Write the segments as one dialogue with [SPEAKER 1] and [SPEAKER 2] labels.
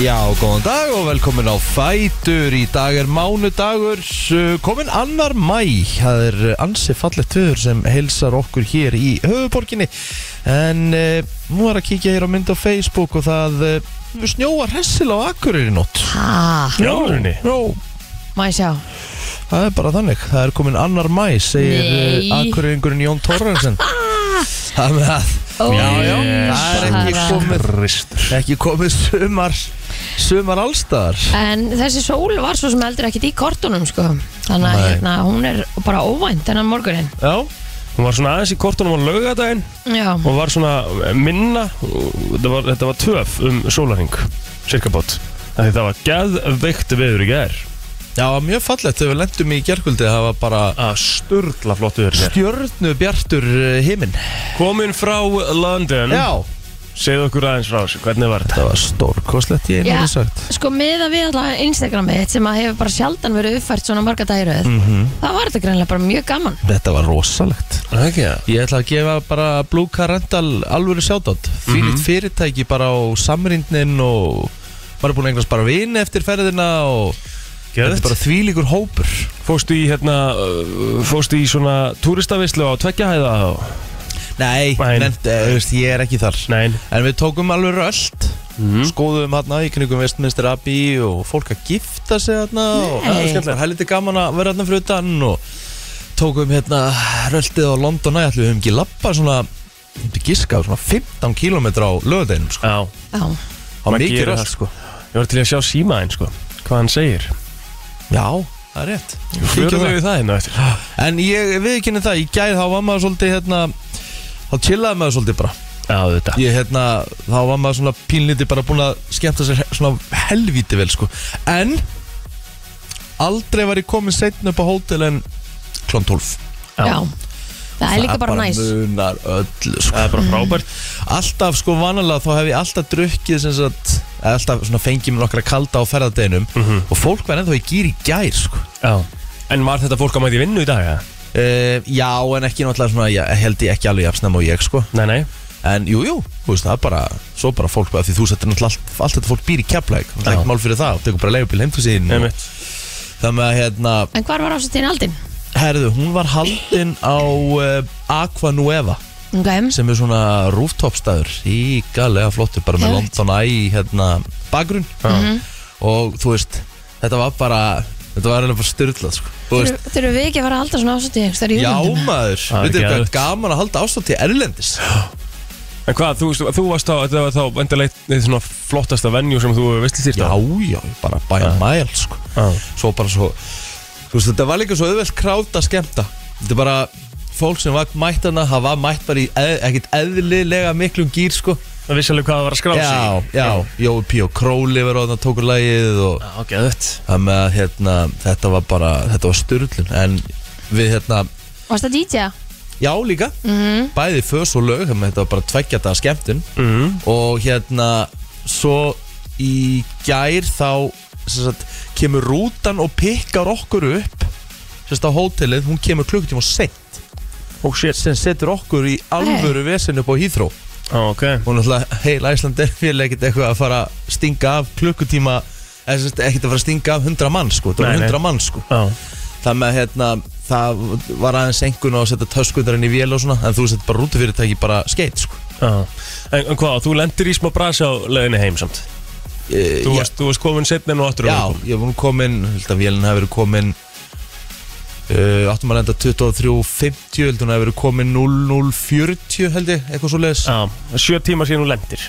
[SPEAKER 1] Já, góðan dag og velkomin á Fætur Í dag er mánudagur uh, Komin annar mæ Það er uh, ansi fallegt viður sem heilsar okkur hér í höfuborginni En uh, nú er að kíkja hér á mynd á Facebook Og það uh, snjóar hessil á Akureyri í nótt
[SPEAKER 2] Ha,
[SPEAKER 1] Jálunni? Jó,
[SPEAKER 2] Ah, má ég sjá
[SPEAKER 1] það er bara þannig Það er komin annar mæ Segir uh,
[SPEAKER 2] Nei.
[SPEAKER 1] Akureyringurinn Jón Torrensen Það með að
[SPEAKER 2] Ó,
[SPEAKER 1] Það er ekki
[SPEAKER 2] bara.
[SPEAKER 1] komið
[SPEAKER 3] Kristur
[SPEAKER 1] Ekki komið sumar Sumar allstaðar
[SPEAKER 2] En þessi sól var svo sem heldur ekkit í kortunum sko. Þannig að
[SPEAKER 1] Nei.
[SPEAKER 2] hérna, hún er bara óvænt þennan morgunin
[SPEAKER 1] Já
[SPEAKER 3] Hún var svona aðeins í kortunum á laugadaginn
[SPEAKER 2] Já,
[SPEAKER 3] og var svona eh, minna þetta var, þetta var töf um sólaring cirkabót þetta var geðveikt viður í gær
[SPEAKER 1] Já, mjög fallegt þegar við lendum í gerkvöldi það var bara
[SPEAKER 3] að Ah, sturla flott viður í gær
[SPEAKER 1] stjörnubjartur eh, himinn
[SPEAKER 3] komin frá London
[SPEAKER 1] Já,
[SPEAKER 3] segð okkur aðeins frá þessu, hvernig var þetta
[SPEAKER 1] Mm. það var stórkostlegt ég
[SPEAKER 2] Já.
[SPEAKER 1] einnig sagt
[SPEAKER 2] sko miða við allavega Instagramið þitt sem að hefur bara sjaldan verið uppfært svona marga dæruð mm Það var þetta greinlega bara mjög gaman
[SPEAKER 1] Þetta var rosalegt
[SPEAKER 3] ekki það
[SPEAKER 1] Ég ætla að gefa bara Blue Car Rental alvöru sjátátt Fýlitt fyrirtæki bara á samrýndin og maður er búin að eignast bara vini eftir ferðina og þetta er bara þvílíkur hópur
[SPEAKER 3] fóstu í hérna uh, fóstu í svona túristavislu á tveggjahæða og...
[SPEAKER 1] Nei,
[SPEAKER 3] Nei.
[SPEAKER 1] nefnt, eh, þú veist, ég er ekki þar
[SPEAKER 3] nein
[SPEAKER 1] En við tókum alveg rölt
[SPEAKER 3] Mhm.
[SPEAKER 1] Skoðum hérna í knygum Vestminster Abbey Og fólk að gifta sig hérna Og
[SPEAKER 2] Nei.
[SPEAKER 1] það er skemmtilegt. Það er lítið gaman að vera hérna fyrir utan Og tókum hérna röltið á London Ætlum við höfum ekki labba svona ég myndi Giska á svona 15 km á löðeinum sko.
[SPEAKER 3] já
[SPEAKER 2] Já,
[SPEAKER 1] Á
[SPEAKER 3] maður
[SPEAKER 1] mikið
[SPEAKER 3] gerir
[SPEAKER 1] rölt
[SPEAKER 3] það,
[SPEAKER 1] sko.
[SPEAKER 3] ég var til að sjá símaðinn sko hvað hann segir
[SPEAKER 1] Já, það er rétt Kíkjum
[SPEAKER 3] fyrir
[SPEAKER 1] það.
[SPEAKER 3] þau í það hérna á eftir
[SPEAKER 1] En ég viðkynni það, ég gæði þá var maður svolítið hérna Þá chillaði maður svolítið bara
[SPEAKER 3] já þetta
[SPEAKER 1] ég hérna, þá var maður svona pínlítið bara búin að skemmta sér he- svona helvíti vel sko en aldrei var ég komin setn upp á hótel en klón 12
[SPEAKER 2] já,
[SPEAKER 3] Já.
[SPEAKER 2] Það er líka bara næs
[SPEAKER 1] munar öllu sko
[SPEAKER 3] það er bara frábært
[SPEAKER 1] alltaf sko vanalega þá hef ég alltaf drukkið sem sagt eða alltaf svona fengið mér nokkra kalda á ferðardeginum og fólk var ennþá í gýr í gær sko
[SPEAKER 3] já en var þetta fólk að mæti vinnu í dag eða?
[SPEAKER 1] Uh, já, en ekki náttúrulega svona, ég held ég ekki alveg jafnsnæm og ég sko
[SPEAKER 3] nei nei
[SPEAKER 1] En jú, jú, þú veist, það er bara Svo bara fólk, af því þú settir náttúrulega allt, allt þetta fólk býr í keflæk Það er
[SPEAKER 3] Já.
[SPEAKER 1] ekki mál fyrir það, þú tekur bara leifubíl heim til sín og-
[SPEAKER 3] einmitt
[SPEAKER 1] Það með að, hérna,
[SPEAKER 2] En hvar var ásettin aldin?
[SPEAKER 1] herðu, hún var haldin á uh, Aqua Nueva
[SPEAKER 2] Okay.
[SPEAKER 1] Sem er svona rooftopstaður Ígalega flottur, bara með
[SPEAKER 2] Geðveikt.
[SPEAKER 1] London Eye, hérna, bakgrunn
[SPEAKER 3] Mhm.
[SPEAKER 1] Og þú veist, þetta var bara Þetta var eiginlega bara styrlað, sko Þú veist,
[SPEAKER 2] Þurfum þurfum við ekki að fara að halda svona ásettin Það er í
[SPEAKER 1] já
[SPEAKER 2] útlöndum?
[SPEAKER 1] maður,
[SPEAKER 3] Það er
[SPEAKER 1] veitir hvað
[SPEAKER 3] geðveikt.
[SPEAKER 1] gaman að halda ástofn til Erlendis
[SPEAKER 3] En hvað, þú, þú, þú varst á, þetta var þá endilegt eitt svona flottasta venue sem þú veist þýrt
[SPEAKER 1] Já,
[SPEAKER 3] á?
[SPEAKER 1] já, bara bæja mæl, sko
[SPEAKER 3] Já.
[SPEAKER 1] svo bara svo þú veist þetta var líka svo auðvelt krátt að skemmta þetta er bara fólk sem var mætt hana það var mætt bara í eð, ekkert eðlilega miklum gýr sko
[SPEAKER 3] Það vissi alveg hvað það var að skrá sig.
[SPEAKER 1] já, já, Jói P. og Króli var þarna tókur lagið og
[SPEAKER 3] Já, geðut.
[SPEAKER 1] það með að hérna, þetta var bara þetta var styrlun en við hérna,
[SPEAKER 2] Varst það DJ?
[SPEAKER 1] já líka bæði fös og lög, þannig að þetta var bara tveggjata skemmtun
[SPEAKER 3] Mm.
[SPEAKER 1] og hérna svo í gær þá sem sagt, kemur rútan og pikkar okkur upp sem sagt á hótelið, hún kemur klukkutíma og sent
[SPEAKER 3] Oh shit.
[SPEAKER 1] sem setur okkur í alvöru vesen upp á hýþró
[SPEAKER 3] Já, ok.
[SPEAKER 1] og náttúrulega heil Æsland er fyrir ekkert eitthvað að fara að stinga af klukkutíma eða sem sagt, ekkert að fara að stinga af 100 mann sko, það
[SPEAKER 3] Nei,
[SPEAKER 1] var
[SPEAKER 3] nei.
[SPEAKER 1] 100 mann sko
[SPEAKER 3] Já.
[SPEAKER 1] þannig að hérna, það var aðeins engun og að setja töskundarinn í vél og svona en þú sett bara rútufyrirtæki bara skeitt sko
[SPEAKER 3] Já. En, en hvað, þú lendir í smá brasi á leiðinni heim samt.
[SPEAKER 1] Eh,
[SPEAKER 3] Þú
[SPEAKER 1] ég-
[SPEAKER 3] varst, þú varst komin setni en og aftur.
[SPEAKER 1] Já, ég hef búin komin, held að vélina hef verið komin uh, áttum að lenda 23.50 held að hún hef verið komin 00.40 held ég, eitthvað svo leiðis
[SPEAKER 3] Já. Sjö tíma síðan þú lendir.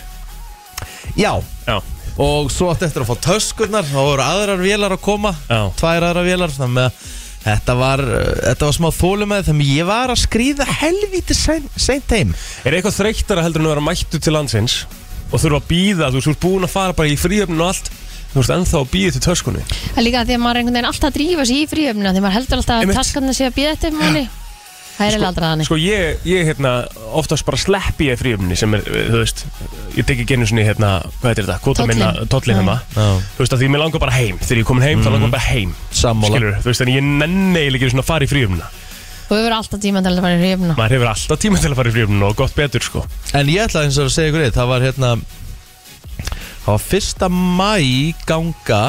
[SPEAKER 1] Já,
[SPEAKER 3] Já.
[SPEAKER 1] og svo átti eftir að fá töskurnar þá voru aðrar vélar að koma
[SPEAKER 3] Já.
[SPEAKER 1] tvær aðrar vélar, þannig að þetta var, uh, þetta var smá þólum með þannig að ég var að skrýða helvíti seint heim
[SPEAKER 3] Er eitthvað þreyttara heldur en að vera mættu til landsins og þurfa að býða, þú veist, þú ert búin að fara bara í fríöfninu og allt, þú ert ennþá að býða til töskunni.
[SPEAKER 2] Það er líka því að maður einhvern veginn alltaf að drífa sig í fríöfnina Því maður heldur alltaf að
[SPEAKER 3] Einmitt.
[SPEAKER 2] taskarna sé að býða eftir manni Það er eiginlega aldrei þannig
[SPEAKER 3] Sko ég, ég hérna, oftast bara sleppi ég fríöfni sem er, uh, þú veist, ég tek ekki einu sinni, hérna, hvað heitir þetta, kvota
[SPEAKER 2] Tóllinn.
[SPEAKER 3] minna, tóllin hérna,
[SPEAKER 1] Já.
[SPEAKER 3] þú veist, að því mér langar bara heim, þegar ég er komin heim, þá langar mér bara heim,
[SPEAKER 1] Sammála
[SPEAKER 3] skilur, þú veist, en ég nenni eiginlega ekki svona að fara í fríöfnina,
[SPEAKER 2] Þú hefur alltaf tíma til að fara í fríöfnina
[SPEAKER 3] maður hefur alltaf tíma til að fara í fríöfnina og gott betur, sko,
[SPEAKER 1] En ég ætla eins og að segja ykkur eitt, það var hérna Það Það var fyrsta mæ ganga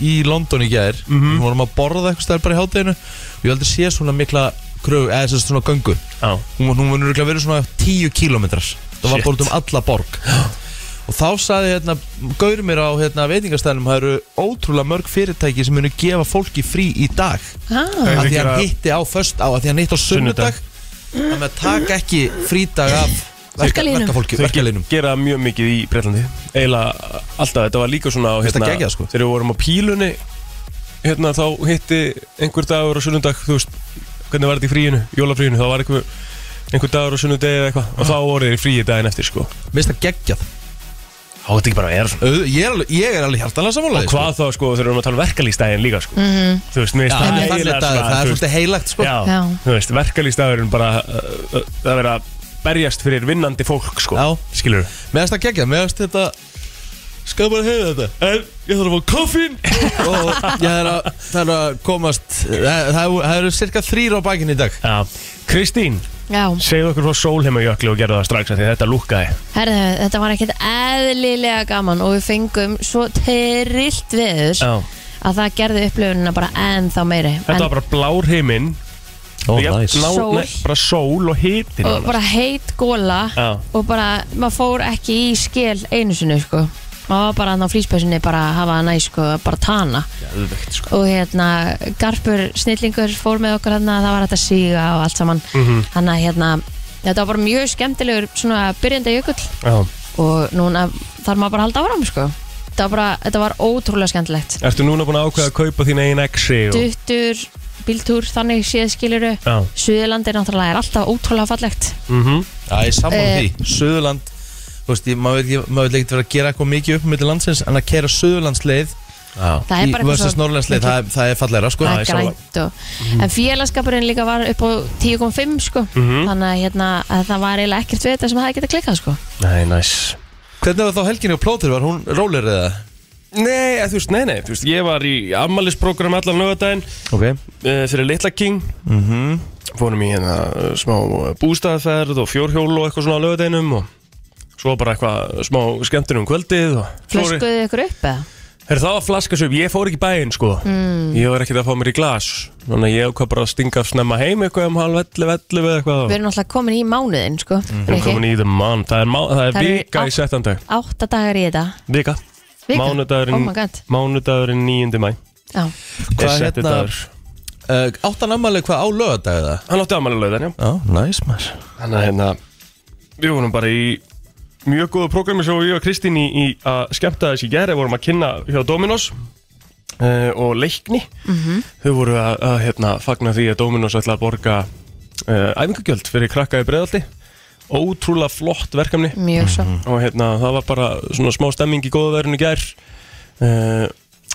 [SPEAKER 1] í London í gær Við vorum að borða eitthvað stær bara í hátæðinu Við heldur sé svona mikla krögu, eða þess að svona göngu
[SPEAKER 3] Já,
[SPEAKER 1] Hún var, hún var nörgulega verið svona 10 kilometrar Það var
[SPEAKER 3] Shit.
[SPEAKER 1] bara út um alla borg Og þá saði hérna, gaur mér á hérna, veitingastæðnum Það eru ótrúlega mörg fyrirtæki sem munu gefa fólki frí í dag
[SPEAKER 2] ah,
[SPEAKER 1] Af því
[SPEAKER 3] gera-
[SPEAKER 1] hann hitti á föst á, af því hann hitti á sunnudag Þannig að taka ekki frídag af
[SPEAKER 2] Verkalýðnum.
[SPEAKER 1] verkafólki,
[SPEAKER 3] Þeir
[SPEAKER 1] verkalinum
[SPEAKER 3] gera mjög mikið í Breitlandi eiginlega alltaf, þetta var líka svona á,
[SPEAKER 1] Finnst það geggjað, sko?
[SPEAKER 3] þegar við vorum á pílunni hérna þá hitti einhver dagur á sunnundag þú veist, hvernig var þetta í fríinu, jólafríinu þá var einhver, einhver dagur á sunnundegi eða eitthvað og þá voru þeir í fríi daginn eftir sko
[SPEAKER 1] Mér finnst það geggjað
[SPEAKER 3] þá þetta ekki bara að vera svona
[SPEAKER 1] Auð- Ég er alveg, ég er alveg hjartanlega samanlega
[SPEAKER 3] og hvað þá sko þegar við erum að tala um verkalýstæðin líka sko þú veist, mér
[SPEAKER 1] Já,
[SPEAKER 3] finnst
[SPEAKER 1] það er
[SPEAKER 3] eiginlega
[SPEAKER 1] þannig dagur, það er
[SPEAKER 3] svona, þú veist,
[SPEAKER 1] svolítið heilagt sko.
[SPEAKER 3] Já,
[SPEAKER 2] Já.
[SPEAKER 3] þú veist, verkalýstæðurinn bara uh, uh, það verið að berjast fyrir vinnandi fólk sko,
[SPEAKER 1] Já.
[SPEAKER 3] skilur
[SPEAKER 1] Mér finnst það geggjað, mér finnst þetta Skal bara hefða þetta En ég þarf að fá koffín Og ég er að, það er að komast Það, það, það eru cirka þrýr á bækinn í dag
[SPEAKER 3] Já. Kristín,
[SPEAKER 2] já.
[SPEAKER 3] segðu okkur frá sólheimajökli og gerðu það strax af því þetta lúkkaði
[SPEAKER 2] Herðu, þetta var ekkert eðlilega gaman og við fengum svo trillt veður að það gerði upplifunina bara ennþá meiri
[SPEAKER 3] Þetta
[SPEAKER 2] En-
[SPEAKER 3] var bara blár heiminn
[SPEAKER 1] Ó,
[SPEAKER 3] jafn- ná-
[SPEAKER 2] Sól.
[SPEAKER 3] nei, Bara sól og hitin
[SPEAKER 2] og bara heit góla
[SPEAKER 3] Já.
[SPEAKER 2] og bara, maður fór ekki í skil einu sinni sko og bara þannig á flýspessunni bara að hafa hana í sko bara tana
[SPEAKER 3] Geðveikt, sko.
[SPEAKER 2] og hérna Garpur Snillingur fór með okkur hérna það var hægt að síga og allt saman
[SPEAKER 3] Mhm.
[SPEAKER 2] þannig að hérna þetta var bara mjög skemmtilegur svona byrjandi jökull
[SPEAKER 3] Já.
[SPEAKER 2] og núna þarf maður bara að halda áram sko þetta var, bara, þetta var ótrúlega skemmtilegt
[SPEAKER 3] Ertu núna búin að ákveða að kaupa þín eigin exi og...
[SPEAKER 2] duttur, bíltúr, þannig séð skiluru
[SPEAKER 3] Já
[SPEAKER 2] Suðurlandi náttúrulega er alltaf ótrúlega fallegt
[SPEAKER 3] mm
[SPEAKER 1] Já, ég sammála
[SPEAKER 2] Eh.
[SPEAKER 1] því Suðurland, þú veist, ég- maður veit ekki- maður veit ekki vera að gera eitthvað mikið upp Mjög landsins, en að kera Suðurlandsleið
[SPEAKER 2] Það er
[SPEAKER 1] Í
[SPEAKER 2] bara eitthvað
[SPEAKER 1] versus
[SPEAKER 2] svo-
[SPEAKER 1] Norrlandsleið, það, er- það er fallegra sko.
[SPEAKER 2] það
[SPEAKER 3] ég
[SPEAKER 2] er
[SPEAKER 3] sá það. Mhm.
[SPEAKER 2] grænt og, en félagskapurinn líka var upp á 10,5 sko
[SPEAKER 3] Mhm.
[SPEAKER 2] þannig að, hérna, að það var eiginlega ekkert við þetta sem hafði getað klikkað sko
[SPEAKER 3] Nei, næs
[SPEAKER 1] Hvernig var þá helginni og plótur, var hún rólir eða?
[SPEAKER 3] Nei, eða, þú veist, nei, nei, þú veist, ég var í ammælisprogram allan lögadaginn
[SPEAKER 1] Ok
[SPEAKER 3] uh, fyrir Little King Mhm. fórum í hérna eh, smá bústæðaferð og fjórhjól og eitthvað svona á lögadeginum og svo bara eitthvað smá skemmtun um kvöldið og svo er-
[SPEAKER 2] flöskuðu ykkur upp eða?
[SPEAKER 3] Herra, það var flaskasöf, ég fór ekki í bæinn sko
[SPEAKER 2] Mm.
[SPEAKER 3] Ég var ekkert að fá mér í glas Þannig að ég ákvað bara að stinga snemma heim eitthvað um halv ellu, ellu eða eitthvað
[SPEAKER 2] við erum alltaf komin í mánuðin sko
[SPEAKER 3] Við erum komin í the month, það er, má, það er
[SPEAKER 2] Það eru
[SPEAKER 3] vika í
[SPEAKER 2] átt-
[SPEAKER 3] settan dag
[SPEAKER 2] 8 dagar í þetta
[SPEAKER 3] Vika,
[SPEAKER 2] Vika? Oh
[SPEAKER 3] Mánudagurinn,
[SPEAKER 2] my god.
[SPEAKER 3] mánudagurinn 9. mæ
[SPEAKER 2] Já.
[SPEAKER 1] Hvað
[SPEAKER 3] er
[SPEAKER 1] hérna-
[SPEAKER 3] septidagur.
[SPEAKER 1] Uh, áttan ammali hvað á lögadagið það?
[SPEAKER 3] Hann átti afmæli lögðan, já
[SPEAKER 1] Já, næs maður
[SPEAKER 3] Þannig að hérna, við vorum bara í mjög góðu prógrami sem ég og Kristín í, í að skemmta þessi gæri vorum að kynna hjá Dominos uh, og leikni þau voru að, að hérna, fagna því að Dominos ætla að borga uh, æfingugjöld fyrir krakka í breðaldi ótrúlega flott verkefni
[SPEAKER 2] mjög svo
[SPEAKER 3] og hérna, það var bara svona smá stemming í góða verðinu gær uh,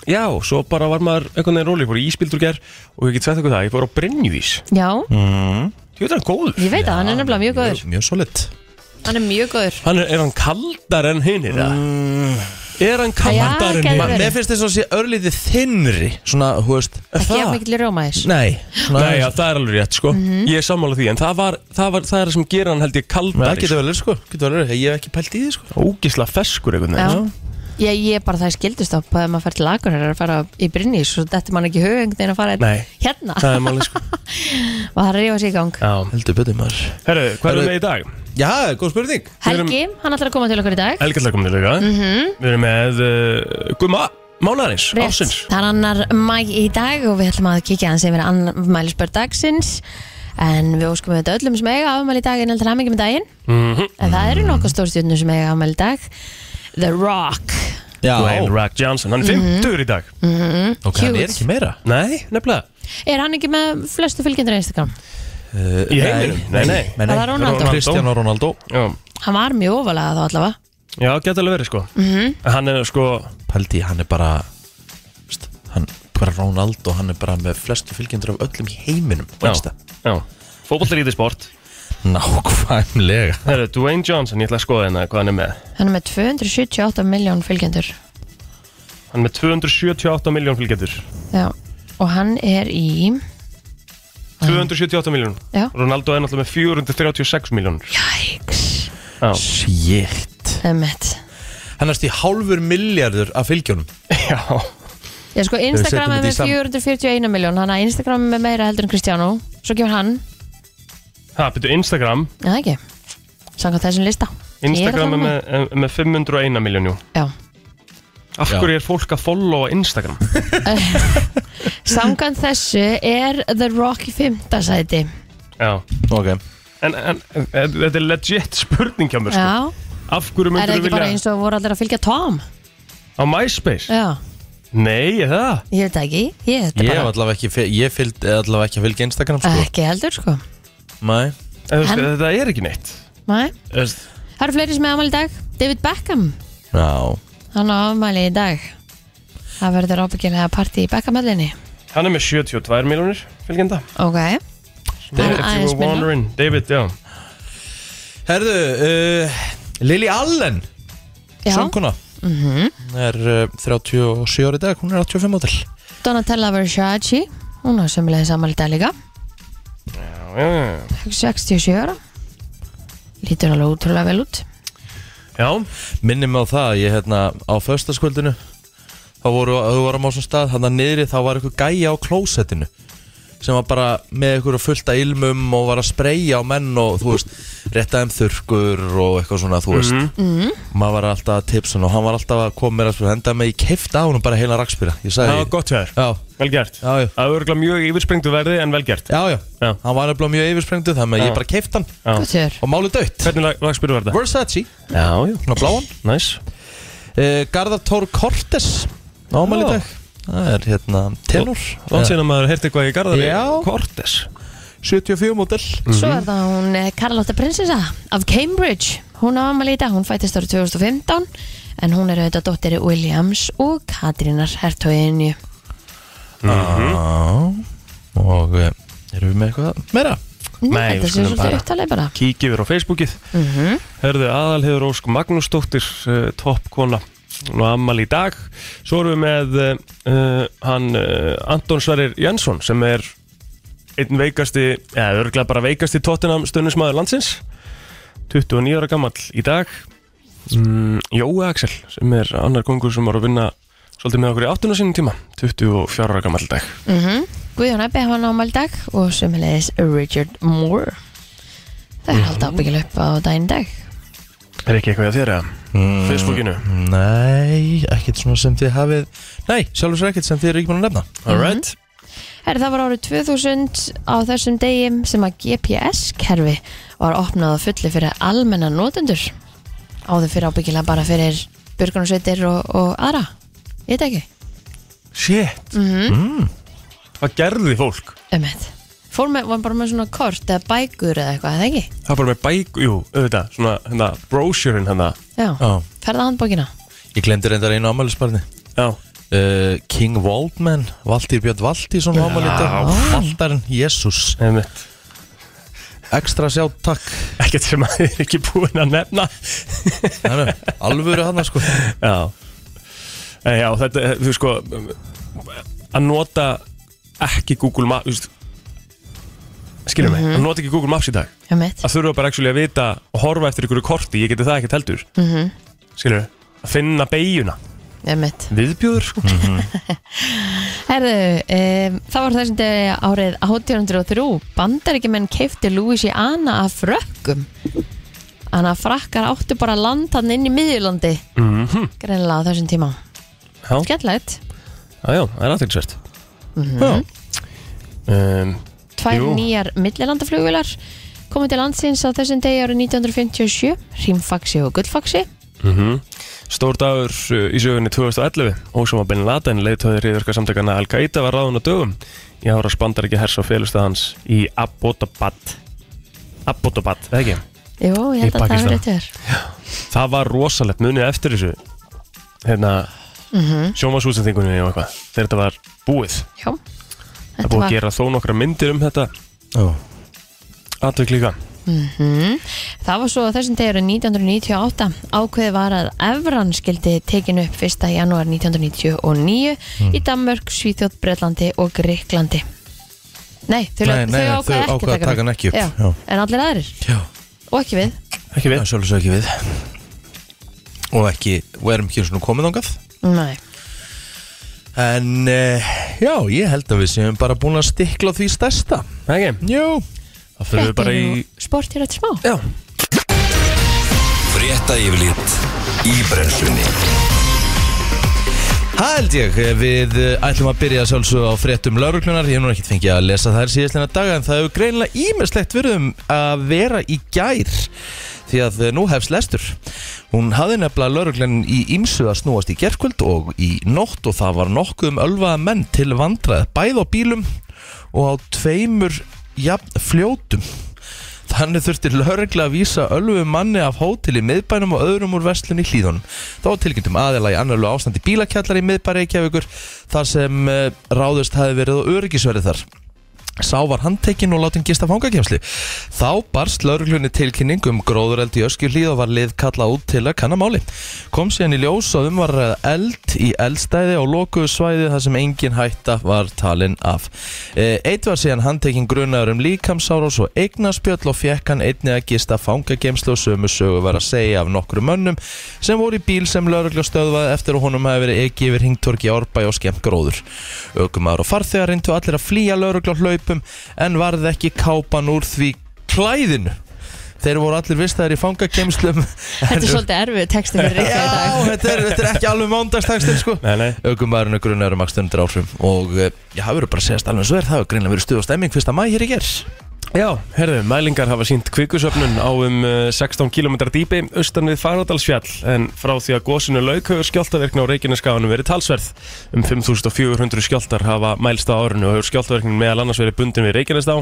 [SPEAKER 3] já, svo bara var maður einhvern veginn róli, ég fór í íspildur gær og ég get sagt eitthvað það, ég fór á Brynjuvís
[SPEAKER 2] já,
[SPEAKER 3] Mhm. ég veit að hann er góður
[SPEAKER 2] ég veit að hann er nefnilega mjög góður
[SPEAKER 1] Mjög solid
[SPEAKER 2] hann er mjög góður
[SPEAKER 3] Hann er, er hann kaldar en hinir mm. Er hann
[SPEAKER 2] Já,
[SPEAKER 3] kaldar en
[SPEAKER 2] gæti
[SPEAKER 1] Ma,
[SPEAKER 3] hinir?
[SPEAKER 2] verið.
[SPEAKER 1] Mér finnst þess að sé örlítið þinnri Svona, hú veist
[SPEAKER 2] ekki af mikil rómaðis
[SPEAKER 1] Nei, svona,
[SPEAKER 3] Nei, já, það er alveg rétt sko
[SPEAKER 2] Mhm.
[SPEAKER 3] Ég er sammála því, en það, var, það, var, það er það sem gerir hann held ég
[SPEAKER 1] það
[SPEAKER 3] kaldari
[SPEAKER 1] getur vel verið sko Getur vel verið, ég hef ekki pælt í því sko
[SPEAKER 3] Ógisla feskur einhvern
[SPEAKER 2] Já.
[SPEAKER 3] veginn
[SPEAKER 2] Ég, ég er bara það skildustopp að ef maður fer til lagur er að fara í Brynni svo þetta mann ekki hugengd en að fara
[SPEAKER 3] Nei.
[SPEAKER 2] hérna
[SPEAKER 3] Það er máli sko
[SPEAKER 2] og það rífa sig í gang
[SPEAKER 3] Já.
[SPEAKER 1] Heldur betur maður
[SPEAKER 3] Herru, hvað erum
[SPEAKER 1] Herru.
[SPEAKER 3] við með í dag?
[SPEAKER 1] Já, góð spurning
[SPEAKER 2] Helgi, hann ætlar að koma til okkur í dag
[SPEAKER 3] Helgjallar komin til auka Við erum með uh, Guðma Málarins,
[SPEAKER 2] Mhm. Rétt.
[SPEAKER 3] ásins
[SPEAKER 2] Það er annar mæ í dag og við ætlum að kíkja hans yfir anmælisbörn dagsins en við óskum við öllum sem eiga afmæli í dag en heldur hamingi með daginn
[SPEAKER 1] Mhm.
[SPEAKER 2] en það eru nokkuð stórstjórnum sem eiga afmæli í dag The Rock
[SPEAKER 1] Já,
[SPEAKER 3] Dwayne Rock
[SPEAKER 2] Mhm.
[SPEAKER 3] Johnson, hann er 50 í dag
[SPEAKER 2] Mm.
[SPEAKER 1] ok, hann er
[SPEAKER 2] cute.
[SPEAKER 1] ekki meira
[SPEAKER 3] Nei, nefnilega
[SPEAKER 2] Er hann ekki með flestu fylgjendur á Instagram?
[SPEAKER 1] uh,
[SPEAKER 3] Í heiminum? Nei, nei.
[SPEAKER 1] nei,
[SPEAKER 2] Bara Ronaldo.
[SPEAKER 1] Cristiano Ronaldo
[SPEAKER 3] Já,
[SPEAKER 2] Hann var mjög ofalega þá allavega
[SPEAKER 3] já geta alveg verið sko
[SPEAKER 2] Mhm.
[SPEAKER 3] En Hann er sko
[SPEAKER 1] Pældi, hann er bara veist, Hann, bara Ronaldo Hann er bara með flestu fylgjendur af öllum í heiminum
[SPEAKER 3] Já, já Fótbollar í því sport
[SPEAKER 1] Nákvæmlega
[SPEAKER 3] Herru, Dwayne Johnson, ég ætla að skoða hérna hvað hann er með
[SPEAKER 2] Hann er með 278 miljón fylgjendur
[SPEAKER 3] Hann er með 278 miljón fylgjendur
[SPEAKER 2] Já, og hann er í
[SPEAKER 3] 278 miljón
[SPEAKER 2] Já.
[SPEAKER 3] Ronaldo er náttúrulega með 436 miljón
[SPEAKER 2] Jæks
[SPEAKER 3] Já,
[SPEAKER 1] Shit
[SPEAKER 2] Emmett
[SPEAKER 1] hann er stíð hálfur miljardur af fylgjónum
[SPEAKER 3] Já,
[SPEAKER 2] Já, sko, Instagram
[SPEAKER 1] setjum þetta í
[SPEAKER 2] er með
[SPEAKER 1] sam-
[SPEAKER 2] 441 miljón Þannig að Instagram er með meira heldur en Kristjánu Svo kemur hann,
[SPEAKER 3] það byrju Instagram
[SPEAKER 2] já það ekki Samkvæmt þessum lista Ég er
[SPEAKER 3] Instagram
[SPEAKER 2] allavega
[SPEAKER 3] er með, er með 501 miljónjú
[SPEAKER 2] Já,
[SPEAKER 3] Af
[SPEAKER 1] Já.
[SPEAKER 3] hverju er fólk að followa Instagram?
[SPEAKER 2] samkvæmt þessu er The Rock í fymta sæti
[SPEAKER 3] Já,
[SPEAKER 1] ok
[SPEAKER 3] en, en e- þetta er legit spurning hjá mér sko.
[SPEAKER 2] Já,
[SPEAKER 3] Af
[SPEAKER 2] er
[SPEAKER 3] hverju
[SPEAKER 2] það
[SPEAKER 3] myndur
[SPEAKER 2] ekki
[SPEAKER 3] við
[SPEAKER 2] bara
[SPEAKER 3] vilja
[SPEAKER 2] eins Eh. og voru allir að fylgja Tom
[SPEAKER 3] á MySpace?
[SPEAKER 2] Já,
[SPEAKER 3] Nei, er það?
[SPEAKER 2] ég veit það ekki Ég, þetta
[SPEAKER 1] ég
[SPEAKER 2] bara,
[SPEAKER 1] hef allavega ekki, fe- ég fylg, eh, allavega ekki að fylgja Instagram sko
[SPEAKER 2] ekki heldur sko
[SPEAKER 1] Nei.
[SPEAKER 3] En, en,
[SPEAKER 2] En-
[SPEAKER 3] þetta er ekki neitt
[SPEAKER 2] Nei.
[SPEAKER 3] Þú veist,
[SPEAKER 2] Það eru fleiri sem er afmæli í dag David Beckham,
[SPEAKER 1] Já.
[SPEAKER 2] hann á afmæli í dag Það verður ábyggilega partí í Beckhamöllinni
[SPEAKER 3] Hann er með 72 miljónir fylgjenda
[SPEAKER 2] Ok,
[SPEAKER 3] David, if you
[SPEAKER 2] aðeins
[SPEAKER 3] were
[SPEAKER 2] minna.
[SPEAKER 3] wondering David, já
[SPEAKER 1] herðu uh, Lily Allen
[SPEAKER 2] já,
[SPEAKER 1] sönguna mm -hmm. er uh, 37 ári dag, hún er 85 átel
[SPEAKER 2] Donatella Versace Hún á sömulegis afmæli í dag líka
[SPEAKER 3] Já, já, já.
[SPEAKER 2] 67 ára Lítur alveg útrúlega vel út
[SPEAKER 3] já,
[SPEAKER 1] minnum á það, að ég hérna á föstaskvöldinu þá voru, þau vorum á svona stað þannig að niðri þá var eitthvað gæja á klósettinu sem var bara með eitthvað fullt af ilmum og var að spreyja á menn og þú veist, rétta þeim þurrkur og eitthvað svona, þú veist
[SPEAKER 3] Mhm.
[SPEAKER 1] maður var alltaf að tipsa hann og hann var alltaf að koma mér að spyrja, henda mig í kifta á hann og bara heila rakspýra, ég sagði
[SPEAKER 3] það var gott hjá þér
[SPEAKER 1] já,
[SPEAKER 3] Vel gert
[SPEAKER 1] Já, já.
[SPEAKER 3] Það er örgulega mjög yfirspringdu verði en vel gert
[SPEAKER 1] já, já,
[SPEAKER 3] Já.
[SPEAKER 1] hann var nefnilega mjög yfirsprengt þannig að
[SPEAKER 3] Já.
[SPEAKER 1] ég bara kifta hann
[SPEAKER 3] Já.
[SPEAKER 2] Guttur
[SPEAKER 1] og máli dött
[SPEAKER 3] Hvernig lag, lag spyrir verða?
[SPEAKER 1] Versace,
[SPEAKER 3] Já, já
[SPEAKER 1] svona bláan
[SPEAKER 3] Næs
[SPEAKER 1] uh, Garðar Tór Kortes ámæli
[SPEAKER 3] Já.
[SPEAKER 1] dag það er hérna tenor
[SPEAKER 3] Látt síðan að maður heyrti eitthvað í garðari
[SPEAKER 1] Já.
[SPEAKER 3] Kortes
[SPEAKER 1] Eh. 74 mótel
[SPEAKER 2] Svo
[SPEAKER 3] Mhm.
[SPEAKER 2] er það hún eh, Karlotta prinsessa af Cambridge Hún á afmæli í dag, hún fættist árið 2015 En hún er auðvitað dóttiri Williams og Katrínar hertóginju
[SPEAKER 1] og uh, erum við með eitthvað meira
[SPEAKER 3] Nei,
[SPEAKER 2] Þetta
[SPEAKER 3] við
[SPEAKER 2] sé
[SPEAKER 3] skulum
[SPEAKER 2] svolítið
[SPEAKER 3] bara-
[SPEAKER 2] upptalið bara
[SPEAKER 3] Kíkjum við á Facebookið mm -hmm. Herðu aðalhefur Ósk Magnúsdóttir uh, Toppkona Nú ammal í dag Svo erum við með uh, hann uh, Anton Sverrir Jansson sem er einn veikasti eða örgulega bara veikasti tóttinam stundinsmaður landsins 29 ára gamall í dag mm, Jói Axel sem er annar kongur sem var að vinna svolítið með okkur í áttuna sinni tíma 24 ára gamall í dag
[SPEAKER 2] mm Guðjón Ebbi hann á afmæli í dag Og sömulegis Richard Moore Það
[SPEAKER 3] Mhm.
[SPEAKER 2] er alltaf ábyggilega upp á daginn í dag
[SPEAKER 3] Er ekki eitthvað að þér eða? Mm. Facebookinu
[SPEAKER 1] nei, ekkert svona sem þið hafið nei, sjálfur sér ekkert sem þið eru ekki búin að nefna
[SPEAKER 3] Alright
[SPEAKER 2] Herri, það var árið 2000 á þessum degi sem að GPS-kerfi var opnað að fulli fyrir almenna notendur áður fyrir ábyggilega bara fyrir björgunarsveitir og, og aðra ég veit ekki,
[SPEAKER 3] Shit mm Hvað gerði fólk?
[SPEAKER 2] um þetta fór með, var bara með svona kort eða bækur eða eitthvað, eða ekki
[SPEAKER 3] Það var bara með bæk, jú, auðvitað Svona, hérna, brosurin hérna
[SPEAKER 2] já,
[SPEAKER 1] Mm-hmm. Já.
[SPEAKER 2] ferða handbókina
[SPEAKER 1] ég glemdi reyndar einu ámælisbarni
[SPEAKER 3] Já
[SPEAKER 1] uh, King Waldman Valtýr Björn Valtýr svona ámæli dag Ah. Valtarinn, Jésús
[SPEAKER 3] Einmitt
[SPEAKER 1] ekstra sjá, takk
[SPEAKER 3] Ekkert sem að þið er ekki búin að nefna
[SPEAKER 1] Nei, nei, alvöru hann sko
[SPEAKER 3] Já En já, þetta, eh, þú sko Að nota ekki Google Maps, þú veist Skilum mig, að nota ekki Google Maps í dag
[SPEAKER 2] um þetta,
[SPEAKER 3] Að þurfa bara actually að vita og horfa eftir ykkur korti Ég geti það ekkert heldur mm -hmm. Skilum við, að finna beiguna
[SPEAKER 2] um þetta
[SPEAKER 3] Viðbjóður, sko
[SPEAKER 2] herðu, um, það var þessum degi árið 1803 bandaríkjumenn keifti Louisiana af frökkum Þannig að frakkar áttu bara land hann inn í miðjulandi
[SPEAKER 3] mm
[SPEAKER 2] greinlega á þessum tíma
[SPEAKER 3] Já.
[SPEAKER 2] Skellegt
[SPEAKER 3] Já, já, það er aðtilsvert um,
[SPEAKER 2] Tvær
[SPEAKER 3] Jú.
[SPEAKER 2] nýjar millilandaflugvilar komið til landsins á þessum degi árið 1957 Rímfaxi og Gullfaxi
[SPEAKER 3] Mhm. Stór dagur uh, í sögunni 2011 Ósama Bin Laden leiðtöði riðurka samtakana Al-Qaida var ráðun á dögum Ég ára spandar ekki hers á félustað hans í Abbottabad Abbottabad, eða ekki?
[SPEAKER 2] Jú, ég
[SPEAKER 3] Í
[SPEAKER 2] held að það
[SPEAKER 3] Pakistan.
[SPEAKER 2] verið þér
[SPEAKER 3] Það var rosalegt munið eftir þessu hérna
[SPEAKER 2] Mhm.
[SPEAKER 3] mm -hmm. sjómasúsendingunni og eitthvað þegar þetta var búið
[SPEAKER 2] Já,
[SPEAKER 3] Það er
[SPEAKER 2] þetta
[SPEAKER 3] búið að
[SPEAKER 2] var
[SPEAKER 3] gera þó nokkra myndir um þetta
[SPEAKER 1] oh.
[SPEAKER 3] atvik líka
[SPEAKER 2] Það var svo á þessum degi árið 1998 ákveðið var að Evran skildi tekin upp 1. janúar 1999 í Danmörk, Svíþjótt, Bretlandi og Greiklandi Nei, þau,
[SPEAKER 1] Nei, nei,
[SPEAKER 2] þau
[SPEAKER 1] nei,
[SPEAKER 2] ákveða
[SPEAKER 1] þau
[SPEAKER 2] ekki,
[SPEAKER 1] ákveða að taka hann ekki upp,
[SPEAKER 2] Já.
[SPEAKER 1] já.
[SPEAKER 2] En allir aðrir
[SPEAKER 1] já,
[SPEAKER 2] og ekki við
[SPEAKER 3] Ekki við
[SPEAKER 1] sjálfur sér ekki við og ekki, og erum ekki svona komin ángað
[SPEAKER 2] Nei.
[SPEAKER 1] en uh, já, ég held að við séum bara búin að stikla á því stærsta
[SPEAKER 3] Ekki,
[SPEAKER 1] Jú,
[SPEAKER 3] það fyrir við bara í
[SPEAKER 2] sport hér eftir smá
[SPEAKER 1] já
[SPEAKER 4] Frétta yfirlit í brennslunni
[SPEAKER 1] Það held ég, við eh, ætlum að byrja sjálfsög á fréttum lauruglunar, ég hef nú ekkert fengið að lesa þær síðastlega daga en það hefur greinilega ímestlegt verið um að vera í gær því að eh, nú hefst lestur. Hún hafði nefnilega lauruglunin í ímsu að snúast í gerkvöld og í nótt og það var nokkuð um ölvaða menn til vandrað bæð á bílum og á tveimur jafn fljótum. Þannig þurfti lögregla að vísa ölvu manni af hótel í miðbænum og öðrum úr verslun í hlýðunum. Þá var tilkynntum aðila í annarlu ástandi bílakjallar í miðbæri Reykjavíkur þar sem eh, ráðust hafi verið á öryggisverið þar. Sá var handtekinn og látin gista fangakemslu. Þá barst lauruglunni tilkynning um gróðureld í öskjuhlíð og var lið kallað út til að kanna máli. Kom síðan í ljós og um var að ræða eld í eldstæði og lokuðu svæði þar sem engin hætta var talin af. Eh, Eitt var síðan handtekinn grunaður um líkamsárás og eignaspjöll og fekk hann einni að gista fangakemslu og sömu sögu var að segja af nokkru mönnum sem voru í bíl sem laurugla stöðvaði eftir að honum hafi verið ekki yfir hingtorki árbæ og skemmt gróður. Ökumar og farþegar reyndu allir að flýja laurugla hlaupum en varði ekki kápan úr því klæðinu. Þeir voru allir vistaðir í fangakemslum.
[SPEAKER 2] Þetta er svolítið erfið texti fyrir
[SPEAKER 1] Já,
[SPEAKER 2] Rikka í dag
[SPEAKER 1] þetta er, þetta er ekki alveg mándagstakstinn sko.
[SPEAKER 3] Nei, nei
[SPEAKER 1] Ökumæðurinn er grunnar um akstundur áhrifum og eh, já, það verður bara að segja alveg sver, það hefur greinlega verið stuð og stemming fyrsta mæ hér í gerð.
[SPEAKER 3] Já, herðu, mælingar hafa sínt kvikusöfnun á um eh, 16 km dýpi austan við Faradalsfjall en frá því að gósinu lauk hefur skjáltaverkni á Reykjaneskaganum verið talsverð um 5400 skjáltar hafa mælst á árinu og hefur skjáltaverknin meðal annars verið bundin við Reykjanestá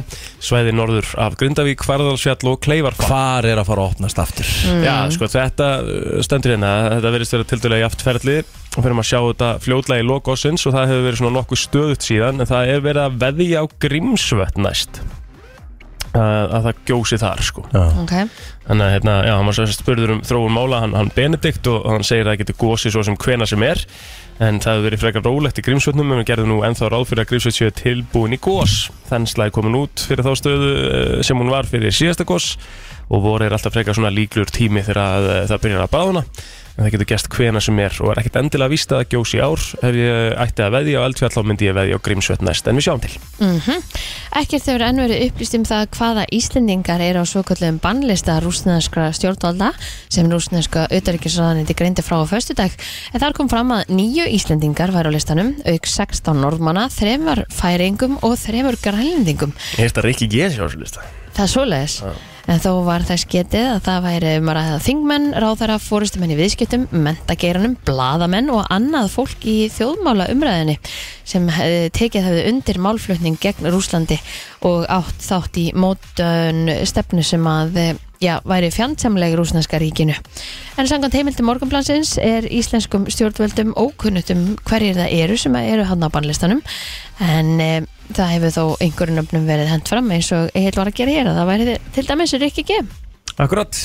[SPEAKER 3] svæði norður af Grindavík, Faradalsfjall og Kleifarfall
[SPEAKER 1] Hvar er að fara að opnast aftur?
[SPEAKER 3] Já, sko, þetta uh, stendur hérna þetta verðist vera tildulega jaft ferli og fyrir maður að sjá þetta fljótlega í lokosins og það hefur verið svona nokkuð stöðut síðan en það er verið að veðja á grímsvötn næst að, að það gjósi þar, sko
[SPEAKER 2] Ok,
[SPEAKER 3] þannig að, hérna, já, hann var svo spurður um þróun mála hann, hann Benedikt og hann segir að það getur gósi svo sem hvena sem er en það hefur verið frekar rólegt í grímsvötnum en við gerðum nú ennþá ráð fyrir að grímsvötn séu tilbúin í gós þensla er komin út fyrir þá stöðu eh, sem hún var fyrir síðasta gós og voru er alltaf frekar svona líklur tími þegar að, eh, það byrjar að bráðna en það getur gerst hvena sem er og er ekkert endilega víst að það gjósi í ár ef ég ætti að veðja á eldfjall þá myndi ég veðja á grímsvötn næst en við sjáum til
[SPEAKER 2] Mhm. ekkert hefur enn verið upplýst um það hvaða Íslendingar eru á svokallegum bannlista rúsneska stjórnvalda sem rúsneska auðaríkisraðanindi greindi frá á föstudag en þar kom fram að nýju Íslendingar væru á listanum auk 16 norðmanna, þremar færingum og þremur grænlendingum
[SPEAKER 3] Ég heyrði að Rikki G. sé á þessu lista.
[SPEAKER 2] Það er svoleiðis. En þó var þess getið að það væri um að ræða þingmenn, ráðara, fórustumenn í viðskiptum, mentageiranum, bladamenn og annað fólk í þjóðmála umræðinni sem hefði tekið hefði undir málflutning gegn Rúslandi og átt þátt í mótun stefnu sem að eh, já, væri fjandsamleg rúsneska ríkinu. En samkvæmt heimildi morgunplansins er íslenskum stjórnvöldum ókunnutum hverjir það eru sem eru hann á bannlistanum en e, það hefur þó einhverjum nöfnum verið hent fram eins og Egil var að gera hér að það væri til dæmis Rikki G
[SPEAKER 3] Akkurat,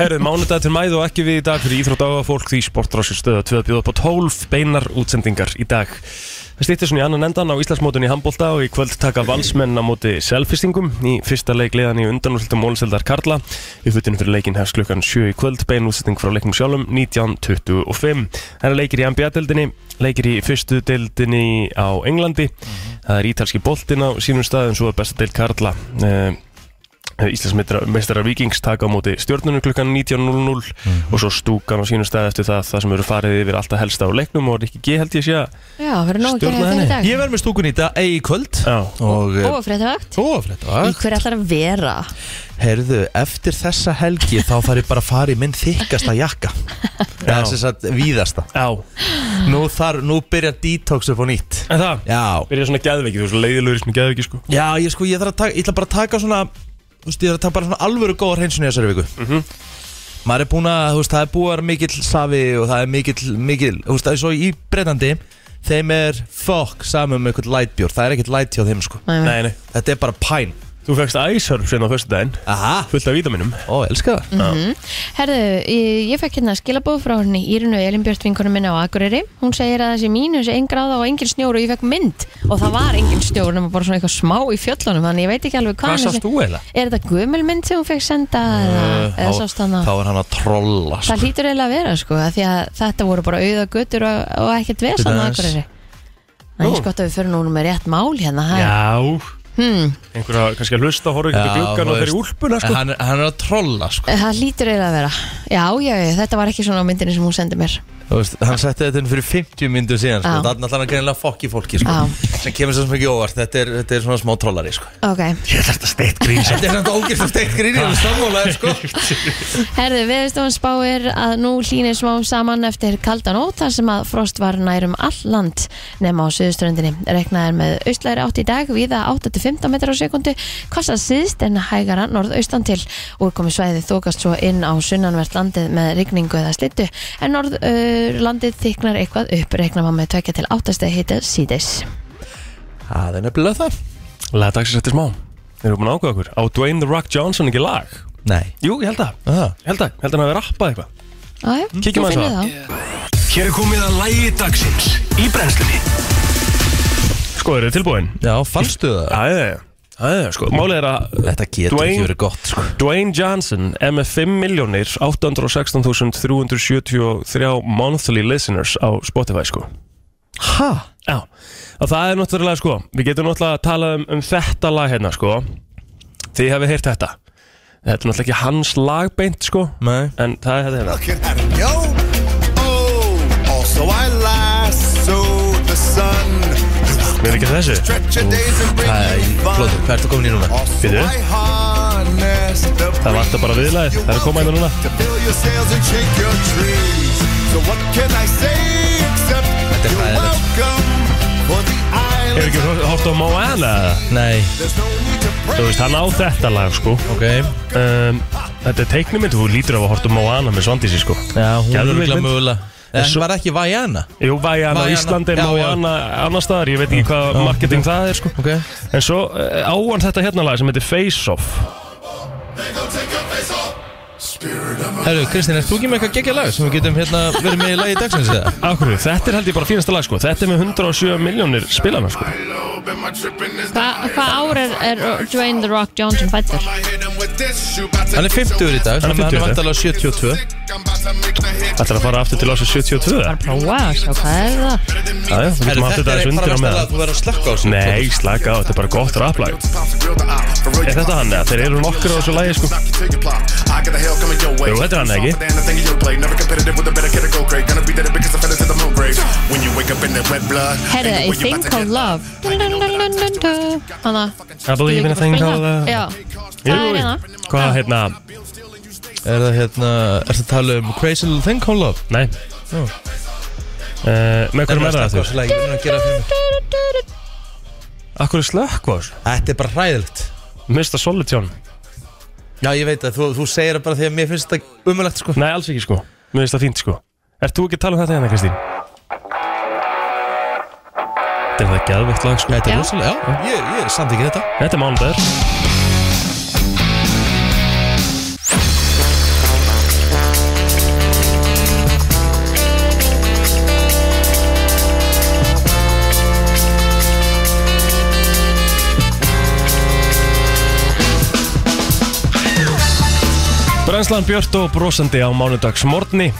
[SPEAKER 3] herruð mánudag til mæðu og ekki við í dag fyrir íþrótt áhuga fólk því sportrási stöða 2 bjóða upp á 12 beinar útsendingar í dag. Það stýttir svona í annan endan á Íslandsmótun í handbólta og í kvöld taka valsmenn á móti selfistingum í fyrsta leik leiðan í undanúrslutum Móliseldar Karla. Uppvötunum fyrir leikin hefst klukkan 7 í kvöld, bein útsending frá leiknum sjálfum 19.25. Það er leikir í NBA-deldinni, leikir í fyrstu deldinni á Englandi, það er ítalski boltin á sínum staðum, svo er besta deild Karla. Uh, Íslandsmeistara Vikings taka á móti stjórnunum klukkan 19.00 og svo stúkan á sínum stað eftir það það sem eru farið yfir alltaf helsta á leiknum og Rikki G held ég sé að
[SPEAKER 2] Já, verður nóg að gera
[SPEAKER 3] Stjórna
[SPEAKER 2] þetta í dag
[SPEAKER 1] Ég verð með stúkun í dag, ei í kvöld
[SPEAKER 3] Já.
[SPEAKER 1] og eh,
[SPEAKER 2] Og fréttavakt
[SPEAKER 1] ó, frétta
[SPEAKER 2] Í hver ætlar að vera
[SPEAKER 1] Herðu, eftir þessa helgi þá þarf ég bara að fara í minn þykkasta jakka Það
[SPEAKER 3] Já.
[SPEAKER 1] er sem sagt víðasta
[SPEAKER 3] Já,
[SPEAKER 1] Nú, þar, nú byrjar detox upp á nýtt
[SPEAKER 3] en það
[SPEAKER 1] Já,
[SPEAKER 3] byrja svona geðveiki, þú veist, leiðilegur í svona geðveiki sko
[SPEAKER 1] já ég sko, ég þarf að taka, ég ætla bara að taka svona Þú veist, ég þarf að taka bara svona alvöru góða hreinsun í þessari viku Maður er búin að, þú veist, það er búið að vera mikill safi og það er mikill, mikill Þú veist, það er svo í breytandi Þeim er fokk saman um einhvern lightbjór Það er ekkert light hjá þeim, sko
[SPEAKER 2] Nei,
[SPEAKER 3] Nei, nei,
[SPEAKER 1] Þetta er bara pæn
[SPEAKER 3] þú Þú fegst æsörf sérna á fyrstu daginn
[SPEAKER 1] Aha,
[SPEAKER 3] Fullt af vítaminum
[SPEAKER 1] ó, elska það
[SPEAKER 2] Herðu, ég, ég fekk hérna skilabóð frá henni Írinu Elinbjört vinkunum minna á Akureyri Hún segir að þessi mínus ein gráða og engin snjór og ég fekk mynd og það var engin snjór nema bara svona eitthvað smá í fjöllunum þannig ég veit ekki alveg hvað
[SPEAKER 5] Hvað
[SPEAKER 2] hann
[SPEAKER 5] sást þú eiginlega?
[SPEAKER 2] Er þetta gömul mynd sem hún fekk senda
[SPEAKER 1] Eh,
[SPEAKER 2] eða, eða sást hann
[SPEAKER 1] Þá er hann að trolla sko.
[SPEAKER 2] Það hlýtur eiginlega að vera sko af því að þetta voru bara auða göttur og, og ekkert
[SPEAKER 1] Bíddu
[SPEAKER 2] vesan á
[SPEAKER 1] aðeins.
[SPEAKER 2] Akureyri Það er eins gott að við fyrir núna með rétt mál hérna það er-
[SPEAKER 3] Já Einhverja kannski að hlusta, horfa ekki
[SPEAKER 1] Já,
[SPEAKER 3] til gluggan
[SPEAKER 1] þú
[SPEAKER 3] og þeirri
[SPEAKER 1] veist.
[SPEAKER 3] úlpuna sko.
[SPEAKER 1] hann, hann er að trolla sko.
[SPEAKER 2] Það hlýtur eiginlega að vera Já, já, já, þetta var ekki svona á myndinni sem hún sendi mér
[SPEAKER 1] Þú veist, Hann setti þetta inn fyrir 50 myndu síðan sko.
[SPEAKER 2] Já.
[SPEAKER 1] Það er náttúrulega greinilega fokk í fólki sko.
[SPEAKER 2] Já.
[SPEAKER 1] sem kemur svo sem ekki óvart Þetta er, þetta er svona smá trollari sko.
[SPEAKER 2] Ok,
[SPEAKER 3] Ég ætla þetta steitt grín
[SPEAKER 1] Þetta er samt ógæst að steikt grín Ég er sammálaðir sko.
[SPEAKER 2] herðu, viðstofan spáir að nú hlýnir smá saman eftir kaldan óta sem að frost var nærum all land nema á suðuströndinni Reknaðir með austlæri átt í dag viða 8-15 metrar á sekundu Kossa síðst en hægara norðaustan til Úrkomi svæði þókast svo inn á sunnanvert landið með rigningu eða slittu En norðlandið uh, þyknar eitthvað upp Rekna maður með tvekja til 8 stegi hita síðis
[SPEAKER 1] Það er nefnilega það
[SPEAKER 3] Laða dagsins eftir smá Þeir eru búin að ákveða okkur Á Dwayne The Rock Johnson ekki lag
[SPEAKER 1] Nei
[SPEAKER 3] Jú, ég held að
[SPEAKER 1] Aha.
[SPEAKER 3] Ég held að, ég held að hann hafi rappað eitthvað
[SPEAKER 2] Æ,
[SPEAKER 3] Kíkjum aðeins á það.
[SPEAKER 4] Hér er komið að lægi dagsins í brennslunni
[SPEAKER 3] Sko, eru þið tilbúin?
[SPEAKER 1] Já, fannstu það?
[SPEAKER 3] Æ, æ, sko Málið er að
[SPEAKER 1] Þetta getur
[SPEAKER 3] Dwayne-
[SPEAKER 1] ekki verið gott sko.
[SPEAKER 3] Dwayne Johnson er með 5.816.373 monthly listeners á Spotify sko
[SPEAKER 1] Ha?
[SPEAKER 3] Já, og það er náttúrulega sko Við getum náttúrulega að tala um, um þetta lag hérna sko Þið hefði heyrt þetta Þetta er náttúrulega ekki hans lag beint sko
[SPEAKER 1] Nei
[SPEAKER 3] En það er þetta hérna
[SPEAKER 6] looking at him go. Oh, also I lasso the sun.
[SPEAKER 3] Mér er ekki þessu
[SPEAKER 6] Stretch your days and bring
[SPEAKER 1] Það er
[SPEAKER 6] you
[SPEAKER 1] flott,
[SPEAKER 6] fun.
[SPEAKER 1] hvað ertu komin í núna?
[SPEAKER 6] Also
[SPEAKER 3] Bíddu.
[SPEAKER 6] I harness the
[SPEAKER 3] Það vantar bara viðlagið. Það er að koma hérna núna.
[SPEAKER 6] To fill your sails and shake your trees. So what can I say except
[SPEAKER 1] er
[SPEAKER 6] you're
[SPEAKER 1] hræðilegt.
[SPEAKER 6] welcome for the
[SPEAKER 3] Hefur
[SPEAKER 6] island.
[SPEAKER 3] ekki hótt á Moana eða?
[SPEAKER 1] Nei,
[SPEAKER 6] There's no need to pray.
[SPEAKER 3] Þú veist, hann á þetta lag sko
[SPEAKER 1] ok
[SPEAKER 3] um, Þetta er teiknumynd Þú lítur af að horta á Moana með Svandísi sko
[SPEAKER 1] Já, hún er
[SPEAKER 3] Geðveik
[SPEAKER 1] örugglega
[SPEAKER 3] mynd.
[SPEAKER 1] mögulega En
[SPEAKER 3] svo-
[SPEAKER 1] var ekki Vajana?
[SPEAKER 3] Jú, Vajana,
[SPEAKER 1] Vaiana,
[SPEAKER 3] Íslandi,
[SPEAKER 1] já, já.
[SPEAKER 3] Moana, annar staðar Ég veit ekki hvað marketing það er sko
[SPEAKER 1] Ok
[SPEAKER 3] En svo eh, á hann þetta hérna lag sem heitir Face Off
[SPEAKER 1] Herru, Kristín, erst þú ekki með eitthvað geggja lag sem við getum hérna verið með í lagi dagsins eða?
[SPEAKER 3] Akkur, þetta er held ég bara fínasta lag sko Þetta er með 107 miljónir spilana sko
[SPEAKER 2] Hvað hva ár er, er Dwayne The Rock Johnson fættur?
[SPEAKER 1] Hann er 50 í dag,
[SPEAKER 3] Hann
[SPEAKER 1] þannig að hann
[SPEAKER 3] er 50 í
[SPEAKER 1] er
[SPEAKER 3] dag.
[SPEAKER 1] vantalega 72
[SPEAKER 3] Þetta er að fara aftur til ásins 72
[SPEAKER 2] Bara prófa að sjá hvað er það
[SPEAKER 3] Jájá, við
[SPEAKER 1] Herru,
[SPEAKER 3] getum haft
[SPEAKER 1] þetta
[SPEAKER 3] þetta
[SPEAKER 1] er bara versta
[SPEAKER 3] aðeins undir á
[SPEAKER 1] lag,
[SPEAKER 3] meðan
[SPEAKER 1] þú verður að slökka á þessu
[SPEAKER 3] Nei, slaka á, þetta er bara gott rapplag Er þetta hann eða? Þeir eru nokkur á þessu lagi sko
[SPEAKER 7] Jú, þetta er hann ekki
[SPEAKER 2] Herðu, A Thing Called Love Hanna
[SPEAKER 3] I believe in a thing called love.
[SPEAKER 2] Já,
[SPEAKER 3] Jú,
[SPEAKER 2] það er hérna
[SPEAKER 3] Hvað hérna?
[SPEAKER 1] Er það hérna, er það að tala um Crazy Little Thing Call Love?
[SPEAKER 3] Nei
[SPEAKER 1] Jú.
[SPEAKER 3] Eh, Með hverjum er
[SPEAKER 1] slökka
[SPEAKER 3] það
[SPEAKER 1] á
[SPEAKER 3] aftur?
[SPEAKER 1] þessu lagi, ég verður að gera fyrir mig
[SPEAKER 3] Akkur er slökk á þessu?
[SPEAKER 1] Þetta er bara hræðilegt
[SPEAKER 3] Mista Solitjón
[SPEAKER 1] Já, ég veit að þú, þú segir það bara því að mér finnst þetta umulegt sko
[SPEAKER 3] Nei, alls ekki sko Mér finnst það fínt sko Ert þú ekki að tala um þetta hérna, Kristín? Þetta er það geðveikt lag sko
[SPEAKER 1] Þetta
[SPEAKER 2] Já.
[SPEAKER 1] er rosalega, já, ég, ég samt ekki þetta
[SPEAKER 3] Þetta er mánudagur Brænslan Björn og brosandi á mánudagsmorni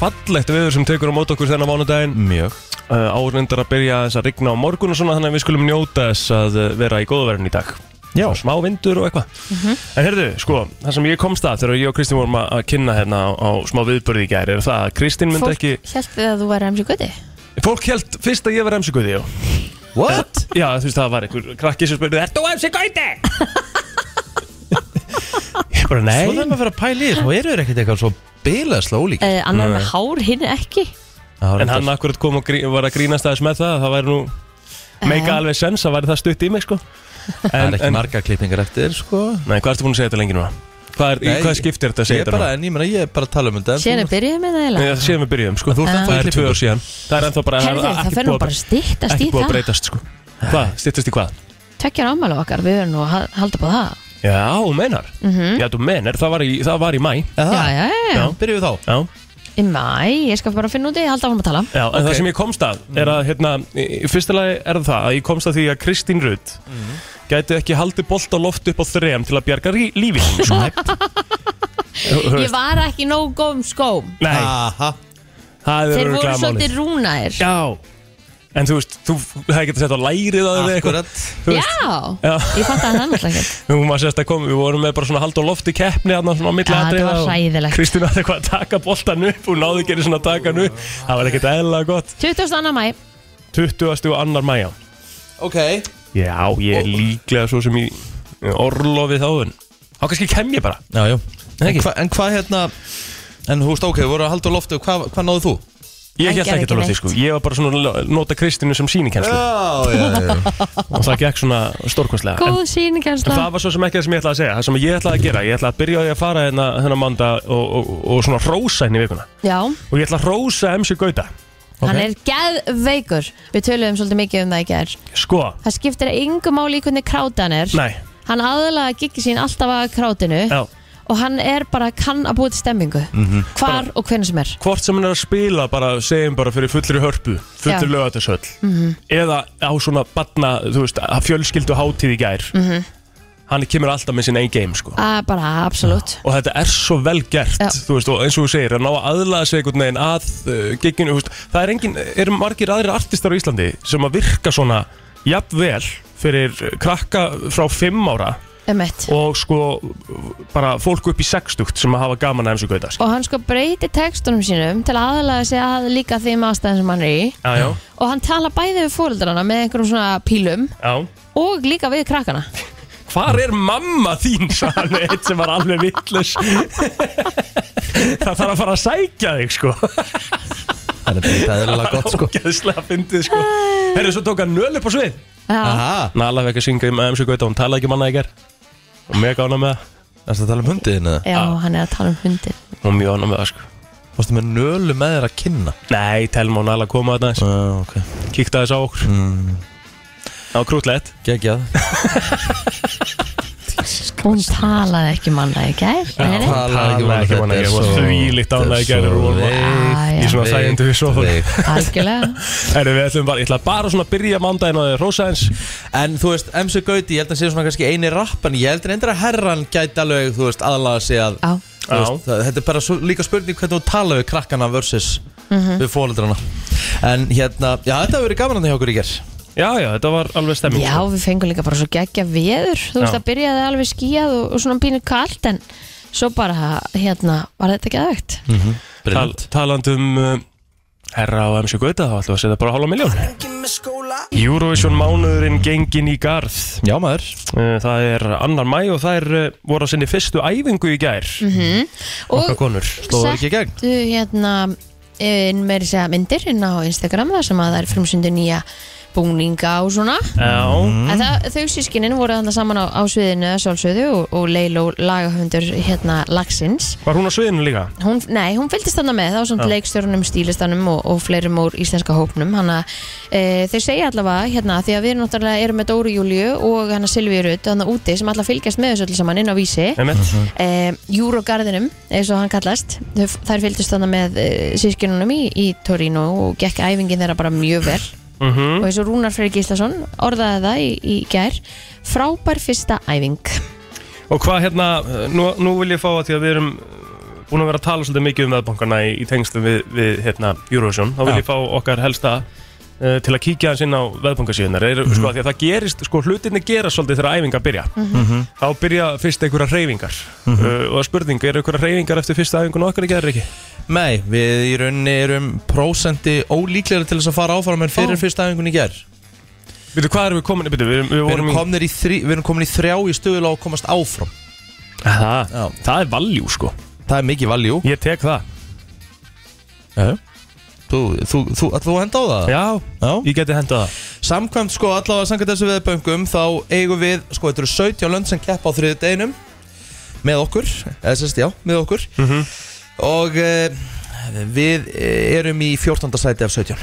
[SPEAKER 3] Fallegt veður sem tekur á mót okkur þennan mánudaginn
[SPEAKER 1] Mjög
[SPEAKER 3] uh, árindar að byrja þess að rigna á morgun og svona þannig að við skulum njóta þess að uh, vera í góðverðin í dag
[SPEAKER 1] Já.
[SPEAKER 3] Og smá vindur og eitthvað
[SPEAKER 2] Mhm.
[SPEAKER 3] en heyrðu, sko, það sem ég komst að þegar ég og Kristín vorum að að kynna hérna á, á smá viðbörði í gær er það að Kristín myndi
[SPEAKER 2] Fólk
[SPEAKER 3] ekki
[SPEAKER 2] held við að þú væri emsi gutti
[SPEAKER 3] fólk held fyrst að ég var emsikuði já.
[SPEAKER 1] What?
[SPEAKER 3] já, þú veist, það var einhver krakki sem spurði Er þú emsikuði? ég bara, nei
[SPEAKER 1] Svo þarf maður að fara að pæla í þér, þá eru þeir ekkert eitthvað svo bilaðslega ólík
[SPEAKER 2] uh, Annar með hár, hinn ekki
[SPEAKER 3] en hann akkurat kom og grí, var að grínast aðeins með það það væri nú meika
[SPEAKER 2] Já.
[SPEAKER 3] alveg sens að væri það stutt í mig sko
[SPEAKER 1] Það
[SPEAKER 3] en,
[SPEAKER 1] er ekki
[SPEAKER 3] en,
[SPEAKER 1] marga klippingar eftir sko
[SPEAKER 3] Nei, hvað ertu búin að segja þetta lengi núna? Hvað, er, í
[SPEAKER 1] Nei,
[SPEAKER 3] hvað skiptir þetta að segja
[SPEAKER 1] Ég er
[SPEAKER 3] þetta
[SPEAKER 1] bara,
[SPEAKER 3] núna?
[SPEAKER 1] en ég meina, ég er bara að tala um þetta en
[SPEAKER 2] Síðan
[SPEAKER 1] þú-
[SPEAKER 2] er byrjuð með það
[SPEAKER 3] Nei,
[SPEAKER 2] eiginlega
[SPEAKER 3] það séum við byrjuðum, sko
[SPEAKER 1] Þú ert ennþá í
[SPEAKER 3] Það er tvö
[SPEAKER 1] klippingu.
[SPEAKER 3] ár síðan Það er ennþá bara
[SPEAKER 2] Herðu, það
[SPEAKER 3] ekki
[SPEAKER 2] fer nú
[SPEAKER 3] búið að-
[SPEAKER 2] bara að styttast í
[SPEAKER 3] Ekki búið að
[SPEAKER 2] það
[SPEAKER 3] breytast, sko Hvað? Stittast í hvað?
[SPEAKER 2] tvekjar ámælu okkar, við verðum nú að ha- halda på það
[SPEAKER 3] Já, þú meinar
[SPEAKER 2] Mhm.
[SPEAKER 3] Já, þú meinar, það var í, það var í mæ
[SPEAKER 2] Já, já, já, já.
[SPEAKER 1] byrjum við þá
[SPEAKER 3] Já,
[SPEAKER 2] Í mæ, ég skal bara finna út í, halda áfram að tala
[SPEAKER 3] já en það sem ég komst að
[SPEAKER 1] Mm.
[SPEAKER 3] er að, hérna, í í fyrsta lagi er það að ég komst að því að Kristín Rutt
[SPEAKER 1] Mm.
[SPEAKER 3] gæti ekki haldið bolt á loft upp á þrem til að bjarga rí- lífi sínu, sko. Þú- þú
[SPEAKER 2] Ég
[SPEAKER 3] veist.
[SPEAKER 2] var ekki nóg góðum skóm
[SPEAKER 3] Nei,
[SPEAKER 1] Aha.
[SPEAKER 3] það er
[SPEAKER 2] Þeir voru
[SPEAKER 3] örgulega málið
[SPEAKER 2] svolítið rúnaðir Já,
[SPEAKER 3] Já En þú veist, þú hefði getið sett á lærið að þið eitthvað
[SPEAKER 1] Akkurat
[SPEAKER 3] Þú veist, Já.
[SPEAKER 2] ég fatt að það náttúrulega ekki
[SPEAKER 3] Við vorum að sérst að koma, við vorum með bara svona hald og lofti keppni þarna svona á milli
[SPEAKER 2] Já, þetta
[SPEAKER 3] atriða
[SPEAKER 2] var
[SPEAKER 3] og
[SPEAKER 2] hræðilegt.
[SPEAKER 3] Kristín var eitthvað að taka boltan upp og náði ekki einu svona að taka hann upp Það var ekkert eðlilega gott
[SPEAKER 2] 22. mæ,
[SPEAKER 3] 20. og annar mæja
[SPEAKER 1] Ok
[SPEAKER 3] Já, ég er líklega svo sem í orlofið þáðun Þá kannski kem ég bara
[SPEAKER 1] Já, já En
[SPEAKER 3] Ekki.
[SPEAKER 1] hva- en hvað hérna En húst, ok, voru að halda á loftu Hvað hva náðu þú?
[SPEAKER 3] Ég
[SPEAKER 2] Hann
[SPEAKER 3] held
[SPEAKER 2] gerði
[SPEAKER 3] ekki
[SPEAKER 2] ekki
[SPEAKER 3] að lofti
[SPEAKER 2] neitt.
[SPEAKER 3] sko Ég var bara svona að nota Kristínu sem sínikenslu
[SPEAKER 1] Já, já, já
[SPEAKER 3] og það gekk svona stórkvæslega
[SPEAKER 2] góð
[SPEAKER 3] En
[SPEAKER 2] sýnikensla
[SPEAKER 3] það var svo sem ekki það sem ég ætlaði að segja Það sem ég ætlaði að gera Ég ætlaði að byrja á því að fara hérna þennan manda og, og, og svona rósa henni vikuna
[SPEAKER 2] Já,
[SPEAKER 3] Og ég ætla að rósa MC Gauta
[SPEAKER 2] hann er geðveikur Við töluðum svolítið mikið um það í gær
[SPEAKER 3] Sko,
[SPEAKER 2] Það skiptir engu máli í hvernig krátan er
[SPEAKER 3] nei,
[SPEAKER 2] Hann aðlaða giggi sín alltaf að krátinu
[SPEAKER 3] já Mhm.
[SPEAKER 2] Og hann er bara kann að búið til stemmingu Hvar og hvernig sem er
[SPEAKER 3] Hvort sem hann er að spila bara segjum bara fyrir fullri hörpu Fullri
[SPEAKER 2] Já.
[SPEAKER 3] lögatashöll Eða á svona batna, þú veist, að fjölskyldu hátíð í gær Hann kemur alltaf með sín ein game sko
[SPEAKER 2] að, Bara absolutt
[SPEAKER 3] Og þetta er svo vel gert,
[SPEAKER 2] Já.
[SPEAKER 3] þú veist, og eins og þú segir, að ná að aðlaða sig einhvern veginn að uh, gigginu, þú veist, það er engin, eru margir aðrir artistar á Íslandi sem að virka svona jafnvel fyrir uh, krakka frá 5 ára
[SPEAKER 2] Emmett
[SPEAKER 3] og sko bara fólk upp í 60 sem að hafa gaman að eins og gauta, skilur.
[SPEAKER 2] Og hann sko breytir textunum sínum til að aðlaða sig að líka þeim ástæðin sem hann er í
[SPEAKER 3] Já, já,
[SPEAKER 2] Og hann tala bæði við fóreldrana með einhverjum svona pílum
[SPEAKER 3] já.
[SPEAKER 2] Og líka við krakkana
[SPEAKER 3] Hvar er mamma þín? sagði hann við eitt sem var alveg vittlus Það þarf að fara að sækja þig sko
[SPEAKER 1] Það er bara eðlilega gott, sko
[SPEAKER 3] Ógeðslega fyndið sko Herru, svo tók hann nöl upp á svið
[SPEAKER 2] Já,
[SPEAKER 1] Aha
[SPEAKER 3] Nala fekk að syngja í maður gauta, hún talaði ekki um annað í ger Og mjög gána með það,
[SPEAKER 1] Það er að tala um hundið þinn, eða?
[SPEAKER 2] já
[SPEAKER 3] Ah.
[SPEAKER 2] hann er að tala um hundi
[SPEAKER 3] hún mjög gána með það sko
[SPEAKER 1] Fórstu með nölu með þér að kynna
[SPEAKER 3] Nei, telma og Nala koma þarna aðeins,
[SPEAKER 1] Já, ok
[SPEAKER 3] kíkta þess á okkur Það var krútlegt
[SPEAKER 1] Gekkjað
[SPEAKER 2] Hún talaði ekki manna í gær nei, nei.
[SPEAKER 3] talaði ekki um annað í gær, var þvílíkt ánægð í gær og hún var-
[SPEAKER 2] Æ,
[SPEAKER 3] Í
[SPEAKER 2] já,
[SPEAKER 3] svona þægindu við svo
[SPEAKER 2] Algjörlega
[SPEAKER 3] Herru, við ætlum bara, ég ætla bara svona að byrja mándaginn og rosa eins
[SPEAKER 1] En þú veist, MC Gauti, ég held að hann sé svona kannski eini rappan Ég held reyndar að herran gæti alveg, þú veist, aðlaga sig að
[SPEAKER 2] Já,
[SPEAKER 1] þú veist, það, Þetta er bara svo, líka spurning hvernig þú tala við krakkana versus við fóreldrana En hérna, já, þetta hefur verið gaman hann hjá okkur í ger
[SPEAKER 3] Já, já, þetta var alveg stemming
[SPEAKER 2] já við fengum líka bara svo geggja veður Þú veist
[SPEAKER 3] Já.
[SPEAKER 2] það byrjaði alveg skíjað og, og svona pínu kalt En svo bara hérna var þetta geðvegt
[SPEAKER 3] Mhm. Tal, taland um uh, herra á MC Gauta þá ætlum við að setja bara hálfa miljón Eurovision mánuðurinn gengin í garð
[SPEAKER 1] Já, maður
[SPEAKER 3] uh, það er annar mæ og það er uh, voru að sinni fyrstu æfingu í gær
[SPEAKER 2] Mhm.
[SPEAKER 3] okkar
[SPEAKER 2] Og
[SPEAKER 3] konur
[SPEAKER 1] Stóðu ekki í gegn
[SPEAKER 2] settu hérna inn meiri segja myndir inn á Instagram þar sem að það er frumsundu nýja búninga og svona
[SPEAKER 3] Já,
[SPEAKER 2] En það, þau sískinin voru þannig saman á, á sviðinu að sjálfsögðu og, og Leiló lagahöndur hérna lagsins.
[SPEAKER 3] var hún á sviðinu líka?
[SPEAKER 2] Hún, nei, hún fylgdist þannig með þá samt leikstjórnum, stílistanum og, og fleirum úr íslenska hópnum. Hanna, e, þeir segja allavega hérna því að við náttúrulega erum með Dóri Júliu og hana Silvíu Rutt þannig úti sem allavega fylgjast með þessu öllu saman inn á vísi.
[SPEAKER 3] Emmett?
[SPEAKER 2] E, Júrogarðinum, eins og hann kallast. Þau, þær fylgdist þannig með e, sískinunum í, í Torino og gekk æfingin þeirra bara mjög vel
[SPEAKER 3] Mm -hmm.
[SPEAKER 2] og eins og Rúnar Freyr Gíslason orðaði það í, í gær frábær fyrsta æfing
[SPEAKER 3] Og hvað hérna, uh, nú, nú vil ég fá að því að við erum uh, búin að vera að tala svolítið mikið um veðbankana í, í tengslu við, við hérna, Eurovision þá vil
[SPEAKER 1] Já.
[SPEAKER 3] ég fá okkar helsta uh, til að kíkja hans inn á veðbankasíðunar mm
[SPEAKER 1] Mhm.
[SPEAKER 3] -hmm. sko, af því að það gerist, sko, hlutinni gerast svolítið þegar æfingar byrja
[SPEAKER 1] Mhm.
[SPEAKER 3] þá byrja fyrst einhverja reyfingar uh, og spurning, eru einhverja reyfingar eftir fyrsta æfingun okkar ekki, er ekki?
[SPEAKER 1] Nei, við í rauninni erum prósendi ólíklega til þess að fara áfram en fyrir
[SPEAKER 2] Ó.
[SPEAKER 1] fyrsta æfingun í ger
[SPEAKER 3] Veitu, hvað erum við komin, byrju, við, við
[SPEAKER 1] Við
[SPEAKER 3] vorum
[SPEAKER 1] erum
[SPEAKER 3] í
[SPEAKER 1] komin í, þrí, við erum komin í þrjá í stöðul á að komast áfram Já.
[SPEAKER 3] það, það er valjú, sko
[SPEAKER 1] Það er mikið valjú
[SPEAKER 3] ég tek það,
[SPEAKER 1] Þú, þú, þú, að þú henda á það?
[SPEAKER 3] já,
[SPEAKER 1] Já.
[SPEAKER 3] ég geti hendað það
[SPEAKER 1] Samkvæmt sko allavega samkvæmt þessu veðböngum þá eigum við sko þetta eru 17 lönd sem keppa á þriðið deginum með okkur, eða sérst já, með okkur og e, við eh, erum í 14. sæti af 17,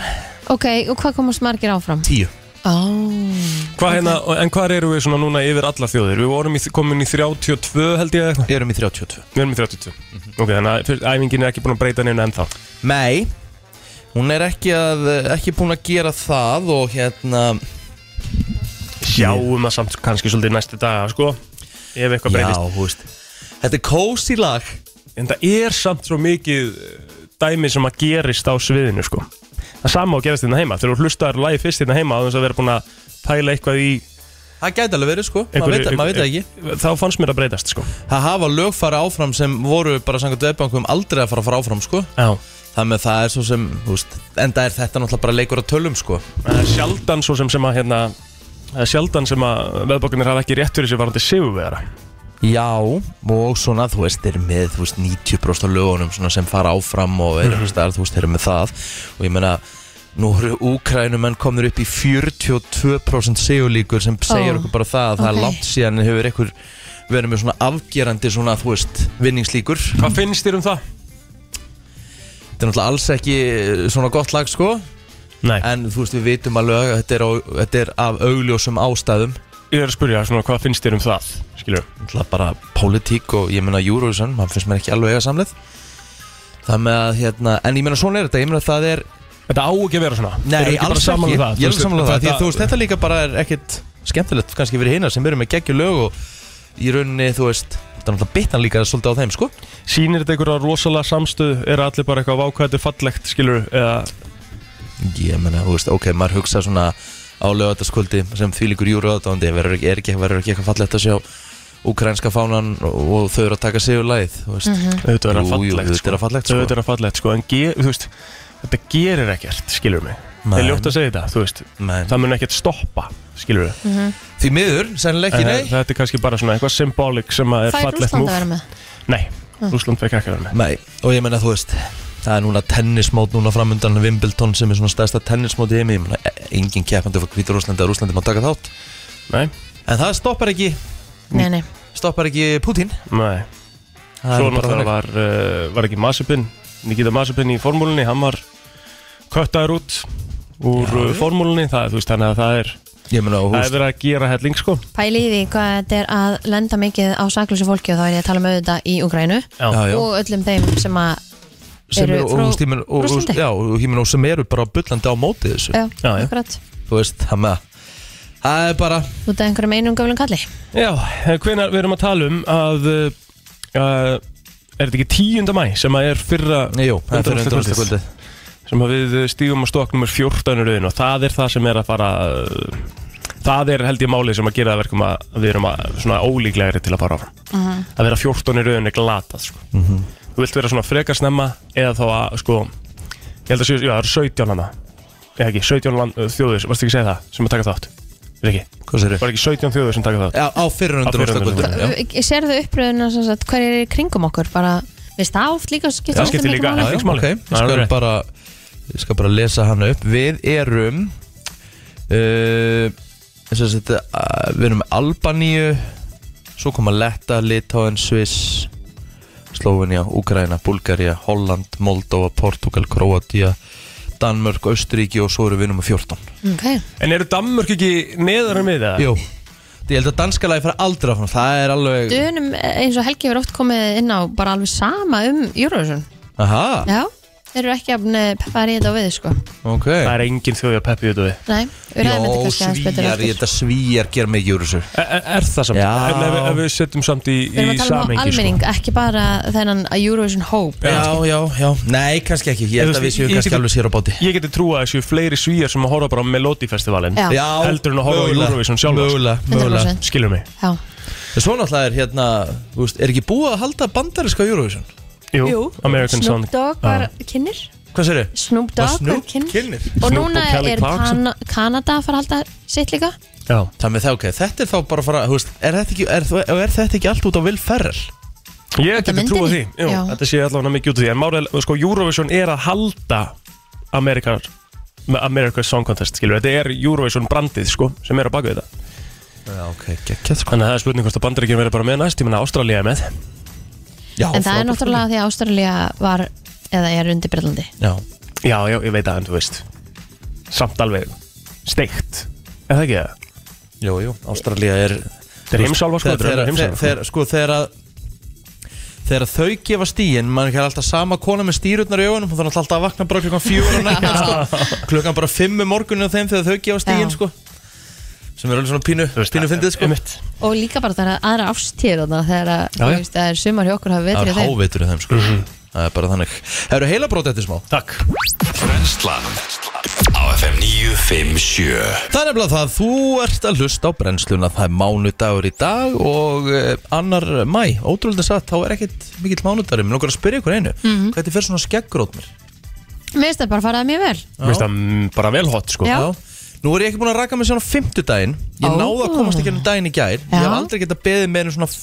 [SPEAKER 2] ok, og hvað komast margir áfram?
[SPEAKER 1] 10
[SPEAKER 2] Ó,
[SPEAKER 3] Hvað hérna, en hvað eru við svona núna yfir alla þjóðir? Við vorum í, komin í 32 held ég eða eitthvað
[SPEAKER 1] Erum í 32
[SPEAKER 3] Við erum í 32 Ok, þannig að fyrst- æfingin er ekki búin að breyta neina ennþá
[SPEAKER 1] Nei, hún er ekki, að, ekki búin að gera það og hérna
[SPEAKER 3] Sjáum það samt kannski svolítið næstu daga, sko Ef eitthvað breytist
[SPEAKER 1] Já, þú veist Þetta er kósi lag
[SPEAKER 3] En það er samt svo mikið eh, dæmi sem að gerist á sviðinu, sko Það sama á að gerast hérna heima Þegar þú hlustaðar lagi fyrst hérna heima á þess að vera búin að pæla eitthvað í
[SPEAKER 1] Það gæti alveg verið sko, maður
[SPEAKER 3] einhverju- Eh,
[SPEAKER 1] veit, mað veit það ekki
[SPEAKER 3] Þá fannst mér að breytast, sko
[SPEAKER 1] Það hafa lög fara áfram sem voru bara samkvæmt veðbankum aldrei að fara að fara áfram sko
[SPEAKER 3] Já
[SPEAKER 1] Þannig að það er svo sem, þú veist, enda er þetta náttúrulega bara leikur að tölum sko
[SPEAKER 3] Það er sjaldan svo sem sem að hérna Það er sjaldan sem að veðbókunir hafa ekki rétt fyrir sér varandi sigurvegara
[SPEAKER 1] Já, og svona, þú veist, þeir eru með, þú veist, 90% af lögunum svona sem fara áfram og eru, mm -hmm. þú veist, þeir eru með það Og ég meina, nú eru Úkrænumenn komnir upp í 42% segulíkur sem segir
[SPEAKER 2] Ó,
[SPEAKER 1] okkur bara það að það er
[SPEAKER 2] ok.
[SPEAKER 1] langt síðan hefur einhver verið með svona afgerandi svona, þú veist, vinningslíkur
[SPEAKER 3] Hvað finnst þér um það?
[SPEAKER 1] Þetta er náttúrulega alls ekki eh, svona gott lag, sko
[SPEAKER 3] Nei,
[SPEAKER 1] En þú veist, við vitum alveg að þetta er, á, þetta er af augljósum ástæðum
[SPEAKER 3] ég er að spurja svona hvað finnst þér um það Skilur
[SPEAKER 1] náttúrulega bara pólitík og ég meina Eurovision, hann finnst mér ekki alveg eiga samleið það með að hérna en ég meina svona er þetta, ég meina það er
[SPEAKER 3] Þetta á ekki um að vera svona
[SPEAKER 1] nei, alls ekki, ég er samanlega það því að þú veist,
[SPEAKER 3] þetta
[SPEAKER 1] þetta líka bara er ekkit skemmtilegt kannski fyrir hina sem eru með geggjur lög og í rauninni, þú veist þetta er náttúrulega bitna líka svolítið á þeim, sko
[SPEAKER 3] Sýnir þetta einhverja rosalega samstöð Er allir bara eitthvað vákvæðið fallegt skilur eða,
[SPEAKER 1] ég meina, þú veist, ok, maður hugsa svona á lögataskvöldi sem því líkur júruðatándi verður ekki, er ekki, verður ekki eitthvað fallegt að sjá ukrainska fánan og, og þau eru að taka sigur læð, þú veist
[SPEAKER 3] Auðvitað er það
[SPEAKER 1] Jú, jú,
[SPEAKER 3] fallegt
[SPEAKER 1] auðvitað er það fallegt, sko.
[SPEAKER 3] Auðvitað er það fallegt sko En ge, þú veist Þetta gerir ekkert skilur mig Það
[SPEAKER 1] Nei.
[SPEAKER 3] er ljótt að segja þetta Þú veist
[SPEAKER 1] Nei.
[SPEAKER 3] Það mun ekkert stoppa skilur
[SPEAKER 1] því miður, sennilega ekki
[SPEAKER 3] En
[SPEAKER 1] nei
[SPEAKER 3] Þetta er kannski bara svona eitthvað symbólik sem að er
[SPEAKER 2] fær
[SPEAKER 3] fallegt
[SPEAKER 2] Rúsland að
[SPEAKER 3] múf
[SPEAKER 2] vera með
[SPEAKER 3] Nei, Rúsland fekk ekki að vera með
[SPEAKER 1] Nei, og ég menna þú veist Það er núna tennismót núna framundan Wimbledon sem er svona stærsta tennismót í heimi Ég meina, e- Engin keppandi fyrir hvítur Rúslandi að Rúslandi má taka þátt
[SPEAKER 3] Nei,
[SPEAKER 1] En það stoppar ekki,
[SPEAKER 2] Nei, nei,
[SPEAKER 1] stoppar ekki Putin
[SPEAKER 3] nei
[SPEAKER 1] Það er
[SPEAKER 3] Svo
[SPEAKER 1] bara
[SPEAKER 3] náttúrulega
[SPEAKER 1] þannig.
[SPEAKER 3] var, uh, var ekki Masipin Nikita Masipin í formúlunni Hann var köttaður út úr Já. formúlunni það, þú veist, Þannig að það er,
[SPEAKER 1] Ég meina, og
[SPEAKER 3] það
[SPEAKER 1] húst
[SPEAKER 3] er verið að gera helling sko.
[SPEAKER 2] pæli í því hvað þetta er að lenda mikið á saklösu fólki og þá er ég að tala um auðvitað í Ungrænu
[SPEAKER 1] Já, já,
[SPEAKER 2] og öllum þeim sem að
[SPEAKER 1] sem
[SPEAKER 2] eru
[SPEAKER 1] eru, og
[SPEAKER 2] frá
[SPEAKER 1] húst, ég meina, og, og,
[SPEAKER 2] Rússlandi.
[SPEAKER 1] já, og, ég meina, og sem eru bara bullandi á móti þessu
[SPEAKER 2] já,
[SPEAKER 3] Já, já.
[SPEAKER 2] akkurat,
[SPEAKER 1] Þú veist, það með að Það er bara,
[SPEAKER 2] út af einhverjum einum göflum kalli
[SPEAKER 3] Já, hvenar við erum að tala um að uh, uh, er þetta ekki 10. mæ sem að er fyrra
[SPEAKER 1] Nei, jú, það er fyrir undanúrslit
[SPEAKER 3] undanúrslit-
[SPEAKER 1] kvöldið
[SPEAKER 3] sem að við stígum á stokk nummer 14 í rauðin og það er það sem er að fara uh, það er held ég málið sem að gera það verkum að við erum að, svona ólíklegri til að fara áfram
[SPEAKER 2] Mhm.
[SPEAKER 3] að vera 14 í rauðin er glatað sko.
[SPEAKER 1] Mhm.
[SPEAKER 3] þú vilt vera svona frekar snemma eða þá að sko ég held að séu, já það eru 17 hana eða ekki, 17 land, þjóður, varstu ekki að segja það sem að taka þátt, er ekki,
[SPEAKER 1] Hvað sér
[SPEAKER 3] var ekki 17 þjóður sem taka þátt
[SPEAKER 1] Já, á fyrir undanúrslit
[SPEAKER 3] undanúrslit.
[SPEAKER 1] kvöldið
[SPEAKER 2] Serðu uppröðuna sem sagt, hver er í kringum okkur bara, veist það oft líka skiptir
[SPEAKER 3] Það
[SPEAKER 2] oft
[SPEAKER 3] skiptir
[SPEAKER 2] miklu
[SPEAKER 3] líka,
[SPEAKER 2] máli.
[SPEAKER 3] já, já.
[SPEAKER 1] Ok,
[SPEAKER 3] Máli.
[SPEAKER 1] ég
[SPEAKER 3] Það er
[SPEAKER 1] skal
[SPEAKER 3] rétt.
[SPEAKER 1] bara Ég skal bara lesa hann upp Við erum uh, sagt, uh, Við erum með Albaníu Svo koma Letta, Litáin, Sviss Slóvenja, Úkraina, Búlgaria Holland, Moldóa, Portugal, Króatía Danmörk, Austuríki og svo erum við nummer 14
[SPEAKER 2] Ok,
[SPEAKER 3] En eru Danmörk ekki neðar um en við það?
[SPEAKER 1] Eh. Jú, ég held að danska lagi fara aldrei áfram Það er alveg
[SPEAKER 2] dönum eins og Helgi hefur oft komið inn á bara alveg sama um Eurovision
[SPEAKER 1] Aha,
[SPEAKER 2] Já, þeir eru ekki að peppaðar í þetta og við sko
[SPEAKER 1] ok
[SPEAKER 3] Það er engin þjóðja peppi út af því.
[SPEAKER 2] Nei, við ræðum þetta
[SPEAKER 1] Jó,
[SPEAKER 2] kannski aðeins betur
[SPEAKER 1] svíjar, ég
[SPEAKER 2] eftir
[SPEAKER 1] held að svíjar ger mikið úr þessu
[SPEAKER 3] Er, er- er það samt?
[SPEAKER 1] Já.
[SPEAKER 3] En ef, ef við setjum samt í,
[SPEAKER 2] Við erum
[SPEAKER 3] í sko.
[SPEAKER 2] að tala
[SPEAKER 1] sko.
[SPEAKER 2] um á
[SPEAKER 3] samengi
[SPEAKER 2] almenning, ekki bara þennan að Eurovision hóp
[SPEAKER 1] Já, já, já, nei, kannski ekki Ég held að við séum
[SPEAKER 3] Ég-
[SPEAKER 1] kannski
[SPEAKER 3] ég-
[SPEAKER 1] alveg sér á báti
[SPEAKER 3] Ég geti trúa að þessu fleiri svíjar sem að horfa bara á Melodifestivalin
[SPEAKER 2] Já.
[SPEAKER 3] Heldur en að horfa á
[SPEAKER 1] mögulega,
[SPEAKER 3] Eurovision sjálfa, sko.
[SPEAKER 1] Mögulega, mögulega
[SPEAKER 2] 100%.
[SPEAKER 3] Skilur mig
[SPEAKER 2] Já,
[SPEAKER 1] En Svo náttúrulega er hérna, þú veist, er ekki búið að halda bandariska Eurovision?
[SPEAKER 3] Jú, American Song
[SPEAKER 2] Snoop Dogg var kynir
[SPEAKER 1] Hvað sér þið?
[SPEAKER 2] Snoop Dogg var kynir Og
[SPEAKER 3] Snoop
[SPEAKER 2] núna
[SPEAKER 3] og Kelly
[SPEAKER 2] er
[SPEAKER 3] Clarkson.
[SPEAKER 2] Kana- Kanada að fara að halda sitt líka
[SPEAKER 3] Já
[SPEAKER 1] Það með það, ok, þetta er þá bara að fara, þú veist, er þetta ekki, er, þú- er þetta ekki allt út á Will Ferrell?
[SPEAKER 3] Ég
[SPEAKER 2] Út af
[SPEAKER 3] geti trúa því
[SPEAKER 2] myndinni?
[SPEAKER 3] Jú,
[SPEAKER 2] Já.
[SPEAKER 3] Þetta sé allavega mikið út af því En málið, er- sko, Eurovision er að halda Amerikar America's Song Contest, skilur Þetta er Eurovision brandið, sko, sem er á baku þetta
[SPEAKER 1] Já, ok, geggjað sko
[SPEAKER 3] Þannig að það er spurning hvort að bandaríkjum verið bara með næst Ég menna Ástralía er með
[SPEAKER 1] Já,
[SPEAKER 2] En það er
[SPEAKER 1] frábært.
[SPEAKER 2] náttúrulega því að Ástralía var eða er undir Breitlandi
[SPEAKER 1] Já,
[SPEAKER 3] Já, já, ég veit að en þú veist Samt alveg steikt Er það ekki það?
[SPEAKER 1] Jú, jú, Ástralía er
[SPEAKER 3] Þeir heimsálfa, sko,
[SPEAKER 1] Þegar-
[SPEAKER 3] þeir eru
[SPEAKER 1] þegar-
[SPEAKER 3] heimsálfa.
[SPEAKER 1] þegar- Sko þegar að Þegar þau gefa stíin Mann er alltaf sama kona með stýrutnar í augunum Hún þarf alltaf að vakna bara klukkan fjúr og nægna sko. Klukkan bara fimm um morgunni á þeim Þegar þau gefa stíin
[SPEAKER 2] Já.
[SPEAKER 1] sko. Sem er alveg svona pínu Pínu fyndið sko
[SPEAKER 2] og líka bara það er aðra ástíð þarna þegar að, þú veist, það er sumar hjá okkur hafa
[SPEAKER 1] Það
[SPEAKER 2] vetri
[SPEAKER 1] er hávitur í þeim sko. Það er bara þannig Það eru heila brót eftir smá
[SPEAKER 3] Takk
[SPEAKER 4] Brenslan Á FM 957
[SPEAKER 1] Það er nefnilega það, þú ert að hlusta á brennsluna, það er mánudagur í dag og eh, annar mæ, ótrúlega satt, þá er ekkert mikill mánudagur, mér langar að spyrja ykkur einu,
[SPEAKER 2] Mhm.
[SPEAKER 1] hvernig fer svona skeggrót mér?
[SPEAKER 2] Mér finnst það bara að fara það mjög vel
[SPEAKER 3] Mér finnst það mm, bara vel hot sko
[SPEAKER 2] Já.
[SPEAKER 1] Nú er ég ekki búin að raka mig svona á fimmtudaginn, ég
[SPEAKER 2] Ó.
[SPEAKER 1] náði að komast ekki ennum daginn í gær, ég
[SPEAKER 2] Já.
[SPEAKER 1] hef aldrei getað beðið með einu svona f-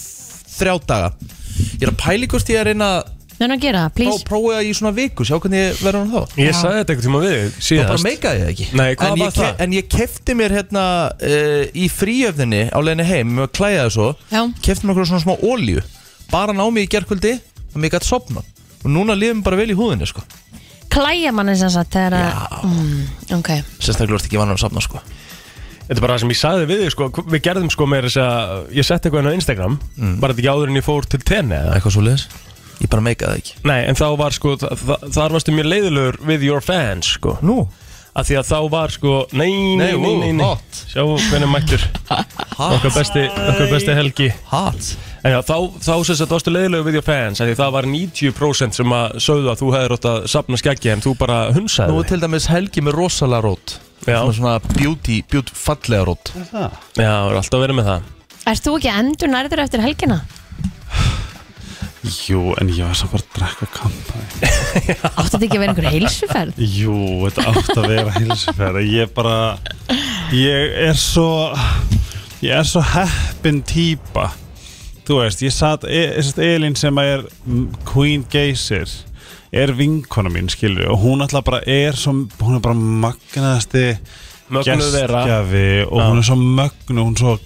[SPEAKER 1] þrjá daga. Ég er að pæli hvort ég er að reyna að
[SPEAKER 2] Menn að gera það,
[SPEAKER 1] pró-
[SPEAKER 2] please
[SPEAKER 1] prófa í svona viku, sjá hvernig ég verður hann þá.
[SPEAKER 3] Ég sagði þetta einhvern tíma við þig
[SPEAKER 1] Ég bara
[SPEAKER 3] síðast
[SPEAKER 1] meikaði það ekki
[SPEAKER 3] Nei, hvað
[SPEAKER 1] en,
[SPEAKER 3] var
[SPEAKER 1] ég
[SPEAKER 3] það?
[SPEAKER 1] en ég kefti mér hérna uh, í fríöfninni á leiðinni heim með að klæða það svo
[SPEAKER 2] Já.
[SPEAKER 1] kefti mér okkur svona smá ólíu bara ná mig í gerkvöldi og mig gætt sopna og núna lifum bara vel í húðinni sko
[SPEAKER 2] Klæja manni sem sagt þegar að mm, Ok,
[SPEAKER 1] sérstaklega ertu ekki vanur að sopna sko
[SPEAKER 3] Þetta er bara það sem ég sagði við þig sko Við gerðum sko meira þess að Ég setti eitthvað inn á Instagram
[SPEAKER 1] Mm.
[SPEAKER 3] Var þetta ekki áður en ég fór til tenni eða?
[SPEAKER 1] eitthvað svo leiðis ég bara meikaði það ekki
[SPEAKER 3] Nei, en þá var sko þa þa Þar varstu mjög leiðilegur with your fans sko
[SPEAKER 1] nú
[SPEAKER 3] Af því að þá var sko Nei, nei,
[SPEAKER 1] Nei,
[SPEAKER 3] nei,
[SPEAKER 1] ó,
[SPEAKER 3] nei, nei.
[SPEAKER 1] hot.
[SPEAKER 3] Sjá hvernig mættur
[SPEAKER 1] hot
[SPEAKER 3] Okkar besti, okkar besti helgi
[SPEAKER 1] hot
[SPEAKER 3] En já, þá, þá sem sagt varstu leiðilegu við your fans af Því það var 90% sem að sögðu að þú hefðir átt að safna skeggi En þú bara
[SPEAKER 1] nú
[SPEAKER 3] hunsaði
[SPEAKER 1] er til dæmis helgi með rosalega rót
[SPEAKER 3] Já.
[SPEAKER 1] Svona svona beauty, beauty fallega rót
[SPEAKER 3] þig Já, er alltaf verið með það
[SPEAKER 2] ert þú ekki endur nærður eftir helgina?
[SPEAKER 5] Jú, en ég var svo bara að drekka kampæn
[SPEAKER 2] Áttu þetta ekki að vera einhver heilsuferð?
[SPEAKER 5] Jú, þetta átt að vera hilsferð Ég bara Ég er svo Ég er svo heppin típa Þú veist, ég satt e, sem sagt, Elín sem að er mm, Queen Geysir er vinkona mín, skilur og hún alltaf bara er svo, hún er bara magnaðasti
[SPEAKER 3] Mögnuð vera.
[SPEAKER 5] gestgjafi og
[SPEAKER 3] Já.
[SPEAKER 5] hún er svo mögnu hún er svo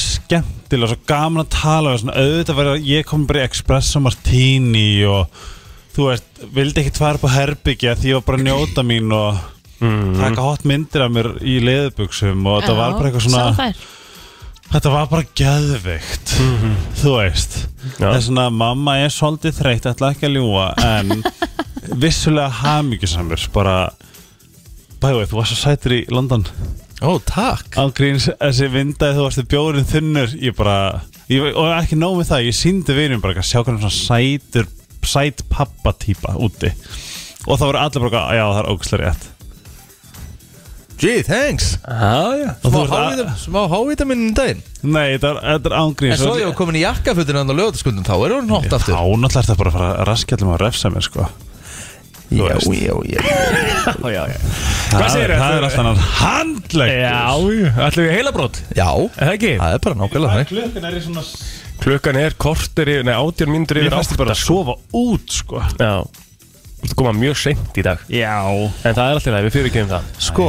[SPEAKER 5] skemmtilega, svo gaman að tala við, svona, auðvitað var ég kom bara í espresso martini og þú veist, vildi ekki tvær på herbyggja því ég var bara að njóta mín og taka hot myndir af mér í leðubuxum og þetta var bara eitthvað svona
[SPEAKER 2] Sá þær.
[SPEAKER 5] Þetta var bara geðveikt Þú veist
[SPEAKER 3] Já.
[SPEAKER 5] Það er svona, mamma er svolítið þreytt ætla ekki að ljúa En vissulega hamingjusamur Bara Bæði, þú varst svo sætur í London
[SPEAKER 1] ó takk
[SPEAKER 5] Ángríns, þessi vindaði þú varst bjórin þunnur Ég bara, ég, og ekki nóg með það Ég síndi vinum bara, eitthvað, sjá hvernig svona sætur Sæt pappa típa úti Og það voru allir bara, eitthvað, já það er ógustlega rétt
[SPEAKER 1] gee thanks
[SPEAKER 3] Já, já
[SPEAKER 5] Og
[SPEAKER 1] smá
[SPEAKER 5] þú ert að-
[SPEAKER 1] hávítam- smá hávitaminn í daginn
[SPEAKER 5] Nei, þetta er, þetta er ángríns
[SPEAKER 1] En svo ég var komin í jakkafutina á lögataskundum þá er hún hótt aftur
[SPEAKER 5] Þá náttúrulega er þetta bara að fara raskjallum að refsa mér sko
[SPEAKER 1] Já,
[SPEAKER 5] veist.
[SPEAKER 1] já, já
[SPEAKER 5] Hvað
[SPEAKER 3] segirðu?
[SPEAKER 5] Það er alltaf hann handlegg
[SPEAKER 3] Já, ætlum við heilabrót
[SPEAKER 1] Já,
[SPEAKER 3] Eða ekki?
[SPEAKER 1] það er bara nákvæmlega þannig
[SPEAKER 5] Klukkan er í svona
[SPEAKER 3] Klukkan er kortir yfir, nei, átjör mínútur
[SPEAKER 5] Mér
[SPEAKER 3] yfir
[SPEAKER 5] fæst ég bara að sofa út sko
[SPEAKER 3] Já Þú koma mjög seint í dag
[SPEAKER 5] Já
[SPEAKER 3] En það er alltaf það, við fyrir ekki um það
[SPEAKER 1] Sko,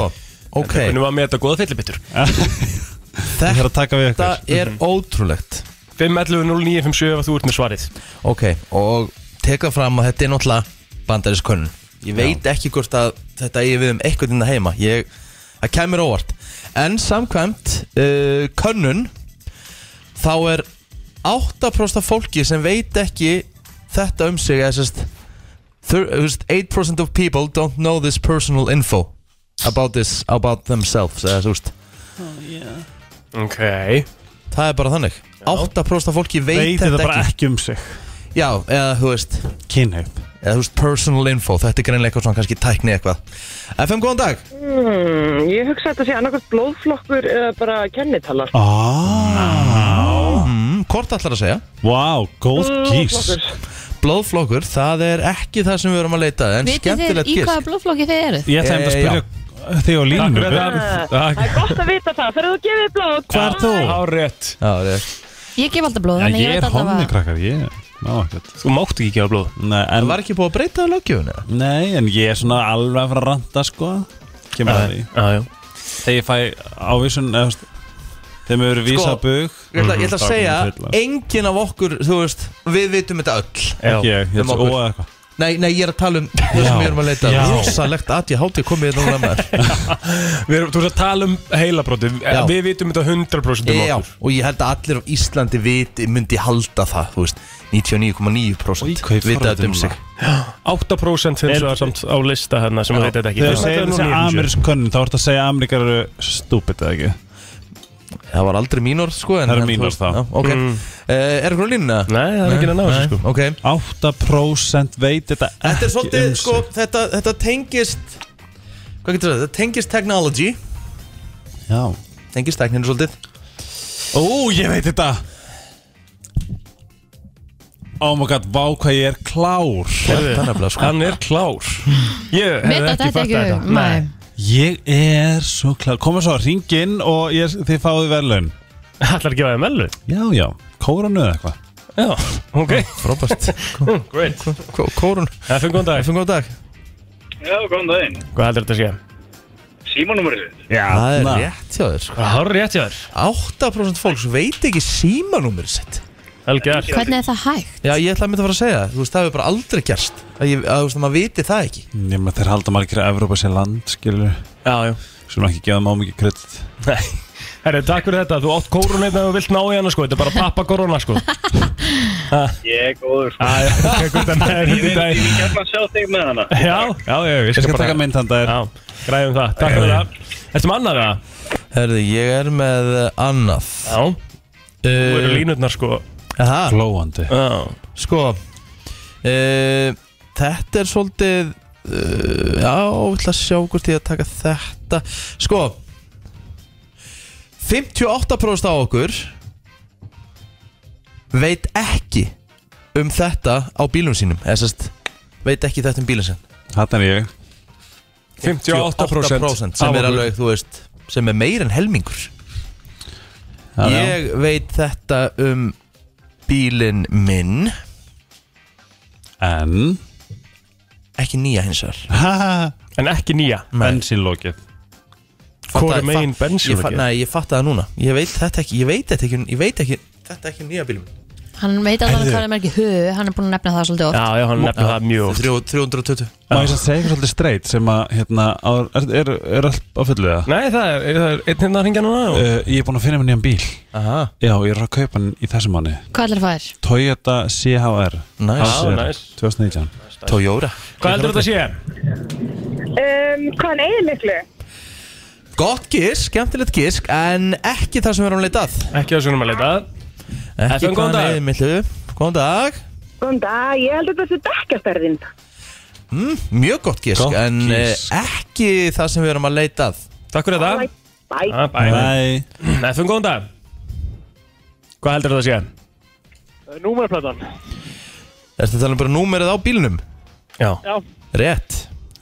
[SPEAKER 1] ok,
[SPEAKER 3] En Nú var mér þetta góða fyllibittur
[SPEAKER 5] Ég þarf að
[SPEAKER 1] þetta
[SPEAKER 5] taka við ykkur
[SPEAKER 1] er ótrúlegt
[SPEAKER 3] 5.11.09.57 ef þú ert með svarið
[SPEAKER 1] Ok, og teka fram að þetta er náttúrulega bandarískönnun Ég veit ekki hvort að þetta eigi við um eitthvað innan heima Ég, það kemur óvart En samkvæmt uh, könnun þá er 8% af fólki sem veit ekki þetta um sig eða sérst þur- þú veist, 8% of people don't know this personal info about this, about themselves eða þú veist
[SPEAKER 3] Ok
[SPEAKER 1] Það er bara þannig 8% af fólki veit,
[SPEAKER 5] Veit
[SPEAKER 1] þetta
[SPEAKER 5] þetta bara
[SPEAKER 1] ekki.
[SPEAKER 5] ekki um sig
[SPEAKER 1] Já, eða þú veist
[SPEAKER 5] Kynhaup
[SPEAKER 1] Eða þú veist personal info Þetta er greinlega eitthvað svona kannski tækni eitthvað FM, góðan dag
[SPEAKER 8] Hmm, ég hugsa að þetta sé annarkvæmt blóðflokkur eða bara kennitalar.
[SPEAKER 5] Vá,
[SPEAKER 1] mm, Hvort ætlar að segja?
[SPEAKER 5] góð gís
[SPEAKER 8] Blóðflokkur.
[SPEAKER 1] Blóðflokkur, það er ekki það sem við erum að leita að, En
[SPEAKER 2] Vitið þið
[SPEAKER 1] skemmtilegt
[SPEAKER 2] í hvaða
[SPEAKER 1] gísk
[SPEAKER 2] blóðflokki þið eruð?
[SPEAKER 5] Ég ætla einmitt
[SPEAKER 1] Eh,
[SPEAKER 5] að spyrja þig á
[SPEAKER 3] Takk
[SPEAKER 5] línu
[SPEAKER 3] fyrir
[SPEAKER 8] Eh,
[SPEAKER 3] það
[SPEAKER 8] Það er gott að vita það, þegar þú gefið blóð.
[SPEAKER 5] Hvað er þú?
[SPEAKER 3] Á rétt
[SPEAKER 1] Já, rétt.
[SPEAKER 2] Ég gef alltaf blóð,
[SPEAKER 5] Já,
[SPEAKER 2] þannig
[SPEAKER 5] Ég
[SPEAKER 2] veit
[SPEAKER 5] er
[SPEAKER 2] alltaf
[SPEAKER 5] honni
[SPEAKER 2] að
[SPEAKER 5] krakkar, ég Ná ekkert
[SPEAKER 3] Þú mátt ekki gefa blóð
[SPEAKER 5] Nei,
[SPEAKER 1] Það
[SPEAKER 5] en,
[SPEAKER 1] var ekki búið að breyta löggjöfuna
[SPEAKER 5] nei, en ég er svona alveg að fara að ranta sko Kemur að því
[SPEAKER 3] Já, já
[SPEAKER 5] Þegar ég fæ ávísun eða, þú veist, Þegar mér verið vísað
[SPEAKER 1] Sko,
[SPEAKER 5] að bug
[SPEAKER 1] Ég ætla, ég ætla að
[SPEAKER 5] Mhm.
[SPEAKER 1] segja,
[SPEAKER 5] Bara komið til,
[SPEAKER 1] enginn af okkur, þú veist, við vitum þetta öll
[SPEAKER 5] Ekki ég, ég
[SPEAKER 1] um
[SPEAKER 5] ætla
[SPEAKER 1] okkur.
[SPEAKER 5] að óa eitthvað
[SPEAKER 1] Nei, nei, ég er að tala um það sem við erum að leita
[SPEAKER 5] já.
[SPEAKER 1] Rósalegt að ég hátti komið hérna núna maður
[SPEAKER 3] Við erum, þú veist að tala um heilabróti
[SPEAKER 1] Já.
[SPEAKER 3] Við vitum þetta 100% um
[SPEAKER 1] Já,
[SPEAKER 3] okkur
[SPEAKER 1] og ég held að allir á Íslandi viti, myndi halda það, þú veist 99,9%
[SPEAKER 5] Í, hvað ég
[SPEAKER 1] vita þetta um
[SPEAKER 5] forvitinn
[SPEAKER 1] sig
[SPEAKER 3] 8% hins
[SPEAKER 5] Er-
[SPEAKER 3] vegar samt á lista hérna sem veit þetta ekki
[SPEAKER 5] Þegar þú
[SPEAKER 3] Þetta er
[SPEAKER 5] segir
[SPEAKER 3] nú
[SPEAKER 5] þessi
[SPEAKER 3] 90.
[SPEAKER 5] amerísk könnun, þá ertu að segja að ameríkar eru stúpid eða ekki
[SPEAKER 1] Það var aldrei mínor, sko en-
[SPEAKER 5] Það
[SPEAKER 1] en
[SPEAKER 5] eru
[SPEAKER 1] þú
[SPEAKER 5] mín orð
[SPEAKER 1] veist,
[SPEAKER 5] þá.
[SPEAKER 1] já, Ok, mm. er eitthvað línuna?
[SPEAKER 3] Nei, það er ekki að ná þessu sko
[SPEAKER 1] Ok
[SPEAKER 5] 8% veit þetta ekki
[SPEAKER 1] Þetta er svolítið,
[SPEAKER 5] um sig.
[SPEAKER 1] sko, þetta, þetta tengist Hvað getur þetta? Þetta tengist technology
[SPEAKER 5] Já
[SPEAKER 1] Tengist tekninu svolítið
[SPEAKER 5] Ó, ég veit þetta Oh my god, vá hvað ég er klár
[SPEAKER 1] Það er nefnilega, sko
[SPEAKER 3] Hann er klár Ég
[SPEAKER 2] Mér datt
[SPEAKER 3] hef ekki
[SPEAKER 2] þetta
[SPEAKER 3] fattað
[SPEAKER 2] ekki
[SPEAKER 3] þetta
[SPEAKER 2] Nei.
[SPEAKER 5] Ég er svo klár Koma svo, ringin og ég, þið fáið verðlaun
[SPEAKER 3] Ætlar ekki að gefa mellu
[SPEAKER 5] Já, já, kóranu eða eitthvað
[SPEAKER 3] Já, ok
[SPEAKER 1] Frábært
[SPEAKER 3] Mm, Great
[SPEAKER 1] Ko- Kórun
[SPEAKER 3] Það fyrir góðan dag
[SPEAKER 1] Fengum góð dag
[SPEAKER 9] Já, góðan daginn.
[SPEAKER 3] Hvað heldur þetta að segja?
[SPEAKER 9] Símanúmerið.
[SPEAKER 5] Já,
[SPEAKER 1] Það er rétt hjá þér, sko
[SPEAKER 3] Það er rétt hjá þér
[SPEAKER 1] 8% fólks veit ekki símanúmer sitt
[SPEAKER 3] Helgar
[SPEAKER 2] Hvernig er það hægt?
[SPEAKER 1] Já, ég ætla að mynda að fara að segja það. Þú veist, það hefur bara aldrei gerst að, ég, að þú veist, að maður viti það ekki
[SPEAKER 5] Nefnir þeir halda margir að Evrópa sé land, skilur
[SPEAKER 3] Já, já
[SPEAKER 5] Sem ekki gefa má mikið kredit
[SPEAKER 3] Nei Herri, takk fyrir þetta Þú átt kórun einn að þú vilt ná í hana sko Þetta er bara pappa korona sko
[SPEAKER 9] Ég er góður.
[SPEAKER 3] Já, já Takk fyrir þetta Herri,
[SPEAKER 9] Ég vil
[SPEAKER 3] þetta er-
[SPEAKER 9] ég vil gætna sjá þig með hana.
[SPEAKER 3] Já, já, já Ég
[SPEAKER 5] Ég
[SPEAKER 3] skal
[SPEAKER 5] skal
[SPEAKER 3] bara
[SPEAKER 5] taka mynd handa þér
[SPEAKER 3] Já, græðum það Takk fyrir það Ertu með annað það?
[SPEAKER 1] Herði, ég er með uh, annað
[SPEAKER 3] Já Þú
[SPEAKER 1] Eh,
[SPEAKER 3] eru línutnar sko
[SPEAKER 1] Aha,
[SPEAKER 5] Glóandi
[SPEAKER 3] Já
[SPEAKER 1] sko uh, Þetta er svolítið uh, Já, ég ætla að sjá hvort ég að taka þetta Sko 58% á okkur veit ekki um þetta á bílum sínum eða sérst, veit ekki þetta um bílum sínum
[SPEAKER 5] Þarna er ég
[SPEAKER 1] 58% sem er alveg, þú veist sem er meir en helmingur
[SPEAKER 5] Já, já.
[SPEAKER 1] ég veit þetta um bílinn minn
[SPEAKER 5] En
[SPEAKER 1] ekki nýja hins vegar
[SPEAKER 3] En ekki nýja
[SPEAKER 5] Bensínlókið
[SPEAKER 3] Hvor
[SPEAKER 1] Fattaði-
[SPEAKER 3] er megin
[SPEAKER 1] fatt- ég
[SPEAKER 3] bensín
[SPEAKER 1] fatt- nei, ég fatt það núna ég veit þetta ekki, ég veit þetta ekki, ég veit ekki þetta er ekki um nýja bílinn minn
[SPEAKER 2] Hann veit að hann hvað er merkið hö Hann er búin að nefna það svolítið oft
[SPEAKER 3] Já, já, hann nefnir það mjög oft.
[SPEAKER 1] Þrjú- 320
[SPEAKER 5] Má ég samt segja eitthvað svolítið straight sem að hérna, á- er, er, er allt á fullu það?
[SPEAKER 3] Nei, það er, það er einn hérna að ringja núna og...
[SPEAKER 5] Uh, ég er búinn að finna mér nýjan bíl
[SPEAKER 1] Aha,
[SPEAKER 5] Já, ég er að kaupa hann í þessum manni
[SPEAKER 2] Hvað ætlar það er?
[SPEAKER 5] Toyota CHR
[SPEAKER 1] Nice.
[SPEAKER 5] Hansir,
[SPEAKER 3] Já, nice.
[SPEAKER 5] 2019
[SPEAKER 1] Toyota
[SPEAKER 3] Hvað heldur þetta að sé?
[SPEAKER 8] Um, hvað hann eigið miklu?
[SPEAKER 1] Gott gisk, skemmtilegt gisk en ekki það sem við erum að leitað
[SPEAKER 3] Ekki að sunum að leita
[SPEAKER 1] Ekki
[SPEAKER 3] FM,
[SPEAKER 1] hvaðan
[SPEAKER 3] góðan dag.
[SPEAKER 1] eigið millu Góðan dag
[SPEAKER 8] Góðan dag, ég held að þetta sé dekkjastærðin.
[SPEAKER 1] Mjög gott gisk
[SPEAKER 5] Gott
[SPEAKER 1] en eh,
[SPEAKER 5] gisk.
[SPEAKER 1] ekki það sem við erum að leitað
[SPEAKER 3] Takk fyrir þetta
[SPEAKER 8] Bæ.
[SPEAKER 3] Ah, Bæ
[SPEAKER 5] Bye
[SPEAKER 3] FM, góðan dag Hvað heldur þetta að sé?
[SPEAKER 9] Eh, Númerplatan.
[SPEAKER 1] Ertu að tala um bara númerið á bílnum?
[SPEAKER 3] Já
[SPEAKER 1] Rétt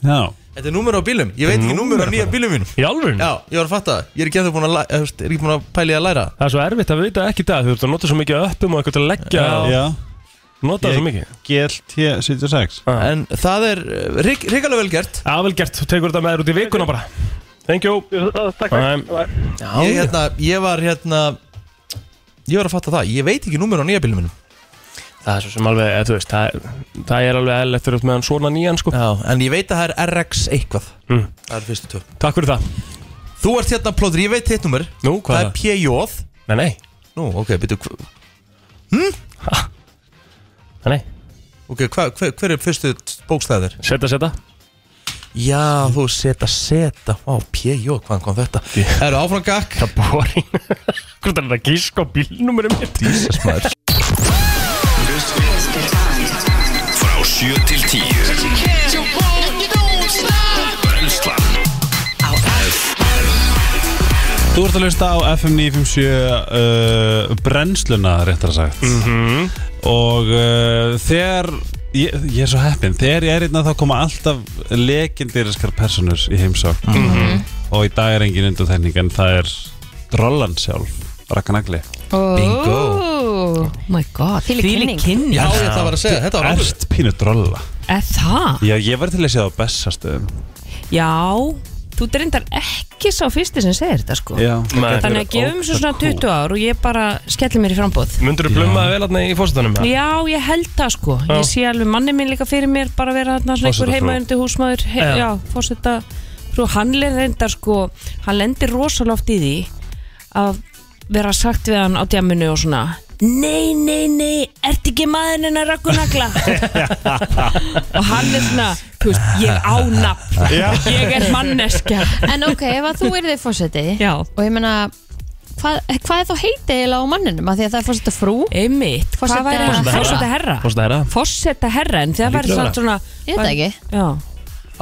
[SPEAKER 5] Já,
[SPEAKER 1] Þetta er númer á bílum, ég veit ekki númer á nýja bílum mínum
[SPEAKER 3] Í alvöru?
[SPEAKER 1] Já, ég var að fatta, það. ég er ekki ennþá búin að, læ- eh, þú veist, er ekki búin að pæli að læra
[SPEAKER 3] Það er svo erfitt að vita ekki það Þú ert að nota svo mikið öppum og eitthvað til að leggja og
[SPEAKER 5] já
[SPEAKER 3] Nota svo mikið
[SPEAKER 5] GLT76
[SPEAKER 3] Ah.
[SPEAKER 1] En það er eh, rík, ríkalega vel gert
[SPEAKER 3] Já, vel gert, þú tekur þetta með þér út í vikuna bara Thank you
[SPEAKER 9] Takk
[SPEAKER 3] Nei.
[SPEAKER 9] fyrir.
[SPEAKER 1] ég, hérna, ég var hérna Ég var að fatta það, ég veit ekki númer á nýja bílum mínum
[SPEAKER 3] Það er svo sem alveg, eða, þú veist, það, það er alveg eðlilegt fyrir út meðan svona nýjan sko
[SPEAKER 1] Já, en ég veit að það er RX eitthvað
[SPEAKER 3] Mm.
[SPEAKER 1] Það er fyrstu tvo
[SPEAKER 3] Takk fyrir það
[SPEAKER 1] Þú ert hérna plóður, ég veit þitt númer
[SPEAKER 3] Nú, hvað
[SPEAKER 1] Það
[SPEAKER 3] er
[SPEAKER 1] er PJ
[SPEAKER 3] Nei, nei,
[SPEAKER 1] Nú, ok, byrju hv-
[SPEAKER 3] nei, nei,
[SPEAKER 1] Ok, hva, hver, hver er fyrstu bókstæðir?
[SPEAKER 3] setta, setta
[SPEAKER 1] Já, þú seta, seta Vá, PJ, hvaðan kom þetta? Það eru áfram gakk
[SPEAKER 3] Það bóri Hvort er þetta að gíska á bílnúmerum mitt?
[SPEAKER 1] Jesus, maður
[SPEAKER 4] Frá 7 til 10 Brennslan
[SPEAKER 5] Þú ert að hlusta á FM 957 uh, brennsluna, réttar að sagt -hmm. Og uh, þegar, ég, ég er svo heppinn Þegar ég er einna þá koma alltaf legendiriskar personur í heimsókn -hmm. Og í dag er engin undanþekning en það er drollan sjálf, Rakkanagli
[SPEAKER 1] Bingo.
[SPEAKER 2] Oh my god, þvílík kynning
[SPEAKER 10] kynning
[SPEAKER 1] Já, ég ætla bara að segja, þetta var ábyrg
[SPEAKER 5] Erst pínu drolla
[SPEAKER 10] Er það?
[SPEAKER 5] Já, ég var til að segja það á bessastöðum
[SPEAKER 10] Já þú ert reyndar ekki sá fyrsti sem segir þetta sko
[SPEAKER 5] Já.
[SPEAKER 3] Nei.
[SPEAKER 10] Þannig að gefum svo svona 20 ár og ég bara skelli mér í frambóð
[SPEAKER 3] Mundur þú plummaði vel aðna í fórsetanum?
[SPEAKER 10] Já, ég held það sko
[SPEAKER 3] Já.
[SPEAKER 10] Ég sé alveg manni minn líka fyrir mér bara vera þarna svona einhver
[SPEAKER 3] Forsetafrú.
[SPEAKER 10] heimaðundi húsmaður he
[SPEAKER 3] Já.
[SPEAKER 10] Já, fórseta Frú, hann er reyndar sko Hann lendir rosaloft í því að vera sagt við hann á djaminu og svona Nei, nei, nei, ert ekki maðurinn að rakku nagla Og hann er svona, þú veist, ég á nafn
[SPEAKER 2] Já.
[SPEAKER 10] Ég er manneskja
[SPEAKER 2] En ok, ef að þú yrði fórseti
[SPEAKER 10] Já.
[SPEAKER 2] Og ég meina Hvað, hvað er þá heiti eiginlega á manninum? Af því að það er fórseta frú
[SPEAKER 10] Einmitt,
[SPEAKER 2] fórseta,
[SPEAKER 10] væri hann? Forseta herra.
[SPEAKER 3] Fórstu herra
[SPEAKER 10] Fossetta herra, en það væri
[SPEAKER 1] Líklega.
[SPEAKER 10] samt svona
[SPEAKER 2] Ég veit það ekki.
[SPEAKER 10] Já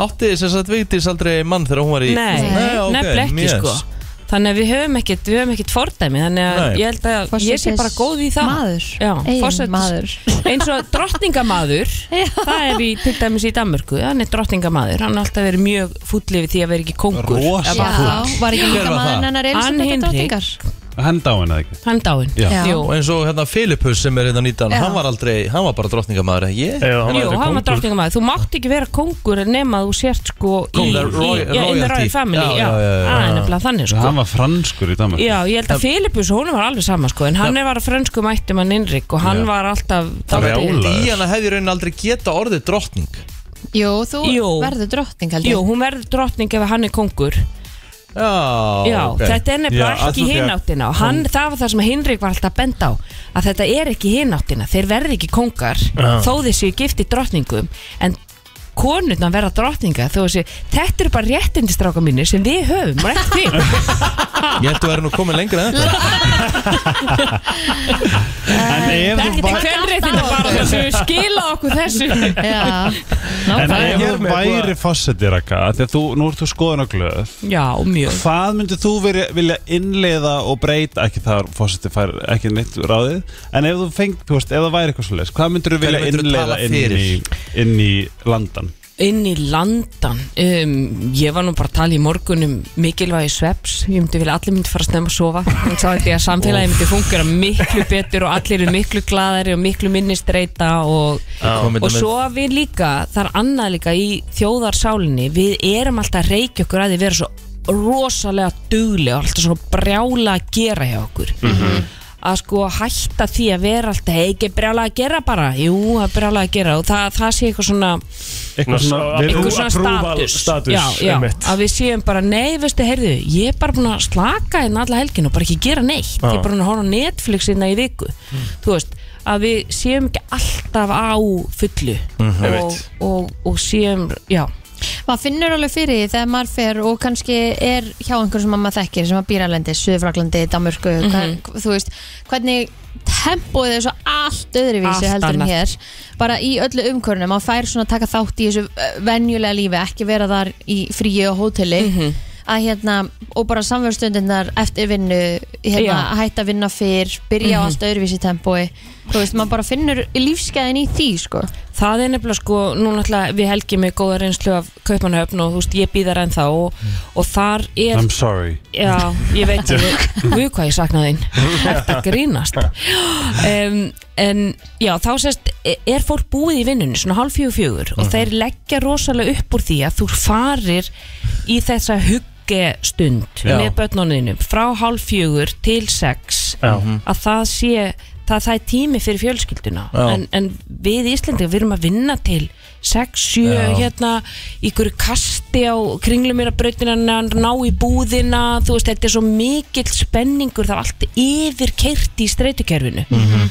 [SPEAKER 1] Átti þess að Vigdís aldrei mann þegar hún var í
[SPEAKER 10] Nei,
[SPEAKER 1] ok,
[SPEAKER 10] nefnilega ekki
[SPEAKER 1] yes.
[SPEAKER 10] sko Þannig að við höfum ekkit, við höfum ekkit fordæmi Þannig að
[SPEAKER 1] Nei.
[SPEAKER 10] ég held að ég sé bara góð í það
[SPEAKER 2] Maður.
[SPEAKER 10] Já,
[SPEAKER 2] Eigin
[SPEAKER 10] forsætis- Eins og drottningamaður Það er í, til dæmis í Danmörku Hann er drottningamaður, hann er alltaf verið mjög fúll yfir því að vera ekki kóngur
[SPEAKER 5] Rosa
[SPEAKER 10] Eða bara
[SPEAKER 5] fúll.
[SPEAKER 10] fúll.
[SPEAKER 5] Já, var ekki Hver líka var maðurinn það? hennar Elísabetar
[SPEAKER 10] Hann Hinrik,
[SPEAKER 2] drottningar?
[SPEAKER 5] Hann dáin eða ekki
[SPEAKER 10] Hann dáin
[SPEAKER 5] Já.
[SPEAKER 10] Já.
[SPEAKER 1] Og eins og hérna Filipus sem er hérna nýtan
[SPEAKER 10] Já.
[SPEAKER 1] Hann var aldrei, hann var bara drottningamæður Ég?
[SPEAKER 3] Jú,
[SPEAKER 10] Jú, hann var drottningamaður, þú mátt ekki vera kóngur nema þú sért sko í,
[SPEAKER 5] Kóngur,
[SPEAKER 10] í,
[SPEAKER 5] roy-
[SPEAKER 10] já, in the
[SPEAKER 5] royalty.
[SPEAKER 10] royal family
[SPEAKER 5] Já,
[SPEAKER 10] Já,
[SPEAKER 5] já, já, já, já.
[SPEAKER 10] það er nefnilega þannig sko
[SPEAKER 5] Hann var franskur í Danmark
[SPEAKER 10] Já, ég held að Filipus, hún var alveg sama sko, en hann var að frönsku mættum hann Inrik og hann
[SPEAKER 1] Já.
[SPEAKER 10] var alltaf
[SPEAKER 1] Díana hefði í raunin aldrei geta orðið drottning
[SPEAKER 2] Jú, þú
[SPEAKER 10] Jú.
[SPEAKER 2] verður drottning held
[SPEAKER 10] Jú, hún verður drottning ef hann er kongur
[SPEAKER 1] Já,
[SPEAKER 10] Já,
[SPEAKER 1] ok.
[SPEAKER 10] þetta er nefnilega ekki hináttina og hann, það var það sem Hinrik var alltaf bent á að þetta er ekki hináttina, þeir verði ekki kongar
[SPEAKER 2] Já.
[SPEAKER 10] þó þeir séu gifti drottningum en konurna verða drottninga þó þessi, þetta eru bara réttindistráka mínir sem við höfum, og ekki þið
[SPEAKER 1] Ég held að vera nú komin lengra en þetta
[SPEAKER 5] En ef þú
[SPEAKER 10] Þetta er kvenréttinda bara þessu, skila okkur þessu
[SPEAKER 2] Já,
[SPEAKER 5] En ef þú væri fósettir eitthvað, því að þú, nú ert þú skoðan og glöð
[SPEAKER 10] Já, mjög
[SPEAKER 5] Hvað myndir þú veri, vilja innleiða og breyta, ekki það fósettir fær ekki neitt ráðið En ef þú fengt, þú veist, ef það væri eitthvað svo leis Hvað myndir þú
[SPEAKER 1] Hverju
[SPEAKER 5] vilja
[SPEAKER 1] myndirðu
[SPEAKER 5] innleiða
[SPEAKER 1] tala
[SPEAKER 5] inn í,
[SPEAKER 1] fyrir?
[SPEAKER 5] inn í landan?
[SPEAKER 10] Inn í landan um, Ég var nú bara að tala í morgunum mikilvægi sveps, ég myndi vilja að allir myndi fara að snemma að sofa, þannig að þetta að samfélagi myndi fungera miklu betur og allir eru miklu gladari og miklu minni streyta og,
[SPEAKER 1] Já. Kom
[SPEAKER 10] og
[SPEAKER 1] þetta með-
[SPEAKER 10] svo við líka, það er annað líka í þjóðarsálinni, við erum alltaf að reykja okkur að því vera svo rosalega dugleg og alltaf svona brjála að gera hjá okkur
[SPEAKER 1] Mhm.
[SPEAKER 10] að sko hætta því að vera alltaf "Hey, ekki brjála að gera bara, jú, það er brjála að gera og það, það sé eitthvað svona
[SPEAKER 5] Eitthvað svona-
[SPEAKER 10] eitthvað svona
[SPEAKER 5] approval
[SPEAKER 10] status,
[SPEAKER 5] status,
[SPEAKER 10] já, já,
[SPEAKER 5] einmitt.
[SPEAKER 10] að við séum bara, nei, veistu, heyrðu ég er bara búin að slaka hérna alla helgin og bara ekki gera neitt,
[SPEAKER 11] Já.
[SPEAKER 10] ég er bara búin að horfa á Netflix hérna í viku, þú veist að við séum ekki alltaf á fullu
[SPEAKER 11] Mhm.
[SPEAKER 10] og,
[SPEAKER 11] Einmitt.
[SPEAKER 10] og, og séum, já
[SPEAKER 2] Maður finnur alveg fyrir því þegar maður fer og kannski er hjá einhverjum sem maður þekkir sem að býralendi, Suðfraklandi, Danmörku
[SPEAKER 10] Mhm.
[SPEAKER 2] mm þú veist, hvernig tempóið er svo allt öðruvísi
[SPEAKER 10] Allt
[SPEAKER 2] heldur en
[SPEAKER 10] annað.
[SPEAKER 2] hér, bara í öllu umkörnum maður fær svona að taka þátt í þessu eh, venjulega lífi, ekki vera þar í fríi og hóteli
[SPEAKER 10] Mhm.
[SPEAKER 2] að hérna og bara samverðstundinnar eftir vinnu hérna,
[SPEAKER 10] Já.
[SPEAKER 2] að hætta að vinna fyrr byrja á
[SPEAKER 10] Mhm.
[SPEAKER 2] allt öðruvísi tempói þú veist, maður bara finnur lífskeiðin í því sko.
[SPEAKER 10] Það er nefnilega sko, núna alltaf við helgjum með góða reynslu af Kaupmannhöfn og þú veist, ég býðar ennþá og, og þar er
[SPEAKER 5] I'm sorry
[SPEAKER 10] Já, ég veit
[SPEAKER 5] Joke.
[SPEAKER 10] Guð hvað ég saknaði þín Þetta grínast um, En já, þá sést Er fólk búið í vinnunni, svona hálf fjögur fjögur
[SPEAKER 11] Mhm.
[SPEAKER 10] Og þeir leggja rosalega upp úr því að þú farir Í þessa huggestund
[SPEAKER 11] Já.
[SPEAKER 10] Með börnuninu Frá hálf fjögur til sex
[SPEAKER 11] Já.
[SPEAKER 10] Að það sé Það, það er tími fyrir fjölskylduna
[SPEAKER 11] Já.
[SPEAKER 10] en, en við Íslendingar, við erum að vinna til 6, 7,
[SPEAKER 11] Já.
[SPEAKER 10] hérna í hverju kasti á kringlum er að brautina ná í búðina þú veist, þetta er svo mikill spenningur það er allt yfir keirt í streytukerfinu
[SPEAKER 11] Mhm.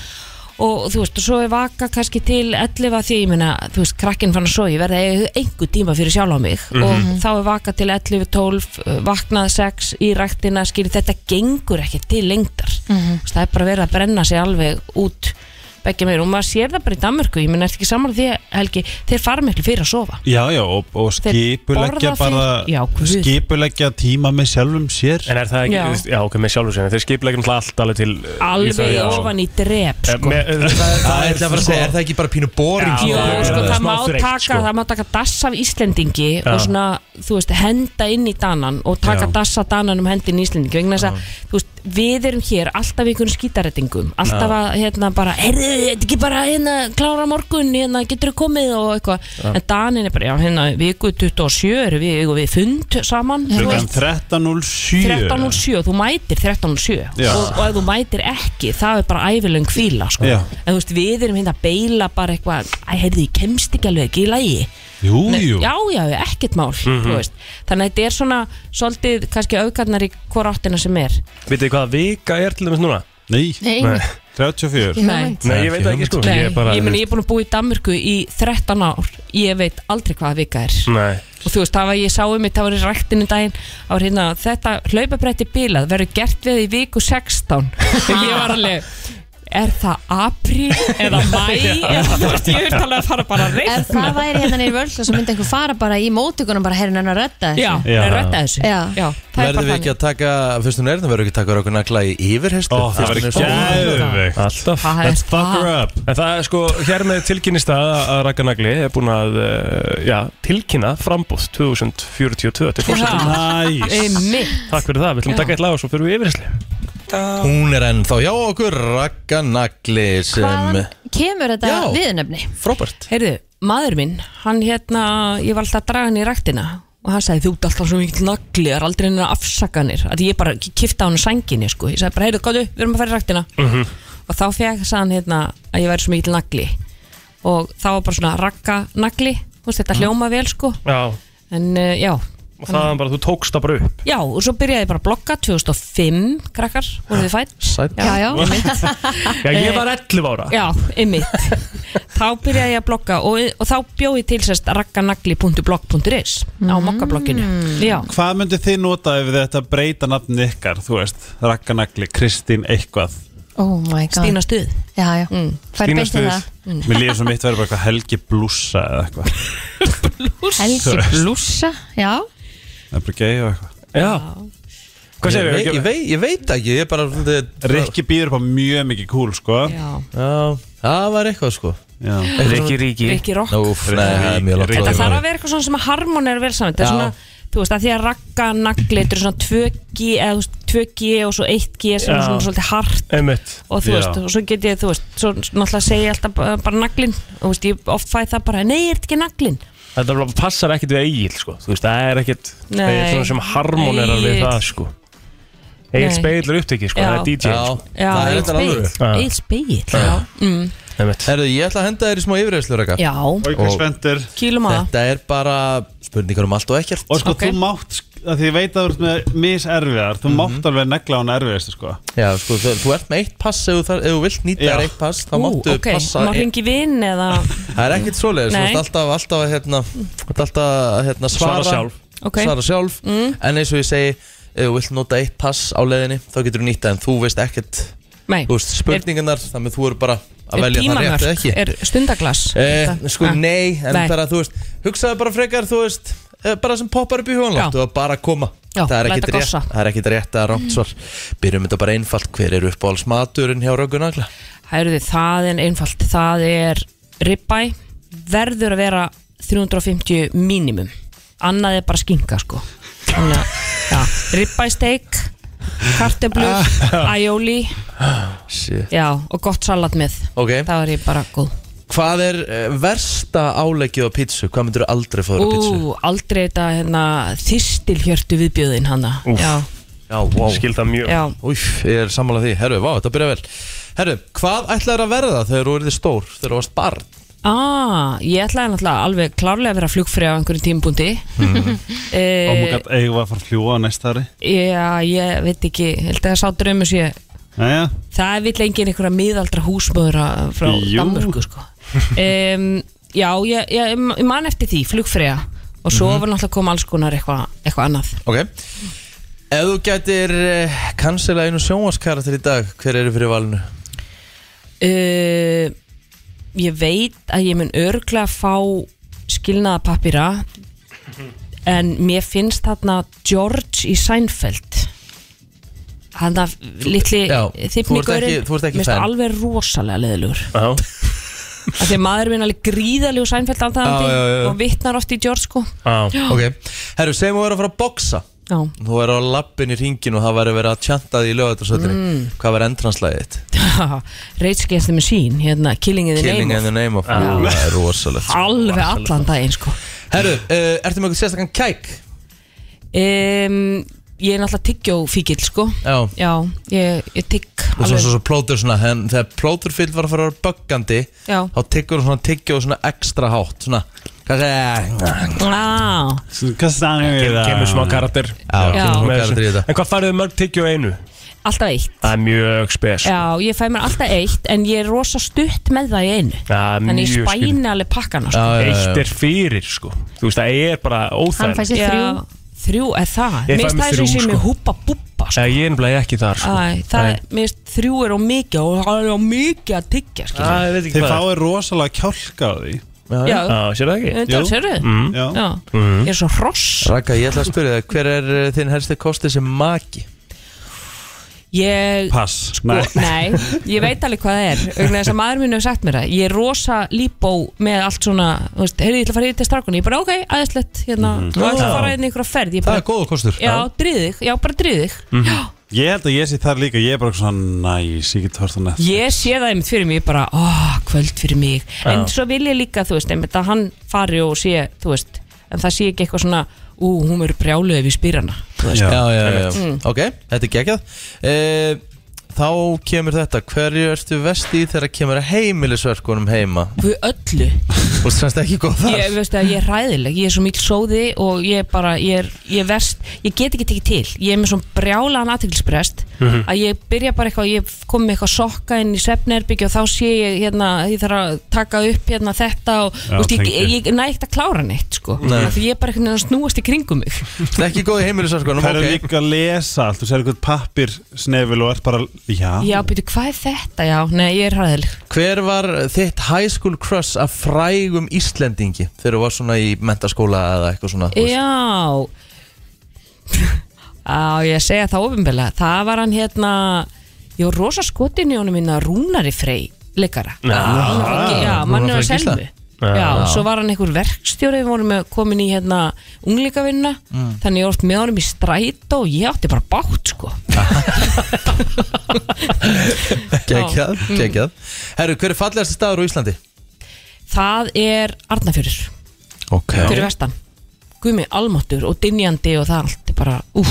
[SPEAKER 10] og þú veist, og svo er vaka kannski til 11 því, ég meina, þú veist, krakkinn fann að svo ég verði að eiga einhver tíma fyrir sjálf á mig
[SPEAKER 11] Mhm.
[SPEAKER 10] og þá er vaka til 11, 12 uh, vaknað 6 í ræktina skilur, þetta gengur ekki til lengdar
[SPEAKER 11] Mhm.
[SPEAKER 10] Þú veist, það er bara verið að brenna sig alveg út begge meir og maður sér það bara í Danmörku, ég meina, er ekki saman því Helgi, þeir fara miklu fyrir að sofa
[SPEAKER 5] Já, já, og, og
[SPEAKER 10] Þeir
[SPEAKER 5] skipuleggja
[SPEAKER 10] borða
[SPEAKER 5] bara
[SPEAKER 10] fyrir- Já, guð.
[SPEAKER 5] Skipuleggja tíma með sjálfum sér
[SPEAKER 3] En er það
[SPEAKER 10] Já.
[SPEAKER 3] ekki, já, ok, með sjálfur sinni Þeir skipleggjum alltaf alveg til uh, í
[SPEAKER 10] alveg
[SPEAKER 3] þau, já.
[SPEAKER 10] ofan í drep
[SPEAKER 3] Eh,
[SPEAKER 10] sko.
[SPEAKER 3] með- Það
[SPEAKER 1] Það er það að segja, er það ekki bara pínu boring
[SPEAKER 3] Já,
[SPEAKER 1] svona?
[SPEAKER 3] jú, sko,
[SPEAKER 10] það má
[SPEAKER 3] smá þreytt, sko.
[SPEAKER 10] taka, það má taka dass af Íslendingi
[SPEAKER 1] Já.
[SPEAKER 10] og svona þú veist, henda inn í danan og taka
[SPEAKER 11] Já.
[SPEAKER 10] dassa dananum hendin um í Íslendingi vegna þess að, þú veist, við erum hér alltaf í einhvern skítarettingum, alltaf
[SPEAKER 11] Já.
[SPEAKER 10] að hérna bara, heyrðu, þetta ekki bara hérna klára á morgun, hérna getur þú komið og eitthvað,
[SPEAKER 5] Já.
[SPEAKER 10] en danin er bara, já, hérna viku 27 erum við, eigum við fund saman, þú
[SPEAKER 5] Klukkan
[SPEAKER 10] veist,
[SPEAKER 5] 13.07
[SPEAKER 10] 13.07 þú mætir 13.07
[SPEAKER 5] Já.
[SPEAKER 10] og, og ef þú mætir ekki, það er bara ævilöng fíla, sko,
[SPEAKER 5] Já.
[SPEAKER 10] en þú veist, við erum hérna að beila bara eitthvað, æ, heyrðu, ég kemst ekki alveg ekki í lagi
[SPEAKER 5] Jú,
[SPEAKER 10] Nei,
[SPEAKER 5] jú
[SPEAKER 10] Já, já, já, ekkert mál
[SPEAKER 5] Mhm.
[SPEAKER 10] þú veist. Þannig að þetta er svona svolítið kannski auðgarnar í hvora áttina sem er
[SPEAKER 3] Vitið hvaða vika er til dæmis núna?
[SPEAKER 5] Nei,
[SPEAKER 10] Nei.
[SPEAKER 5] 34
[SPEAKER 3] Nei, ég veit það ekki sko
[SPEAKER 10] Nei, ég,
[SPEAKER 3] bara-
[SPEAKER 10] meni, ég er búin að búa í Danmörku í 13 ár Ég veit aldrei hvaða vika er
[SPEAKER 3] Nei
[SPEAKER 10] Og þú veist, það var ég sáum mitt, það var í ræktinu daginn Það var hérna, þetta hlaupabrætti bílað verður gert við í viku 16 Og ég var alveg Er það apríl eða mæ eða þú veist, ég er talað að fara bara að reikna
[SPEAKER 2] Ef það væri hérna nýr vörðla svo myndi einhver fara bara í mótugunum bara herrin hann að rötta þessu
[SPEAKER 10] Já,
[SPEAKER 1] Já.
[SPEAKER 10] er rötta þessu
[SPEAKER 2] Já.
[SPEAKER 10] Já, það
[SPEAKER 1] Verðum
[SPEAKER 10] er bara
[SPEAKER 1] við
[SPEAKER 10] þannig
[SPEAKER 1] ekki að taka, fyrst hún er það verður ekki að taka okkur nagla í yfirherslu
[SPEAKER 3] Ó, það verður gæðveikt Alltaf
[SPEAKER 10] Það er sko Let's fuck það. her
[SPEAKER 3] up En það er sko, hér með tilkynnist að að Raka Nagli er búin að uh, já, tilkynna frambúð 2042 til fórsetum
[SPEAKER 10] Einmitt.
[SPEAKER 3] Takk fyrir það, við ætlum að taka eitt lag og svo fyrir við yfirherslu
[SPEAKER 1] Hún er ennþá hjá okkur Raka nagli sem
[SPEAKER 2] Hvaðan kemur þetta viðnefni?
[SPEAKER 1] Frábært
[SPEAKER 10] Heyrðu, maður minn, hann hérna, ég var alltaf að draga hann í ræktina og hann sagði þú ert alltaf svo mikið nagli, það er aldrei neina afsakanir að ég bara kifta hann sænginni sko, ég sagði bara heyrðu, góðu, við erum að fara í ræktina
[SPEAKER 11] Mhm.
[SPEAKER 10] og þá fekk hann hérna að ég væri svo mikið nagli og þá var bara svona rakka nagli, þú veist þetta hljóma vel sko,
[SPEAKER 3] Já,
[SPEAKER 10] en uh, já
[SPEAKER 3] og það er bara, þú tókst það bara upp
[SPEAKER 10] Já, og svo byrjaði ég bara að blogga 2005, krakkar, voruð þið fætt?
[SPEAKER 1] Sætt.
[SPEAKER 10] Já, já, einmitt.
[SPEAKER 3] Já,
[SPEAKER 10] Eh,
[SPEAKER 3] ég var 11 ára
[SPEAKER 10] Já, ymmit Þá byrjaði ég að blogga og, og þá bjóði til sérst rakkanagli.blog.is á mokkablogginu Mm. Já,
[SPEAKER 5] Hvað myndi þið nota ef þið ætti að breyta nafn ykkar, þú veist, Rakkanagli, Kristín, eitthvað
[SPEAKER 2] Oh my god
[SPEAKER 10] Stína stuð
[SPEAKER 2] Já, já, mm. fær beint í
[SPEAKER 5] Stína Stuð.
[SPEAKER 2] það
[SPEAKER 5] Mér líður sem mitt verður bara eitthvað Helgi Blússa eða eitthvað
[SPEAKER 2] Helgi blússa, já
[SPEAKER 5] Það er bara gei og eitthvað
[SPEAKER 3] Já
[SPEAKER 1] Hvað segirðu? Ég vei- ég vei- ég veit ekki, ég er bara
[SPEAKER 5] Rikki býður upp á mjög mikið kúl, sko
[SPEAKER 10] Já
[SPEAKER 1] Já, það var eitthvað sko
[SPEAKER 3] Rikki Ríki
[SPEAKER 10] Rikki Rokk.
[SPEAKER 1] Úf, nei, mjög langt frá
[SPEAKER 10] Þetta
[SPEAKER 1] því.
[SPEAKER 10] þarf að vera eitthvað svona sem að harmon er vel saman Þetta er
[SPEAKER 1] Já.
[SPEAKER 10] svona, þú veist, að því að rakkanagli Þetta er svona 2G eða þú veist, 2G og svo 1G sem er
[SPEAKER 3] Já.
[SPEAKER 10] svona svolítið hart
[SPEAKER 3] Einmitt
[SPEAKER 10] og þú veist, og svo get ég, þú veist svo náttúrulega segi ég alltaf bara, bara naglin og þú veist, ég oft fæ það bara, nei, er þetta ekki naglin
[SPEAKER 3] Þetta bara passar ekkert við Egil sko. Þú veist, það er ekkert
[SPEAKER 10] Nei.
[SPEAKER 3] Það er svona sem harmonerar við
[SPEAKER 10] Egill.
[SPEAKER 3] það sko. Egil
[SPEAKER 10] Nei.
[SPEAKER 3] Speil er upptekið sko. Það er DJ sko.
[SPEAKER 10] Já, Egill Spegil. Egill Spegil, já. Mm.
[SPEAKER 1] Herðu, ég ætla að henda þér í smá yfirherslu Raka
[SPEAKER 10] Já. Og
[SPEAKER 5] eitthvað spenntur
[SPEAKER 10] Kýlum á það.
[SPEAKER 1] Þetta er bara spurningar um allt og ekkert
[SPEAKER 5] Og sko, þú mátt, að því ég veit að þú ert með miserfiðar, þú mátt alveg negla hún erfiðist, sko
[SPEAKER 1] Já, sko, þú, þú ert með eitt pass ef þú, þar, ef þú vilt nýta
[SPEAKER 5] Já.
[SPEAKER 1] þér eitt pass þá
[SPEAKER 10] Ú,
[SPEAKER 1] máttu
[SPEAKER 10] ok,
[SPEAKER 1] passa
[SPEAKER 10] maður hringi vinn eða
[SPEAKER 1] Það er ekkert svoleiðis, þú
[SPEAKER 10] Nei.
[SPEAKER 1] ert alltaf, alltaf, að, hérna, þú ert alltaf að, hérna, svara
[SPEAKER 3] Svara sjálf.
[SPEAKER 10] Ok.
[SPEAKER 1] Svara sjálf.
[SPEAKER 10] Mm.
[SPEAKER 1] En eins og ég segi, ef þú vilt nota eitt pass á leiðinni þá getur þú nýta en þú veist ekkert
[SPEAKER 10] Nei.
[SPEAKER 1] Þú veist spurningarnar, þannig að þú eru bara að
[SPEAKER 10] er
[SPEAKER 1] velja það rétt
[SPEAKER 10] tímamörk,
[SPEAKER 1] eða ekki
[SPEAKER 10] er stundaglass
[SPEAKER 1] Eh, sko nei, en
[SPEAKER 10] Ah. Nei.
[SPEAKER 1] bara þú veist hugsaðu bara frekar, þú veist eh, bara sem poppar upp í hugan
[SPEAKER 10] Já.
[SPEAKER 1] láttu að bara koma
[SPEAKER 10] Já,
[SPEAKER 1] það, er
[SPEAKER 10] læta
[SPEAKER 1] ekkit rétt,
[SPEAKER 10] gossa.
[SPEAKER 1] það er ekkit rétt að rámt svar byrjum þetta bara einfalt, hver er uppáhalds maturinn hjá röggunagla?
[SPEAKER 10] Hæruði, það er einfalt, það er ribbæ, verður að vera 350 mínimum annað er bara skinka sko þannig að, já, ribbæ steik karteblur,
[SPEAKER 1] Ah.
[SPEAKER 10] aioli
[SPEAKER 1] Shit.
[SPEAKER 10] já, og gott salat með
[SPEAKER 1] Ok.
[SPEAKER 10] það var ég bara góð
[SPEAKER 1] hvað er eh, versta áleggið á pítsu? hvað myndur þú aldrei fóður á pítsu?
[SPEAKER 10] Ú, aldrei þetta hérna, þistilhjörtu viðbjöðin hana
[SPEAKER 1] Úff.
[SPEAKER 10] já,
[SPEAKER 1] já, wow.
[SPEAKER 3] Skil það mjög.
[SPEAKER 10] Já.
[SPEAKER 1] Úf, ég er sammála því, herru, vá, þetta byrja vel herru, hvað ætlaður að verða þegar þú erði stór þegar þú varst barn?
[SPEAKER 10] Ah, ég ætlaði náttúrulega alveg klárlega að vera flugfri á einhverjum tímpundi mm.
[SPEAKER 5] Og mú gætt Oh eigum við að fara að fljúa á næsta ári
[SPEAKER 10] Já, ég veit ekki, ég held að það sá draumu sé
[SPEAKER 5] Jæja,
[SPEAKER 10] Það vill engin einhverja miðaldra húsmöður að- frá
[SPEAKER 5] Jú.
[SPEAKER 10] Danmörku sko. um, Já, ég, ég, ég man eftir því, flugfriða Og svo var náttúrulega kom alls konar eitthvað eitthva annað
[SPEAKER 1] ok ef þú gætir uh, kansela einu sjónvarskarakter í dag hver eru fyrir valinu?
[SPEAKER 10] uh, Ég veit að ég mun örglega fá skilnaða pappýra En mér finnst þarna George í Seinfeld Hann að litli
[SPEAKER 1] Já, þú ert ekki-
[SPEAKER 10] þyfningurinn
[SPEAKER 1] þú ert ekki
[SPEAKER 10] Mér finnst
[SPEAKER 1] fan.
[SPEAKER 10] alveg rosalega leðilugur
[SPEAKER 3] Já
[SPEAKER 10] af því að maður minn er alveg gríðalegu sænfælt
[SPEAKER 1] Já, já, já, já.
[SPEAKER 10] aðtæðandi og vitnar oft í George sko
[SPEAKER 1] Ah,
[SPEAKER 10] Já.
[SPEAKER 1] ok, herru, segjum við að vera að fara að boksa
[SPEAKER 10] Já.
[SPEAKER 1] Þú er á lappin í ringin og það væri verið að tjanta því í lögatarsöldinni
[SPEAKER 10] Mm.
[SPEAKER 1] Hvað var endranslæðið þitt?
[SPEAKER 10] Rage Against the Machine, hérna Killing in the
[SPEAKER 1] Killing
[SPEAKER 10] Name
[SPEAKER 1] in the
[SPEAKER 10] of Ah.
[SPEAKER 1] name of
[SPEAKER 10] Já.
[SPEAKER 1] Ú, Það er rosalegt sko.
[SPEAKER 10] alveg allan daginn sko
[SPEAKER 1] Herru, uh, ertu með eitthvað sérstakann kæk?
[SPEAKER 10] um, Ég er náttúrulega tyggjófíkil sko
[SPEAKER 1] Já
[SPEAKER 10] Já, ég, ég tygg
[SPEAKER 1] Þú er svona svo, svo plótur svona en Þegar plóturfylg var að fara að vera böggandi
[SPEAKER 10] Já.
[SPEAKER 1] Þá tyggur hún svona tyggjóð svona ekstra hátt Svona Hvað segja
[SPEAKER 10] Á,
[SPEAKER 5] Hvað stannum
[SPEAKER 3] Kem- kemur smá karakter
[SPEAKER 1] Já,
[SPEAKER 10] Já.
[SPEAKER 1] kemur smá karakter
[SPEAKER 3] Með
[SPEAKER 1] í
[SPEAKER 3] þessu.
[SPEAKER 1] þetta.
[SPEAKER 3] En hvað færðu mörg tyggju á einu?
[SPEAKER 10] alltaf eitt
[SPEAKER 3] Það er mjög spes
[SPEAKER 10] Já, ég fæ mér alltaf eitt en ég er rosa stutt með það í einu
[SPEAKER 3] Það er
[SPEAKER 10] Þannig ég
[SPEAKER 3] mjög
[SPEAKER 10] spæni alveg pakkana sko.
[SPEAKER 3] skil- Eitt er fyrir sko Þú veist, það er bara óþægilegt
[SPEAKER 10] Hann fær sér þrjú Þrjú, eða það
[SPEAKER 3] Ég fæ
[SPEAKER 10] Mér
[SPEAKER 3] mér
[SPEAKER 10] stæði svo
[SPEAKER 3] þrjú,
[SPEAKER 10] sem
[SPEAKER 3] sko.
[SPEAKER 10] ég húpa búpa sko.
[SPEAKER 3] Nei, ég er nefnilega ekki þar sko.
[SPEAKER 10] Æ, það, er- mér finnst þrjú er á mikið og það er á mikið að tyggja sko. skilur.
[SPEAKER 5] Þeir fáið rosalega kjálka á því
[SPEAKER 10] Já.
[SPEAKER 3] Ah,
[SPEAKER 10] Já, sérðu það ekki? Þetta
[SPEAKER 5] Jú.
[SPEAKER 10] sérðu.
[SPEAKER 5] Mm.
[SPEAKER 10] Já. Já.
[SPEAKER 3] Mhm.
[SPEAKER 10] Ég er svo hross
[SPEAKER 1] Raka, ég ætla að spyrja það Hver er eh, þinn helsti kosti sem maki?
[SPEAKER 10] Ég,
[SPEAKER 5] Pass
[SPEAKER 10] sko, nei, ég veit alveg hvað það er vegna þess að maður minn hefur sagt mér það Ég er rosa líbó með allt svona þú veist, Heyrðu, ég ætla að fara í til strákunni Ég bara, ok, aðeinslegt hérna,
[SPEAKER 5] Mhm.
[SPEAKER 10] Og ætla
[SPEAKER 5] Já.
[SPEAKER 10] að fara inn í einhverja ferð Ég bara,
[SPEAKER 1] er góða kostur
[SPEAKER 10] Já, dríðig, já, bara dríðig
[SPEAKER 5] Ég held að ég sé þar líka, ég er bara svona næs, ég get hort hann eftir
[SPEAKER 10] Ég sé það einmitt fyrir mig, ég bara, ó, kvöld fyrir mig En
[SPEAKER 5] Já.
[SPEAKER 10] svo vil ég líka, þú veist, einmitt að hann fari og sé, þú veist En það sé ekki eitthvað svona, ú, hún verður brjáluð ef ég spyr hana
[SPEAKER 1] Já, já, já, já.
[SPEAKER 10] Mm.
[SPEAKER 1] Ok, þetta er geggjað Eh, Þá kemur þetta Hverju ertu vest í þegar kemur að heimilisverkunum heima?
[SPEAKER 10] Við öllu
[SPEAKER 1] Þú semst ekki góð þar
[SPEAKER 10] Ég veist að ég er ræðileg, ég er svo mikil sóði og ég er bara, ég er, ég er verst, ég get ekki tekið til Ég er með svona brjálaðan aðteglisbrest
[SPEAKER 11] Mhm.
[SPEAKER 10] Að ég byrja bara eitthvað, ég kom með eitthvað sokka inn í svefnerbyggja og þá sé ég hérna, ég þarf að taka upp hérna þetta og,
[SPEAKER 1] Já,
[SPEAKER 10] þú veist, ég,
[SPEAKER 1] tengi.
[SPEAKER 10] ég, ég næ ekkert að klára neitt, sko
[SPEAKER 1] Nei.
[SPEAKER 10] Af Því ég er bara einhvern veginn að snúast í kringum mig
[SPEAKER 1] Það er ekki góð í heimilisverkunum
[SPEAKER 5] Það er
[SPEAKER 1] ok.
[SPEAKER 5] líka að lesa allt, þú sér eitthvað pappir snefil og ert bara, já
[SPEAKER 10] Já, byrju, hvað er þetta? Já, nei, ég er hræðileg
[SPEAKER 1] Hver var þitt high school crush af frægum Íslendingi þegar þú var svona í mentaskóla eða eitthvað svona? þú veist?
[SPEAKER 10] Já Á, ég að segja það ofinbeglega Það var hann hérna Ég var rosa skotin í honum minna Rúnari Frey leikara
[SPEAKER 11] Já,
[SPEAKER 10] já, já
[SPEAKER 11] Rúnar
[SPEAKER 10] manni á
[SPEAKER 11] Frey Gísla.
[SPEAKER 10] selmu Já,
[SPEAKER 11] Já.
[SPEAKER 10] svo var hann einhver verkstjóri Við vorum með- komin í hérna unglíkavinna
[SPEAKER 11] Mm.
[SPEAKER 10] Þannig ég var oft með honum í strætó Og ég átti bara bátt sko
[SPEAKER 1] Geggjað,
[SPEAKER 10] Já.
[SPEAKER 1] geggjað Herru, hver er fallegasti staður á Íslandi?
[SPEAKER 10] Það er Arnafjörður
[SPEAKER 1] Ok
[SPEAKER 10] fyrir vestan Gumi almáttur og dynjandi og það allt er bara, úf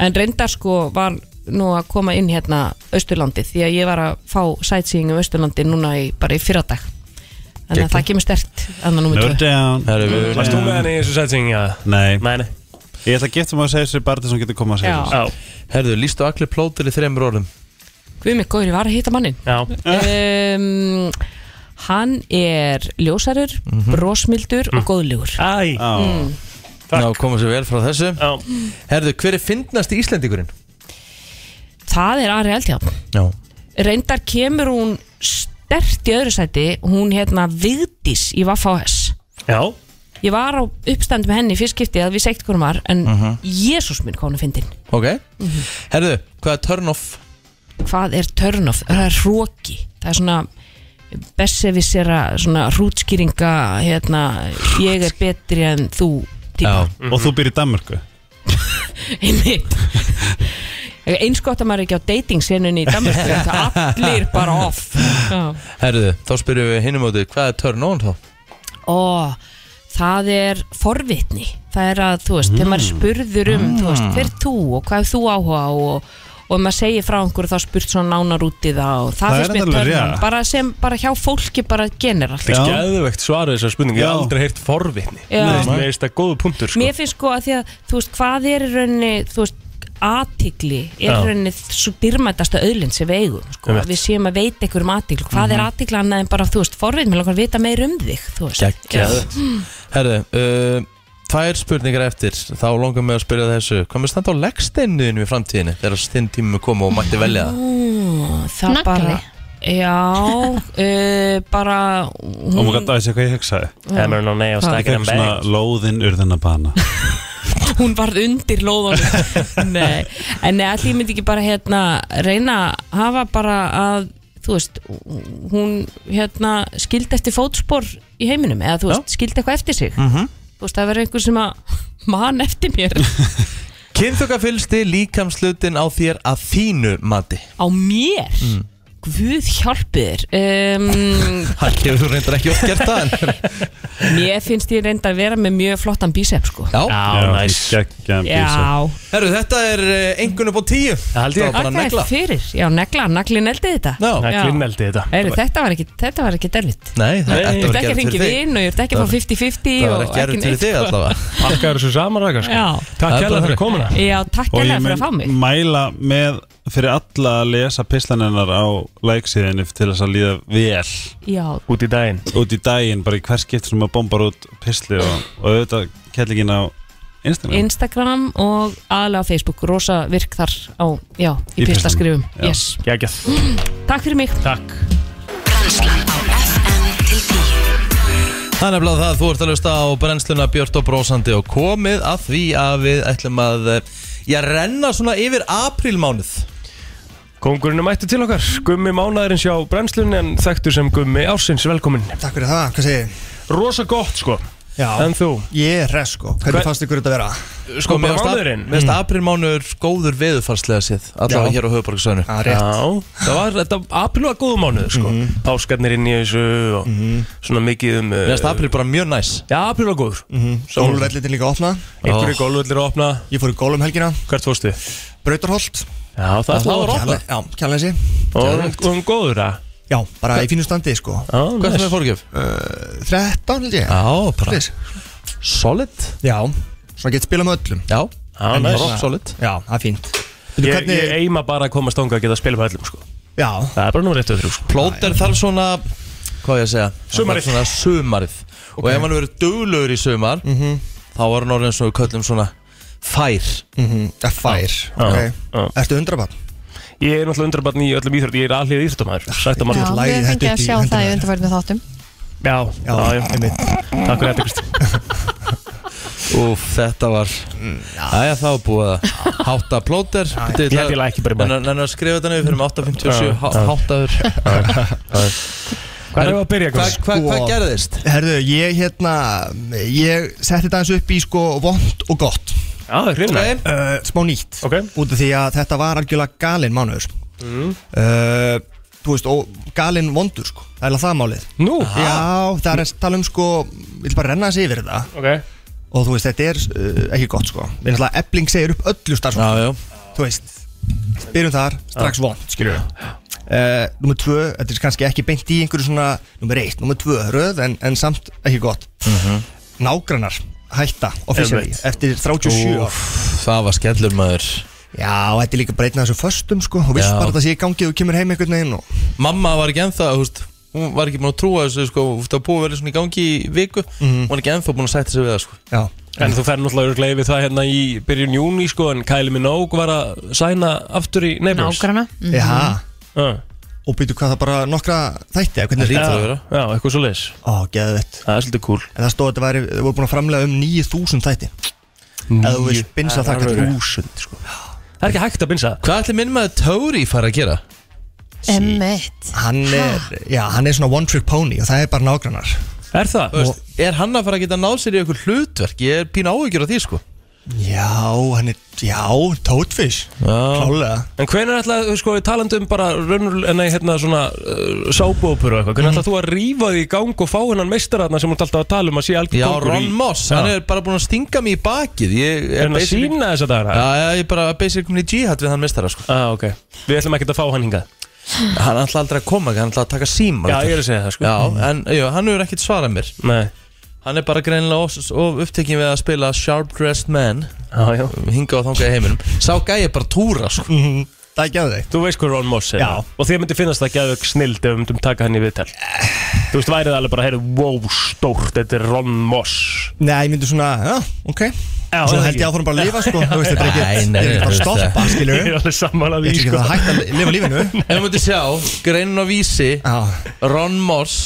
[SPEAKER 10] en reyndar sko var nú að koma inn hérna Östurlandi því að ég var að fá sightseeing um Östurlandi núna í, bara í fyrradag þannig
[SPEAKER 1] Geggjað.
[SPEAKER 10] að það kemur stert annar númur 2
[SPEAKER 1] Herru, við
[SPEAKER 3] Varst þú með henni í þessu setting? Já
[SPEAKER 5] Nei,
[SPEAKER 3] Mæni
[SPEAKER 5] Ég ætla að gifta mig að segja þessu bara til sem getur koma að segja
[SPEAKER 10] Já.
[SPEAKER 5] þessu
[SPEAKER 1] Herðu, lístu allir plótur í þreymur orðum
[SPEAKER 10] Gumi góður, ég var að hitta mannin um, hann er ljósarur, brosmildur og góðlegur
[SPEAKER 3] Æ
[SPEAKER 10] mm.
[SPEAKER 1] Ná, koma sér vel frá þessu Herðu, hver er fyndnasti Íslendingurinn?
[SPEAKER 10] það er Ari Eldjátt
[SPEAKER 1] Já
[SPEAKER 10] reyndar kemur hún stert í öðru sæti hún hérna Vigdís í Vafáhess
[SPEAKER 3] Já
[SPEAKER 10] ég var á uppstand með henni í fyrst skipti að við segt hvernig var en uh
[SPEAKER 1] Mhm.
[SPEAKER 10] Jésús minn hvað hún er fyndin
[SPEAKER 1] Ok Herðu, hvað er turn off?
[SPEAKER 10] hvað er törnof, það er hróki það er svona bessevisera svona hrútskýringa hérna, ég er betri en þú típa,
[SPEAKER 5] Og þú býr í Danmörku
[SPEAKER 10] einmitt eins gott að maður er ekki á dating senunni í Danmark allir bara off Já.
[SPEAKER 1] Herðu, þá spyrjum við hinum áttu Hvað er turn on þá?
[SPEAKER 10] Ó, það er forvitni Það er að, þú veist, þegar
[SPEAKER 3] Mm.
[SPEAKER 10] maður er spurður um Þú veist, hver ert þú og hvað er þú áhuga á og, og ef maður segir frá einhverju þá er spurt svona nánar út í það og það,
[SPEAKER 3] Það er
[SPEAKER 10] finnst mér
[SPEAKER 3] alveg
[SPEAKER 10] törnum
[SPEAKER 3] rétt.
[SPEAKER 10] bara sem, bara hjá fólki bara generalt
[SPEAKER 3] Það er skæðuvegt svara þessar spurningu Ég
[SPEAKER 10] Já.
[SPEAKER 3] hef aldrei heyrt forvitni
[SPEAKER 10] Já.
[SPEAKER 3] Mér finnst- Mér finnst það góðu punktur sko.
[SPEAKER 10] Mér finnst sko að því að, þú veist, hvað er í rauninni, þú veist, aðtigli er
[SPEAKER 3] Já.
[SPEAKER 10] í rauninni svo dyrmætasta auðlind sem við eigum, sko,
[SPEAKER 1] Einmitt.
[SPEAKER 10] að við séum að veita einhverjum aðtigli, hvað er
[SPEAKER 1] Mhm.
[SPEAKER 10] aðtigli annað en bara, þú veist, forvitni, mér langar að vita meir um þig, þú veist
[SPEAKER 1] Geggjað
[SPEAKER 10] Mm.
[SPEAKER 1] Herðu, uh, tvær spurningar eftir Þá langar mig að spyrja þessu Hvað með standa á leggsteinuðinu í framtíðinu Þegar þinn tími kom og mætti velja það
[SPEAKER 10] Ó, það
[SPEAKER 11] Nagli.
[SPEAKER 10] bara já uh, bara
[SPEAKER 5] Og
[SPEAKER 10] hún,
[SPEAKER 5] maður gæti að þessi hvað ég hugsaði
[SPEAKER 10] Já. Emma er nú nei og
[SPEAKER 5] Ég
[SPEAKER 10] stækkar
[SPEAKER 5] fekk
[SPEAKER 10] en
[SPEAKER 5] svona Lóðin urðin að bana
[SPEAKER 10] hún varð undir lóðunum nei, en nei, allir myndi ekki bara hérna reyna að hafa bara að þú veist, hún hérna skildi eftir fótspor í heiminum eða þú veist, skildi eitthvað eftir sig
[SPEAKER 1] Mhm.
[SPEAKER 10] þú veist, það verður einhver sem að man eftir mér
[SPEAKER 1] Kynþokafylsti líkamslutin á þér að þínu mati
[SPEAKER 10] á mér mm. Guð hjálpir um,
[SPEAKER 1] Það hefur reyndar ekki oft gert það en
[SPEAKER 10] Mér finnst ég reynda að vera með mjög flottan bísepp sko
[SPEAKER 1] Já,
[SPEAKER 5] næs
[SPEAKER 10] Já,
[SPEAKER 1] Herru, þetta er engun upp á tíu Það held
[SPEAKER 10] það er fyrir Já, negla, naglin eldið þetta
[SPEAKER 1] Já. Naglinn
[SPEAKER 10] Já.
[SPEAKER 1] eldi þetta.
[SPEAKER 10] Heyrðu, þetta var ekki, þetta var ekki derfitt
[SPEAKER 1] Nei, það-
[SPEAKER 10] Ég
[SPEAKER 1] þetta var
[SPEAKER 10] ert ekki
[SPEAKER 1] ekki
[SPEAKER 10] að
[SPEAKER 1] erfitt
[SPEAKER 10] ringi
[SPEAKER 1] fyrir þig.
[SPEAKER 10] vinn og ég ert ekki að fá
[SPEAKER 1] Það-
[SPEAKER 10] 50-50
[SPEAKER 1] það var
[SPEAKER 10] og
[SPEAKER 1] ekki erfitt fyrir
[SPEAKER 10] neitt,
[SPEAKER 1] þig
[SPEAKER 10] sko.
[SPEAKER 1] allavega.
[SPEAKER 3] Pakkar þessu saman rækar
[SPEAKER 10] Já.
[SPEAKER 3] Takk hérlega fyrir komuna
[SPEAKER 10] Já, takk
[SPEAKER 5] Og
[SPEAKER 10] hérlega
[SPEAKER 5] ég
[SPEAKER 10] fyrir að fá mig
[SPEAKER 5] mæla með fyrir alla að lesa pislanennar á læksíðinni til þess að líða vel
[SPEAKER 10] Já.
[SPEAKER 5] Út í daginn Út í daginn, bara í hver skipt sem maður bombar út pislir og, og auðvitað kellingin á Instagram
[SPEAKER 10] Instagram og aðlega á Facebook Rosa virk þar á, já, í, í
[SPEAKER 5] Í
[SPEAKER 10] pistaskrifum
[SPEAKER 5] pislinum, já.
[SPEAKER 10] yes. Takk fyrir mig
[SPEAKER 3] Takk
[SPEAKER 1] Það er nefnilega það að þú ert að lusta á brennsluna Björn og Brósandi og komið að því að við ætlum að eh, Já, renna svona yfir aprílmánuð
[SPEAKER 3] Kongurinn er mættu til okkar Gummi mánaðurinn sjá brennslun En þekktur sem Gummi ársins velkomin
[SPEAKER 11] Takk fyrir það, hvað segir
[SPEAKER 3] Rosa gott sko
[SPEAKER 11] Já,
[SPEAKER 3] En þú?
[SPEAKER 11] Ég er res sko, hvernig
[SPEAKER 3] Hver-
[SPEAKER 11] fannst ykkur þetta vera?
[SPEAKER 1] Sko, mér finnst ap- mér finnst aprílmánuður góður veðurfarslega séð Allavega
[SPEAKER 3] Já.
[SPEAKER 1] hér á höfuborgsöðinu
[SPEAKER 11] Já,
[SPEAKER 3] Já, það var, þetta april var góðu mánuð sko. Páskarnir inn í þessu og svona mikið um Mér
[SPEAKER 1] finnst april bara mjög næs
[SPEAKER 3] Já, april var góður mm -hmm.
[SPEAKER 11] Gólvvellitin líka opnað
[SPEAKER 3] Einhverju gólvöldir að opna
[SPEAKER 11] Ég fór í gólum helgina
[SPEAKER 3] Hvert fórstu?
[SPEAKER 11] Brautarholt
[SPEAKER 3] Já, það, það var opna
[SPEAKER 11] Já, kjærleysi
[SPEAKER 3] Og um góður að
[SPEAKER 11] Já, bara í fínu standi sko
[SPEAKER 3] Já,
[SPEAKER 1] Hvað er það með fórgjöf?
[SPEAKER 11] 13 held ég
[SPEAKER 1] Já, bara
[SPEAKER 11] Please.
[SPEAKER 1] Solid
[SPEAKER 11] Já, svona gett spilað með öllum
[SPEAKER 1] Já,
[SPEAKER 3] Já,
[SPEAKER 11] En
[SPEAKER 3] næs.
[SPEAKER 11] bara-
[SPEAKER 3] Solid.
[SPEAKER 11] Já, það er fínt
[SPEAKER 3] Ég,
[SPEAKER 11] hvernig-
[SPEAKER 3] ég eima bara að komast ánga að geta að spila pælum sko.
[SPEAKER 11] Já,
[SPEAKER 3] Það er bara nú rétt öðru sko.
[SPEAKER 1] Plóter þarf svona, hvað á ég að segja Hann
[SPEAKER 3] Sumarið.
[SPEAKER 1] þarf Svona sumarið Og ef hann verið duglugur í sumar Þá var hann orðin svona, við köllum svona Fær
[SPEAKER 11] Mhm, Það er fær,
[SPEAKER 3] Já,
[SPEAKER 11] ok
[SPEAKER 3] já.
[SPEAKER 11] Ertu undrabann?
[SPEAKER 3] Ég er náttúrulega undrabarn í öllum íþrótt Ég er aðlið íþróttamæður Sætt
[SPEAKER 2] Já,
[SPEAKER 3] að margir
[SPEAKER 2] við fengið að sjá það í undarfærinu þáttum
[SPEAKER 3] Já, já, já,
[SPEAKER 11] einmitt
[SPEAKER 3] Takk fyrir þetta Kristi
[SPEAKER 1] Úf, þetta var Æja, þá er búið að hátta plóter
[SPEAKER 3] Ég held ég lækki bara í bæ.
[SPEAKER 1] Nennar að skrifa þetta niður fyrir mig 8.57
[SPEAKER 3] Já,
[SPEAKER 1] há-
[SPEAKER 3] já.
[SPEAKER 1] Háttaður
[SPEAKER 3] Hvað erum við að byrja?
[SPEAKER 1] Hvað- hvað- hvað gerðist?
[SPEAKER 11] Herðu, ég hérna Ég setti þetta eins upp í sko Vond og gott
[SPEAKER 3] Já, það er hreinlega.
[SPEAKER 11] uh, Smá nýtt
[SPEAKER 3] okay.
[SPEAKER 11] Út af því að þetta var algjörlega galinn mánuður
[SPEAKER 3] Mm.
[SPEAKER 11] uh, Þú veist, og galinn vondur sko Það er alveg það málið
[SPEAKER 3] Nú?
[SPEAKER 11] Já, það er að tala um sko Ég vil bara renna þessi yfir þetta
[SPEAKER 3] okay.
[SPEAKER 11] Og þú veist, þetta er uh, ekki gott sko Við erum alltaf ebling segir upp öllu starfsfólki Þú veist, byrjum þar, strax vond skilur uh, Númer tvö, þetta er kannski ekki beint í einhverju svona Númer eitt, númer tvö, röð en, en samt ekki gott Nágrannar hætta officially
[SPEAKER 1] Einmitt. Sko,
[SPEAKER 11] eftir 37 ár
[SPEAKER 1] Úff, Það var skellur maður
[SPEAKER 11] Já, og þetta er líka bara einn af þessu föstum sko og vilt
[SPEAKER 1] Já.
[SPEAKER 11] bara að það sé í gangi og kemur heim einhvern veginn og
[SPEAKER 1] Mamma var ekki ennþá, þú veist Hún var ekki búin að trúa þessu, sko Þú veist, það var búið að vera svona í gangi í viku Hún var ekki ennþá búin að sætta sig við það, sko
[SPEAKER 11] Já
[SPEAKER 3] En þú fer náttúrulega örglega yfir það hérna í byrjun júni sko en Kylie Minogue var að sæna aftur í Neighbours
[SPEAKER 2] Nágranna
[SPEAKER 11] Mhm. Já
[SPEAKER 3] uh.
[SPEAKER 11] Og býtu hvað það bara nokkra þætti eða hvernig
[SPEAKER 3] Já, Já, eitthvað svo leis
[SPEAKER 11] Ó, geðvett
[SPEAKER 3] Það er svolítið cool
[SPEAKER 11] En það stóð að þetta væri, þau voru búin að framlega um 9000 þætti Eða þú veist, binsa
[SPEAKER 3] Það er
[SPEAKER 11] þakka
[SPEAKER 3] alveg.
[SPEAKER 11] 1000 sko
[SPEAKER 3] Það er ekki hægt að binsa
[SPEAKER 1] Hvað ætli minn maður Tóri fara að gera?
[SPEAKER 2] Emmett
[SPEAKER 11] Hann er, já, hann er svona one trick pony og það er bara nágrannar
[SPEAKER 3] Er það?
[SPEAKER 1] Þú Veist, er hann að fara að geta náð sér í eitthvað hlutverk? Ég er pín áhugjur á því, sko
[SPEAKER 11] Já, hann er, já, toadfish Klálega
[SPEAKER 3] En hvenær ætlaði, sko, talandi um bara raunur, nei, hérna, svona uh, sábópur og eitthvað, hvernig ætlaði þú að rífa því í gang og fá hennan meistaraðna sem hún alltaf að tala um að sé algjör
[SPEAKER 1] Já,
[SPEAKER 3] gangur
[SPEAKER 1] Ron Moss, hann er bara búin að stinga mig í bakið Ég
[SPEAKER 3] Er hann að sína þess að það er
[SPEAKER 1] Já, já, ég er bara basic minni jihad við hann mistara, sko
[SPEAKER 3] ah, ok Við ætlum ekkert að fá hann hingað
[SPEAKER 1] Hann ætla aldrei að koma, hann ætla að taka síma
[SPEAKER 3] Já, ég er að segja það, sko.
[SPEAKER 1] Já, en jú, hann hefur ekkert svarað mér
[SPEAKER 3] Nei
[SPEAKER 1] Hann er bara greinilega of, of upptekinn við að spila Sharp Dressed Man
[SPEAKER 3] Já, já
[SPEAKER 1] Hinga og þanga í heiminum Sá gæi er bara túra, sko
[SPEAKER 11] Það er geðveikt
[SPEAKER 3] Þú veist hvað Ron Moss er
[SPEAKER 11] Já.
[SPEAKER 3] það? Og þið myndi finnast það gæðug snild ef við myndum taka hann í viðtal Þú veist, værið alveg bara, heyrðu, wow, stórt, þetta er Ron Moss
[SPEAKER 11] Nei, ég myndi svona, já, ok
[SPEAKER 3] Já,
[SPEAKER 11] Svo held
[SPEAKER 3] það ekki.
[SPEAKER 11] ég áfram bara að lifa sko Þú veist, þetta er
[SPEAKER 1] Nei,
[SPEAKER 11] ekki,
[SPEAKER 1] nei,
[SPEAKER 11] þetta er ekki bara að
[SPEAKER 1] nei,
[SPEAKER 11] stoppa,
[SPEAKER 1] þetta-
[SPEAKER 11] skilur
[SPEAKER 3] Ég er alveg sammála
[SPEAKER 11] Ég ætla
[SPEAKER 3] því,
[SPEAKER 11] ekki
[SPEAKER 3] sko
[SPEAKER 11] að hætta að lifa lífinu
[SPEAKER 1] Ef maður myndi sjá, greinin á vísi
[SPEAKER 11] Já
[SPEAKER 1] Ron Moss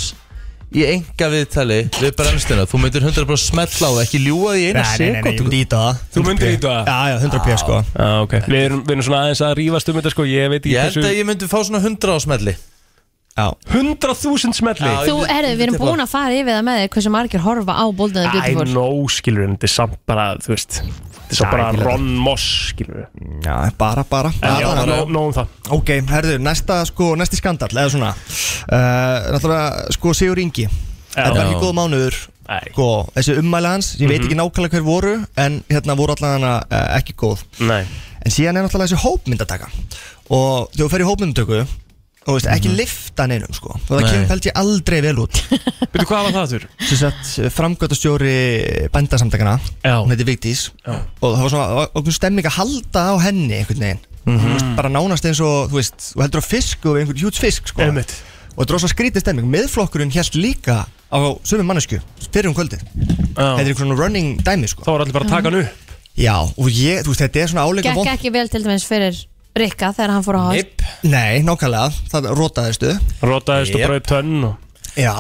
[SPEAKER 1] í enga viðtali við brennstuna þú myndir 100% bara smella á það ekki ljúa því eina
[SPEAKER 11] Nei, nei, nei, nei, ég
[SPEAKER 1] sekund
[SPEAKER 11] myndi íta það
[SPEAKER 3] Þú myndir íta það? Ah,
[SPEAKER 11] Já, já, 100 p sko
[SPEAKER 3] Já, ok Við erum, við erum svona aðeins að rífast um þetta, sko, ég veit
[SPEAKER 1] ég
[SPEAKER 3] ekki
[SPEAKER 1] held að ég myndi fá svona 100 á smelli
[SPEAKER 3] 100.000 smelli
[SPEAKER 2] Þú, herðu, við erum búin að fara yfir það með þér hversu margir horfa á Bold and the
[SPEAKER 3] I
[SPEAKER 2] Beautiful
[SPEAKER 3] know, skilur, en þetta er samt bara, þú veist Þetta er svo
[SPEAKER 11] Já,
[SPEAKER 3] bara
[SPEAKER 11] ég fíla
[SPEAKER 3] Ron Moss, skilur
[SPEAKER 11] Já, bara, bara
[SPEAKER 3] já,
[SPEAKER 11] bara,
[SPEAKER 3] nó- nóg um það
[SPEAKER 11] Ok, herðu, næsta, sko, næsti skandal eða svona uh, Náttúrulega, sko, Sigur Ingi Þetta var ekki góð mánuður sko, Þessi ummæli hans, ég veit
[SPEAKER 3] Mhm.
[SPEAKER 11] ekki nákvæmlega hver voru En hérna voru allan hana uh, ekki góð
[SPEAKER 3] Nei.
[SPEAKER 11] En síðan er náttúrulega þessi hópmyndataka Og þegar þú fer í hópmyndatöku Og veist, ekki lifta neinum, sko Og það
[SPEAKER 3] Nei.
[SPEAKER 11] kemur fælt ég aldrei vel út
[SPEAKER 3] Veitu hvað var það þurr?
[SPEAKER 11] Sem sagt, framgötastjóri bændasamtakana Já Hún heiti Vigdís Já Og það var svona okkur stemming að halda á henni einhvern veginn Þú veist, bara nánast eins og, þú veist, þú heldur á fisk og einhvern hjúts fisk, sko Einmitt Og þetta er rosa skrítið stemming Miðflokkurinn held líka á sömu mannesku Fyrir um kvöldið Þetta er einhvern svona running dæmi, sko Þá
[SPEAKER 3] var allir bara að taka hann upp
[SPEAKER 11] Já, og ég, þú veist, þetta er svona áleika
[SPEAKER 2] Gekk
[SPEAKER 11] vond
[SPEAKER 2] ekki vel til dæmis fyrir Rikka þegar hann fór á host
[SPEAKER 11] Nei, nákvæmlega, það rótaðistu
[SPEAKER 3] Rótaðist og
[SPEAKER 11] Jep.
[SPEAKER 3] bröð tönn og...
[SPEAKER 11] Já,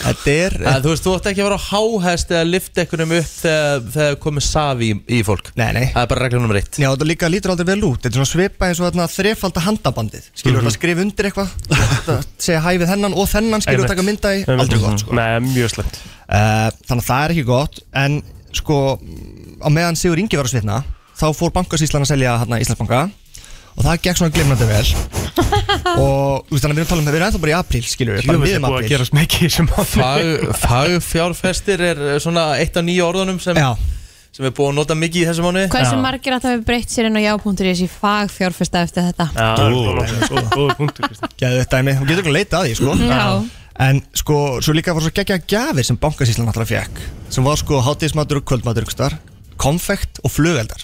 [SPEAKER 11] þetta er
[SPEAKER 1] Að, þú veist, þú ætti ekki að vera á háhest eða lifta einhvernum upp þegar þegar komið safi í, í fólk
[SPEAKER 11] Nei, nei
[SPEAKER 1] Það er bara regla nummer eitt
[SPEAKER 11] Já, þetta líka lítur aldrei vel út Þetta er svona svipa eins og þarna þrefalda handabandið Skilur þetta
[SPEAKER 1] Mhm.
[SPEAKER 11] að skrifa undir eitthvað þetta Segja hæ við hennan og þennan Skilur þetta taka mynda í Aldrei gott sko.
[SPEAKER 3] Mhm. Nei, mjög slemt
[SPEAKER 11] uh, Þannig að það er ekki gott En sko, á meðan Sigur Ingi var að svitna Þá fór bankasýslan að selja hérna Íslandsbanka Og það gekk svona glimnandi vel Og þú veist, þannig að við erum að tala um Við erum ennþá bara í apríl, skilur við Bara
[SPEAKER 1] Djöfull er
[SPEAKER 11] miðum
[SPEAKER 1] búið að
[SPEAKER 11] apríl
[SPEAKER 1] gerast
[SPEAKER 3] mikið sem
[SPEAKER 1] Fag- Fagfjárfestir er svona eitt af nýja orðunum sem, sem er búið að nota mikið í þessum mánu
[SPEAKER 2] Hversu margir að það hefur breytt sér inn á já.is í fagfjárfesta eftir þetta
[SPEAKER 3] Góða punktur
[SPEAKER 11] Gæðu þetta dæmi, hún getur ekki að leita að því sko.
[SPEAKER 2] Já.
[SPEAKER 11] En sko, svo líka voru svo geggja gjafir sem bankasýslan alltaf fekk Sem var sko hátíðismatur og kvöldmatur ykkustar Konfekt og flugeldar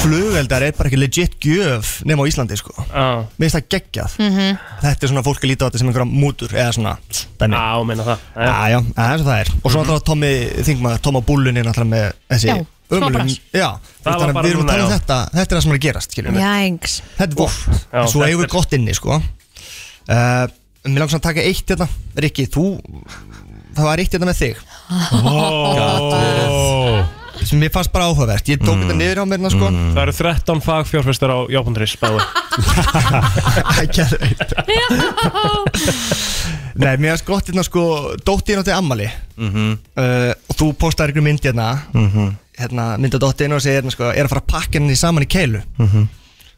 [SPEAKER 11] Flugeldar er bara ekki legit gjöf nema á Íslandi sko
[SPEAKER 3] ah.
[SPEAKER 11] Mér finnst það geggjað
[SPEAKER 2] Mhm.
[SPEAKER 11] Þetta er svona fólk að líta á þetta sem einhverja mútur Eða svona dæmi
[SPEAKER 3] Já, Mhm. meina það
[SPEAKER 11] Já, já, það er svo það er Og svo alltaf Tommy, þingmaður, Tommy Bullunni Alltaf með þessi
[SPEAKER 2] Já, smá
[SPEAKER 11] ömurlegu-
[SPEAKER 2] bras.
[SPEAKER 11] Já,
[SPEAKER 3] Það var
[SPEAKER 11] þannig að
[SPEAKER 3] bara
[SPEAKER 11] við erum að
[SPEAKER 3] núna,
[SPEAKER 11] tala um
[SPEAKER 3] já.
[SPEAKER 11] þetta Þetta er það sem er að gerast, skiljum við
[SPEAKER 2] Jængs
[SPEAKER 11] Þetta er vort,
[SPEAKER 3] Já,
[SPEAKER 11] svo
[SPEAKER 3] þetta
[SPEAKER 11] eigum við
[SPEAKER 3] er-
[SPEAKER 11] gott inni sko uh, Mér langar svona að taka eitt hérna Rikki, þú Það var eitt hérna með þig
[SPEAKER 3] oh.
[SPEAKER 11] Sem mér fannst bara áhugavert Ég
[SPEAKER 3] Mm.
[SPEAKER 11] tók þetta niður á mér hérna, sko
[SPEAKER 3] Það eru 13 fagfjárfestar á Jópundris bæði
[SPEAKER 11] Nei, mér fannst gott hérna sko Dóttin átti ammali uh, Og þú postar ykkur mynd hérna Hérna, mynda dóttin og segir hérna sko Er að fara að pakka henni saman í keilu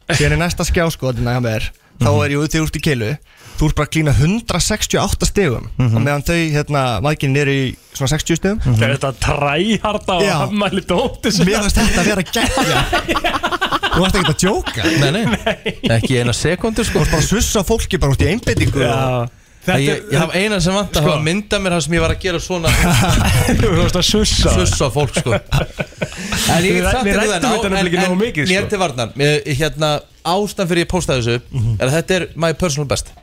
[SPEAKER 11] Þegar er næsta skjá sko hérna, hjá mér, Þá er ég út þegar út í keilu Þú ert bara að klína 168 stegum
[SPEAKER 3] Mhm.
[SPEAKER 11] Og meðan þau, hérna, maðginn er í svona 60 stegum
[SPEAKER 3] Það er þetta træharta
[SPEAKER 11] Já.
[SPEAKER 3] og afmæli dóttis
[SPEAKER 11] Mér finnst þetta að vera geggja Þú varst ekki að djóka
[SPEAKER 1] Nei, nei, ekki eina sekundu
[SPEAKER 11] Þú
[SPEAKER 1] sko
[SPEAKER 11] varst bara að sussa fólki bara út í einbyttingu
[SPEAKER 1] Já.
[SPEAKER 11] Þetta
[SPEAKER 1] Ég,
[SPEAKER 11] er-
[SPEAKER 1] ég haf eina sem vant að
[SPEAKER 11] Sko.
[SPEAKER 1] hafa mynda mér það sem ég var að gera svona Þú
[SPEAKER 3] veist að sussa
[SPEAKER 1] Sussa á fólk sko En ég
[SPEAKER 3] Við-
[SPEAKER 1] get sagt
[SPEAKER 3] við
[SPEAKER 1] þér
[SPEAKER 3] ræddum þetta
[SPEAKER 1] en,
[SPEAKER 3] nefnilega ekki nógu mikið,
[SPEAKER 1] mér
[SPEAKER 3] sko.
[SPEAKER 1] til varnar Mér- Hérna ástan fyrir ég postaði þessu
[SPEAKER 3] Mhm.
[SPEAKER 1] er að þetta er my personal best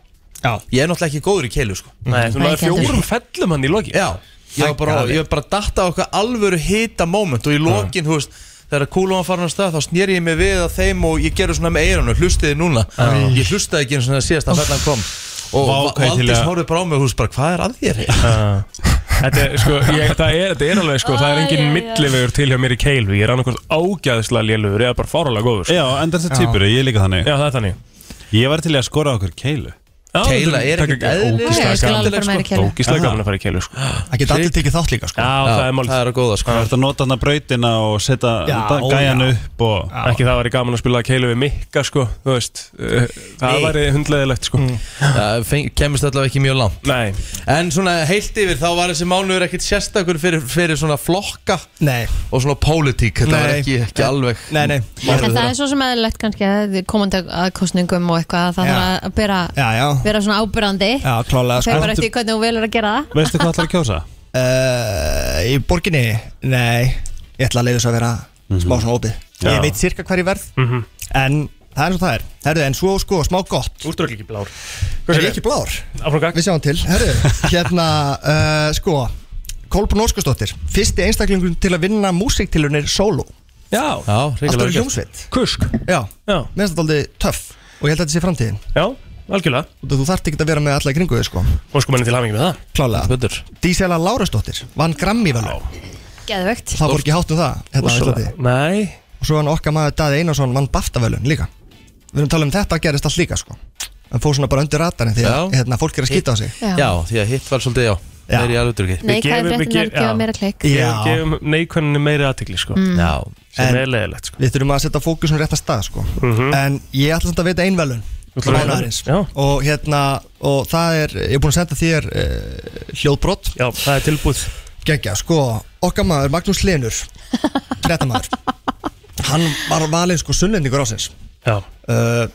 [SPEAKER 11] Já
[SPEAKER 1] Ég er náttúrulega ekki góður í keilu sko
[SPEAKER 3] Nei, þú náður fjórum fellum hann í loki
[SPEAKER 1] Já, ég var bara, ég var bara að datta á okkar alvöru hita moment og í lokin, þú veist Þegar kúlum var farin að stað, þá snýri ég mig við að þeim og ég gerði svona með eirunum, hlustiði núna Ég hlustaði ekki eins og það síðast að fellan kom Og
[SPEAKER 3] Vá,
[SPEAKER 1] Va-
[SPEAKER 3] hvað ég til
[SPEAKER 1] Valdís
[SPEAKER 3] að-
[SPEAKER 1] horfði bara á mig, þú veist bara, hvað er að þér?
[SPEAKER 3] Þetta er, sko, ég, það er, þetta er alveg sko, það er engin millivegur til hjá mér í keilu Ég er annarkvæmt ágæðislega lélugur eða bara fáralega góður sko.
[SPEAKER 5] Já, en þetta er týpur, ég er líka þannig
[SPEAKER 3] Já, það er þannig
[SPEAKER 5] Ég var til í að skora okkur keilu
[SPEAKER 3] Já, Keila er ekkert eðlilega
[SPEAKER 5] Ógeðslega
[SPEAKER 3] skemmtileg,
[SPEAKER 5] gaman.
[SPEAKER 3] sko. Nei, ég skal alveg fara í keilu. Ógeðslega gaman að fara í keilu sko.
[SPEAKER 11] Það geta allir tekið þátt líka sko
[SPEAKER 3] Já, það er málið.
[SPEAKER 1] Það er að góða sko
[SPEAKER 5] Það er að nota hann að brautina og setja
[SPEAKER 11] Já,
[SPEAKER 5] þetta
[SPEAKER 11] ó,
[SPEAKER 5] gæjan
[SPEAKER 11] já.
[SPEAKER 5] upp og
[SPEAKER 3] Ekki það væri gaman að spila keilu við Mikka sko, þú veist uh, Það
[SPEAKER 1] Nei.
[SPEAKER 3] væri hundleðilegt sko
[SPEAKER 1] Það feng- kemist allavega ekki mjög langt
[SPEAKER 3] Nei.
[SPEAKER 1] En svona heilt yfir þá var þessi mánuður ekkit sérstakur fyrir, fyrir svona flokka
[SPEAKER 11] Nei.
[SPEAKER 1] og svona pólitík Þetta var
[SPEAKER 11] Nei.
[SPEAKER 1] ekki, ekki alveg
[SPEAKER 11] Nei, nei.
[SPEAKER 1] mánuður
[SPEAKER 2] En það
[SPEAKER 1] þeirra.
[SPEAKER 2] er svo sem eðlilegt kannski að komandi að kostningum og eitthvað að það
[SPEAKER 11] Já.
[SPEAKER 2] þarf að bera,
[SPEAKER 11] Já, já.
[SPEAKER 2] vera svona ábyrrandi
[SPEAKER 11] Já, klálega sko.
[SPEAKER 2] Þegar bara eftir hvernig þú velur að gera það
[SPEAKER 5] Veistu hvað ætlar að kjósa?
[SPEAKER 11] Uh, í borginni? Nei, ég ætla að leiðis að vera
[SPEAKER 10] Mm.
[SPEAKER 11] smá svona opið
[SPEAKER 3] Já.
[SPEAKER 11] Ég veit cirka hver ég verð
[SPEAKER 3] Mhm.
[SPEAKER 11] En það er eins og það er Herðu, en svo sko, smá gott
[SPEAKER 3] Þú ert örugglega ekki blár
[SPEAKER 11] Er ég ekki blár? Við sjáum til Herðu, hérna, uh, sko Kolbrun Óskarsdóttir Fyrsti einstaklingur til að vinna músiktilunir solo
[SPEAKER 3] Já,
[SPEAKER 1] já
[SPEAKER 11] Alltaf er hljómsveit
[SPEAKER 3] Kusk
[SPEAKER 11] Já,
[SPEAKER 3] Já.
[SPEAKER 11] mér finnst þetta aldrei töff Og ég held að þetta sé framtíðin
[SPEAKER 3] Já, algjörlega
[SPEAKER 11] Og þú þarft ekki að vera með alla í kringu þig sko
[SPEAKER 3] Og sko menni til hafingi með það
[SPEAKER 11] Klálega Dísela Lárasdóttir vann Grammy velum
[SPEAKER 2] Geðvögt
[SPEAKER 11] Það voru ekki hátt um það hérna á Íslandi
[SPEAKER 3] Nei
[SPEAKER 11] Og svo hann okkar maður Daði Einarsson vann Baftavelun líka Við erum að tala um þetta gerist allt líka sko
[SPEAKER 12] hann fór svona bara undir ratarinn því að
[SPEAKER 1] Já.
[SPEAKER 12] hérna, fólk er að skita á sig
[SPEAKER 2] Já.
[SPEAKER 1] Já, því að hitt var svolítið já Það er í alveg drukki
[SPEAKER 2] Neikvæðu fréttinnar gefa meira klikk
[SPEAKER 12] Já.
[SPEAKER 3] gefum neikvæðinni meiri aðtikli sko.
[SPEAKER 2] Mm. Já.
[SPEAKER 3] sem
[SPEAKER 12] En
[SPEAKER 3] er leðilegt sko. Mhm.
[SPEAKER 12] Við þurfum að setja fókusun rétt að stað sko. En ég ætla samt að veita einvelun
[SPEAKER 3] ætlar að veita-
[SPEAKER 12] og, hérna, og það er, ég er búin að senda þér uh, hljóðbrott
[SPEAKER 3] Já, það er tilbúð
[SPEAKER 12] Gekja, sko, okkar maður Magnús Lenur Gretamaður Hann var valinn sko sunnendingur ásins
[SPEAKER 3] Já
[SPEAKER 12] uh,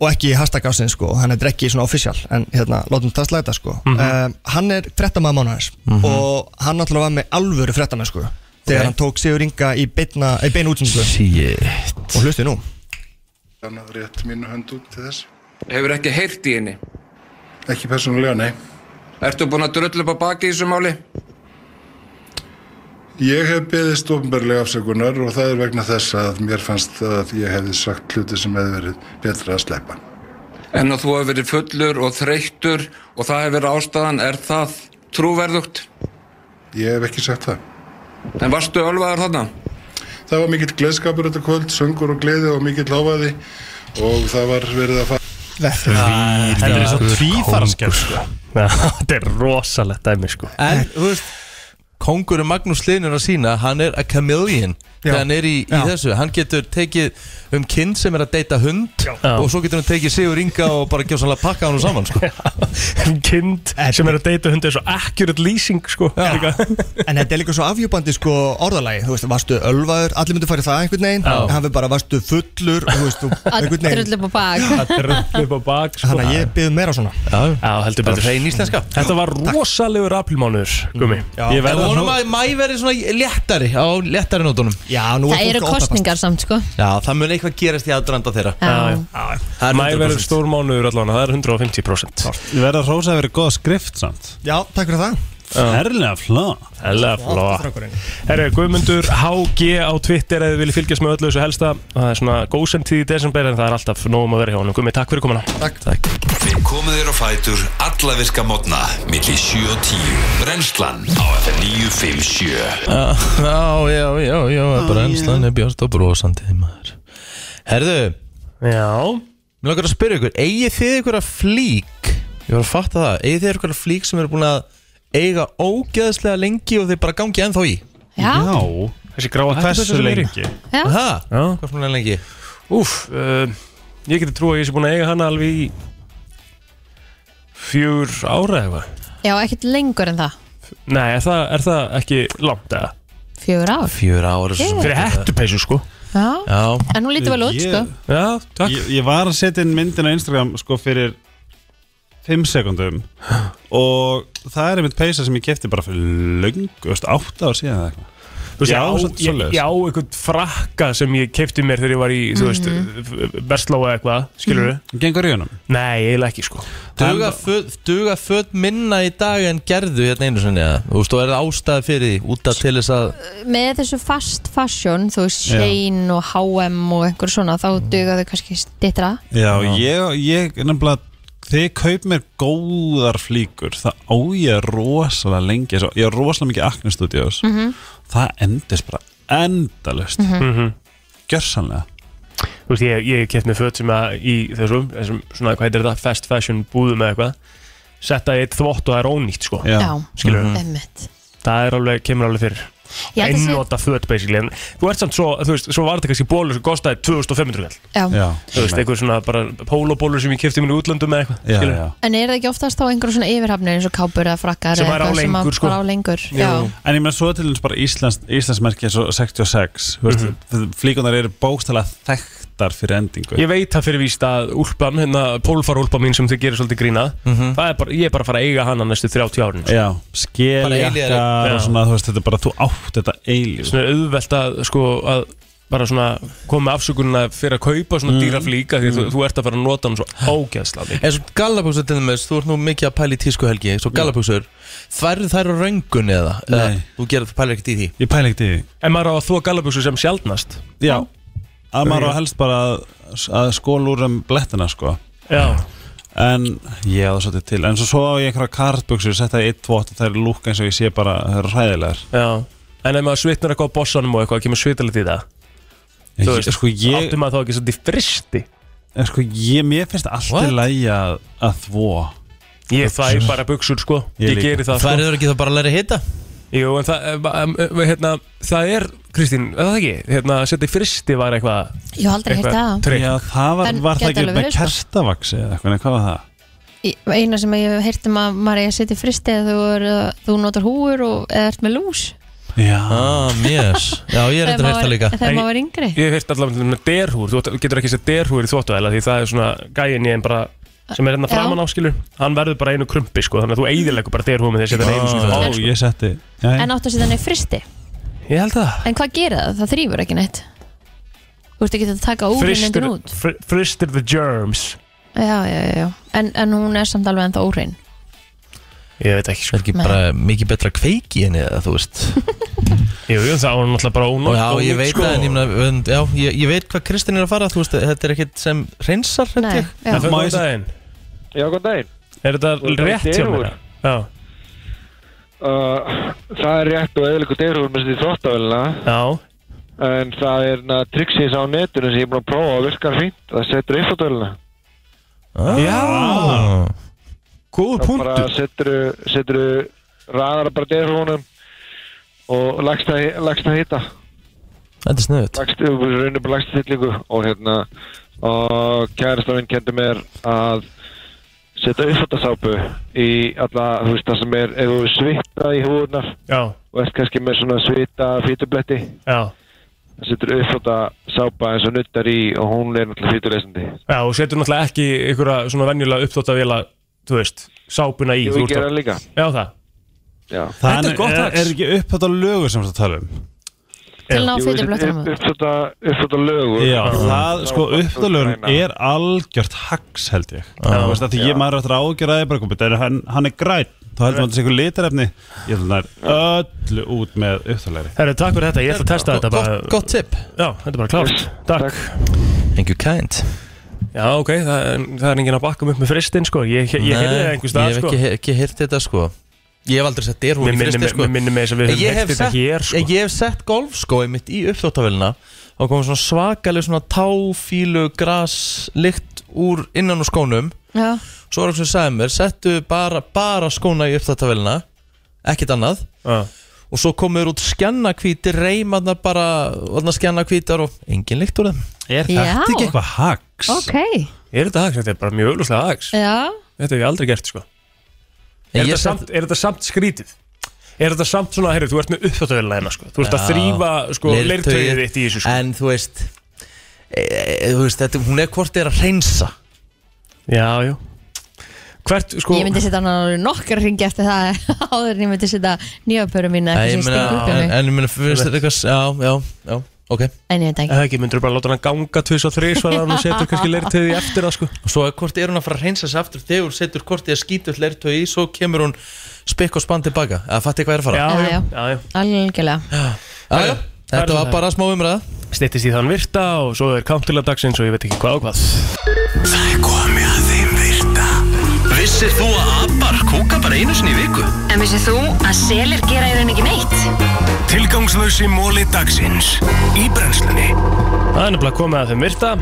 [SPEAKER 12] Og ekki hashtag ásins sko Hann er ekki svona official En hérna, látum það slæta sko
[SPEAKER 3] Mhm.
[SPEAKER 12] uh, Hann er frettamæður mánuðins
[SPEAKER 1] Mhm.
[SPEAKER 12] Og hann náttúrulega var með alvöru frettamæður sko Þegar
[SPEAKER 1] Ok.
[SPEAKER 12] hann tók Sigur Inga í beina, í beina útsendingu
[SPEAKER 1] Shit
[SPEAKER 12] Og hlustið nú
[SPEAKER 10] Þannig að rétt mínu hönd út til þess.
[SPEAKER 13] Hefur ekki heyrt í henni?
[SPEAKER 10] Ekki persónulega, nei.
[SPEAKER 13] Ertu búinn að dröll upp á baki í þessu máli?
[SPEAKER 10] Ég hef beðist ofnbarlega afsökunar og það er vegna þess að mér fannst að ég hefði sagt hluti sem hefði verið betra að sleppa.
[SPEAKER 13] En að þú hefur verið fullur og þreyttur og það hefur verið ástæðan, er það trúverðugt?
[SPEAKER 10] Ég hef ekki sagt það.
[SPEAKER 13] En varstu ölvaðar þarna?
[SPEAKER 10] Það var mikill gleðskapur þetta kvöld, söngur og gleði og mikill hávaði og það var verið að fara.
[SPEAKER 3] Þetta er svo
[SPEAKER 10] Kóngur.
[SPEAKER 3] tvífaraskjöld sko. Já, Þetta er rosalegt dæmi sko.
[SPEAKER 1] En, þú veist Kongurinn Magnús Linur að sína, hann er a chameleon
[SPEAKER 3] Já.
[SPEAKER 1] Þegar hann er í, í
[SPEAKER 3] Já.
[SPEAKER 1] þessu Hann getur tekið um kinn sem er að deyta hund Og svo getur hann tekið Sigur Inga og bara gjá sannlega pakka hann saman sko.
[SPEAKER 3] Kind sem er að deyta hundi er svo accurate lýsing sko. Líka.
[SPEAKER 12] En þetta er líka svo afhjúbandi sko orðalagi Þú veist, varstu ölvaður, allir myndu farið það einhvern veginn
[SPEAKER 3] Já.
[SPEAKER 12] Hann við bara varstu fullur og Þú veist, þú
[SPEAKER 2] Að
[SPEAKER 12] einhvern veginn
[SPEAKER 2] drullu upp á bak
[SPEAKER 3] upp á bak sko.
[SPEAKER 12] Þannig að ég byggði meira svona
[SPEAKER 1] Já,
[SPEAKER 3] heldur
[SPEAKER 1] Bara
[SPEAKER 3] betur
[SPEAKER 1] hrein íslenska.
[SPEAKER 3] Þetta var rosalegur apilmánuður Gumi
[SPEAKER 1] Ég vonum að mæ verði svona léttari á léttari nótunum
[SPEAKER 12] Já,
[SPEAKER 2] Það eru kostningar samt sko
[SPEAKER 1] Já, það mun eitthvað gerast í aðdrandar þeirra
[SPEAKER 2] Já. Já, já.
[SPEAKER 1] Það er
[SPEAKER 3] Mæ verður
[SPEAKER 1] 100%.
[SPEAKER 3] stór mánuður allan Það er 150%
[SPEAKER 5] Ég verða að rósa að vera góð skrift samt
[SPEAKER 12] Já, takk fyrir það
[SPEAKER 5] Herlega flá
[SPEAKER 3] Herlega
[SPEAKER 1] Ah.
[SPEAKER 3] flá Herru, Guðmundur HG á Twitter eða vilja fylgjast með öllu þessu helsta Það er svona góðsendtíð í desember en það er alltaf nógum að vera hjá honum Guðmi, takk fyrir komuna
[SPEAKER 12] Takk,
[SPEAKER 1] takk.
[SPEAKER 11] Við komum þér á fætur alla virka mótna millir 7 og 10 Brenslan á FM 957
[SPEAKER 1] Já, já, já, já, já Brennslan er björst og brosandi maður Herðu
[SPEAKER 3] Já
[SPEAKER 1] Mér langar að spyrja ykkur, eigið þið ykkur að flík Ég var að fatta það, eigið þið ykkur að flík sem eru búin að eiga ógeðslega lengi og þið bara gangi ennþá í
[SPEAKER 2] Já.
[SPEAKER 3] Þessi gráa
[SPEAKER 1] Hversu
[SPEAKER 3] hættu
[SPEAKER 1] lengi? Já. Aha,
[SPEAKER 3] Hvað
[SPEAKER 1] svona lengi?
[SPEAKER 3] Úf, uh, ég geti trú að ég sé búin að eiga hana alveg í Fjör ára eitthvað
[SPEAKER 2] Já, ekkert lengur en það
[SPEAKER 3] Nei, er það, er það ekki langt eða?
[SPEAKER 2] Fjögur ár
[SPEAKER 1] Fjör ára
[SPEAKER 2] svo sem-
[SPEAKER 3] Fyrir hettupeysu sko
[SPEAKER 2] Já, en hún lítið vel út sko
[SPEAKER 3] Já, takk
[SPEAKER 5] Ég, ég var að setja inn myndin á Instagram sko fyrir 5 sekundum og það er einmitt peysa sem ég kefti bara fyrir löngu, þú veist, 8 ár síðan eða eitthvað
[SPEAKER 3] Þú veist,
[SPEAKER 5] Já,
[SPEAKER 3] já,
[SPEAKER 5] svolítið
[SPEAKER 3] ég,
[SPEAKER 5] svoleiðis.
[SPEAKER 3] ég á einhvern frakka sem ég kefti mér þegar ég var í, þú veist,
[SPEAKER 2] Mhm.
[SPEAKER 3] Vestló eða eitthvað, skilur við?
[SPEAKER 5] Gengur í honum?
[SPEAKER 3] Nei, eiginlega ekki, sko.
[SPEAKER 1] Duga föt, duga föt minna í dag en gerðu hérna einu sinni eða? Þú veist, og er það ástæði fyrir því út af til þess að
[SPEAKER 2] Með þessu fast fashion, þú veist
[SPEAKER 1] Já.
[SPEAKER 2] Shane og H&M og einhver svona þá duga þau kannski stittra
[SPEAKER 5] Já, ég, ég nefnilega þegar ég kaup mér góðar flíkur það á ég rosalega lengi svo, ég er rosalega mikið akne studios
[SPEAKER 2] Mhm.
[SPEAKER 5] það endist bara endalust
[SPEAKER 2] Mhm.
[SPEAKER 3] Mhm.
[SPEAKER 5] gjörsanlega
[SPEAKER 3] Þú veist, ég, ég kefti mér föt sem að í þessum, þessum svona, hvað heitir þetta, fast fashion búðum eða eitthvað, setta í eitt þvott og það er ónýtt, sko.
[SPEAKER 5] Já.
[SPEAKER 3] Skilur við?
[SPEAKER 2] Einmitt.
[SPEAKER 3] Það er alveg, kemur alveg fyrir.
[SPEAKER 2] Ég held að Mhm. sé-
[SPEAKER 3] Einnota föt, basically. En þú ert samt svo, þú veist, svo var þetta kannski bólur sem kostaði 2500 vel.
[SPEAKER 2] Já. Já.
[SPEAKER 3] Þú veist, einhver svona bara pólobólur sem ég kefti mér í útlöndum eða eitthvað,
[SPEAKER 5] Já,
[SPEAKER 3] skilur
[SPEAKER 5] já.
[SPEAKER 2] En er það ekki oftast þá einhver svona yfirhafnir eins og kápur eða frakkar
[SPEAKER 5] Sem
[SPEAKER 2] eða
[SPEAKER 5] er á
[SPEAKER 2] eitthvað sem
[SPEAKER 5] lengur,
[SPEAKER 2] að-
[SPEAKER 5] sko.
[SPEAKER 2] bara á lengur Já,
[SPEAKER 5] en ég meina svo til þess bara Íslands, Íslandsmerki eins og 66 mm
[SPEAKER 3] Mhm.
[SPEAKER 5] -hmm. flíkunar eru bókstælega þekktar fyrir endingu
[SPEAKER 3] Ég veit það fyrir víst að úlpan, hérna pólfarúlpa mín sem þið gerir svolítið grína Það er bara, ég er bara að fara að eiga hana næstu 30 árin sko.
[SPEAKER 5] Já, skeljakar og
[SPEAKER 3] Já.
[SPEAKER 5] svona, þú veist, þetta er bara, þú átt þetta eilíf
[SPEAKER 3] Svona auðvelt að, sko, að bara svona koma með afsökunina fyrir að kaupa
[SPEAKER 1] Mm.
[SPEAKER 3] svona mm. dýraflíka því
[SPEAKER 1] Mm.
[SPEAKER 3] þú, þú ert að fara að nota hann svo ágæðsla mikið
[SPEAKER 1] En svo gallabuxur til dæmis, þú ert nú mikið að pæla í tísku helgi Svo gallabuxur, þær þær eru röngun eða? Eða
[SPEAKER 3] Nei.
[SPEAKER 1] Þú gerir pæla ekkert í því
[SPEAKER 5] Ég pæla ekkert í því
[SPEAKER 3] En maður á að þóa gallabugsu sem sjaldnast
[SPEAKER 5] Já, að maður á helst bara að, að skóla úr um blettina sko
[SPEAKER 3] Já.
[SPEAKER 5] En ég á það svolítið til En svo svo á ég einhverja kartbuxur Setta í 1-2 og þær lúka eins og ég sé bara Það eru hræðilegar
[SPEAKER 3] Já, en ef maður svitnar eitthvað á bossanum og eitthvað, kemur svitalegt í það
[SPEAKER 5] Ég- sko, ég-
[SPEAKER 3] áttu maður þá ekki svolítið fristi
[SPEAKER 5] En sko, ég, mér finnst alltaf lægi að, að þvó
[SPEAKER 3] Ég þvæ bara buksur sko Ég,
[SPEAKER 5] líka.
[SPEAKER 3] geri það sko
[SPEAKER 5] Færðu
[SPEAKER 1] ekki það bara að læra hita?
[SPEAKER 3] Jú, en það, em, em, em, hérna, það er, Kristín, er það ekki? Hérna, setja í fristi var eitthvað
[SPEAKER 2] Ég hef aldrei heyrt það.
[SPEAKER 3] trikk.
[SPEAKER 5] Já, það var,
[SPEAKER 2] En
[SPEAKER 5] var það
[SPEAKER 2] gæti
[SPEAKER 5] ekki
[SPEAKER 2] alveg
[SPEAKER 5] með
[SPEAKER 2] verið, sko.
[SPEAKER 5] kerstavaksi eða eitthvað, nei, hvað var það?
[SPEAKER 2] Í- Eina sem ég hef heyrt um að maður er að setja í fristi eða þú, er, uh, þú notar húur og eða ert með lús
[SPEAKER 5] Já,
[SPEAKER 1] ah, yes. Já, ég er eitthvað hægt
[SPEAKER 2] Þegar
[SPEAKER 1] það
[SPEAKER 2] maður-
[SPEAKER 1] líka
[SPEAKER 2] Þegar maður var yngri
[SPEAKER 3] Ég hef heyrt allavega með derhúr, þú átt- getur ekki sett derhúr í þvóttvæla því það er svona gæin í en bara sem er hérna
[SPEAKER 2] Já.
[SPEAKER 3] framan áskilur hann verður bara einu krumpi sko þannig að þú eigðilegur bara derhúr með því að setja hann einu sinni í
[SPEAKER 5] Ó,
[SPEAKER 3] þvott.
[SPEAKER 5] ég setti já,
[SPEAKER 2] sko. En áttu að setja hann í fristi
[SPEAKER 3] Ég held það
[SPEAKER 2] En hvað gera það? Það þrýfur ekki neitt Þú ert ekki að taka
[SPEAKER 3] Fristir,
[SPEAKER 2] óhreinindin út
[SPEAKER 3] fr fristir the germs
[SPEAKER 2] Já, já, já, já En, en hún er samt alveg ennþá óhrein
[SPEAKER 3] Ég veit ekki
[SPEAKER 1] sko Ekki bara mikið betra kveiki henni eða þú veist
[SPEAKER 3] Jú, jú, það var hann alltaf bara ónótt
[SPEAKER 1] Já, ég veit það
[SPEAKER 3] sko.
[SPEAKER 1] en ég, meina, en, já, ég, ég veit hvað Kristinn er að fara Þú veist, þetta er ekkert sem reynsar
[SPEAKER 2] Nei, já.
[SPEAKER 3] Það fyrir daginn
[SPEAKER 14] Já, góð daginn Þú
[SPEAKER 3] Er þetta
[SPEAKER 14] ert
[SPEAKER 3] rétt
[SPEAKER 14] með
[SPEAKER 3] hjá
[SPEAKER 14] derhúr?
[SPEAKER 3] mér? Já
[SPEAKER 14] uh, Það er rétt og eðlilega derhúr með þessi þvóttavélina
[SPEAKER 3] Já
[SPEAKER 14] En það er na, triksins á netinu sem ég er búin að prófa og virkar fínt Það setur uppfattavélina
[SPEAKER 1] Ah.
[SPEAKER 3] Já Góð
[SPEAKER 14] punktur Það bara setur, setur ræðara bara derhúnum Og lagst að, lagst að hita
[SPEAKER 1] Þetta er snöðut
[SPEAKER 14] lagst, við raunum bara lagst stillingu og hérna og kærastafinn kendi mér að setja uppfattasápu í alla, þú veist það sem er ef þú svita í húðunar
[SPEAKER 3] Já.
[SPEAKER 14] og ert kannski með svona svita fýtubletti
[SPEAKER 3] Já
[SPEAKER 14] setur uppfattasápa eins og nuttar í og hún er náttúrulega fýtuleysandi
[SPEAKER 3] Já, og setur náttúrulega ekki einhverja svona venjulega uppþóttavila, þú veist, sápuna í
[SPEAKER 14] Jú,
[SPEAKER 3] þú
[SPEAKER 14] ég
[SPEAKER 3] ert
[SPEAKER 14] gera
[SPEAKER 3] að-
[SPEAKER 14] líka.
[SPEAKER 3] Já, það Þetta
[SPEAKER 5] Þannig
[SPEAKER 3] er gott
[SPEAKER 5] er,
[SPEAKER 3] hacks.
[SPEAKER 5] er ekki upphátt á lögur sem við erum að tala um
[SPEAKER 2] Til ná fitublöttunum út.
[SPEAKER 14] uppfatta lögur
[SPEAKER 5] Já, það, sko, uppdalurinn
[SPEAKER 14] Græna.
[SPEAKER 5] er algjört hags held ég Þú veist að því ég maður eftir ágjör að ég bara komið En hann, hann er græn, þá heldur maður þessi einhver litarefni Ég held að það er öllu út með uppdalegri
[SPEAKER 3] Herru, takk fyrir þetta, ég ætla að testa þetta bara
[SPEAKER 1] Gott tip
[SPEAKER 3] Já, þetta er bara klárt, takk.
[SPEAKER 1] Thank you kind
[SPEAKER 3] Já, ok, það, er- það er enginn að bakka mig upp með fristinn, sko Ég, ég, ég heyrði það einhvers
[SPEAKER 1] Ég
[SPEAKER 3] stað,
[SPEAKER 1] hef
[SPEAKER 3] sko
[SPEAKER 1] ekki, ekki heyrt þetta sko Ég hef aldrei sett derhúr
[SPEAKER 3] Mér
[SPEAKER 1] í
[SPEAKER 3] minnir-
[SPEAKER 1] fristi sko
[SPEAKER 3] mér minnir mig þess að við
[SPEAKER 1] En
[SPEAKER 3] höfum
[SPEAKER 1] ég
[SPEAKER 3] heyrt
[SPEAKER 1] hef
[SPEAKER 3] þetta
[SPEAKER 1] sett-
[SPEAKER 3] hér, sko.
[SPEAKER 1] en Ég hef sett golfskói mitt í uppþóttavélina og kom svona svakaleg svona táfílu gras lykt úr innan úr skónum
[SPEAKER 2] Já.
[SPEAKER 1] Svo var það sem sagði mér, settu bara, bara skóna í uppþóttavélina ekkert annað
[SPEAKER 3] Já.
[SPEAKER 1] og svo komur út skjannakvítir reymaðna bara, þarna skjannakvítar og engin lykt úr þeim
[SPEAKER 5] Er
[SPEAKER 2] þetta Já. ekki eitthvað
[SPEAKER 5] hags?
[SPEAKER 2] Ok,
[SPEAKER 3] Er þetta hags? Þetta er bara mjög auðvitað hags
[SPEAKER 2] já
[SPEAKER 3] Þetta hef ég aldrei gert, sko
[SPEAKER 1] Ég
[SPEAKER 3] Er þetta
[SPEAKER 1] set-
[SPEAKER 3] samt, er þetta samt skrítið? Er þetta samt svona, herru, þú ert með uppþóttavila hérna, sko Þú ert að
[SPEAKER 1] Já.
[SPEAKER 3] þrýfa, sko,
[SPEAKER 1] Leirtauið. Eh.
[SPEAKER 3] leirtögið þitt í þessu, sko
[SPEAKER 1] En þú veist, e, e, þú veist þetta, hún er hvort er að reynsa
[SPEAKER 3] Já, já Hvert, sko
[SPEAKER 2] Ég myndi setja hann á nokkar ringi eftir það áður en ég myndi setja nýjapöru mín
[SPEAKER 1] Nei,
[SPEAKER 2] eftir
[SPEAKER 1] ég
[SPEAKER 2] sem stingur
[SPEAKER 1] meina,
[SPEAKER 2] upp um
[SPEAKER 1] en,
[SPEAKER 2] mig
[SPEAKER 1] en ég meina, finnst þetta eitthvað, já, já, já, ok
[SPEAKER 2] En ég veit ekki
[SPEAKER 3] Eða Eh, ekki, myndur bara láta hann ganga tvis og þrís og hann setur kannski leirtöði eftir það, sko
[SPEAKER 1] Og svo er hvort er hún að fara að reynsa sig aftur þegar hún setur hvort ég að skýta öll leirtöð í svo kemur hún spekk og spann tilbaka eða fatti hvað er að fara
[SPEAKER 2] Já, já,
[SPEAKER 3] já,
[SPEAKER 2] algjörlega
[SPEAKER 1] já, þetta var bara smá umræða
[SPEAKER 3] Stittist í þann virta og svo er countilla dagsins og ég veit ekki hvað og hvað
[SPEAKER 4] Það er komið að þeim virta Vissir þú að abar kúka bara einu sinni í viku?
[SPEAKER 15] En vissið þú að selir gera í raun ekki neitt?
[SPEAKER 4] Tilgangslösi móli dagsins Í brennslunni
[SPEAKER 3] Það er nefnilega komið að þeim virta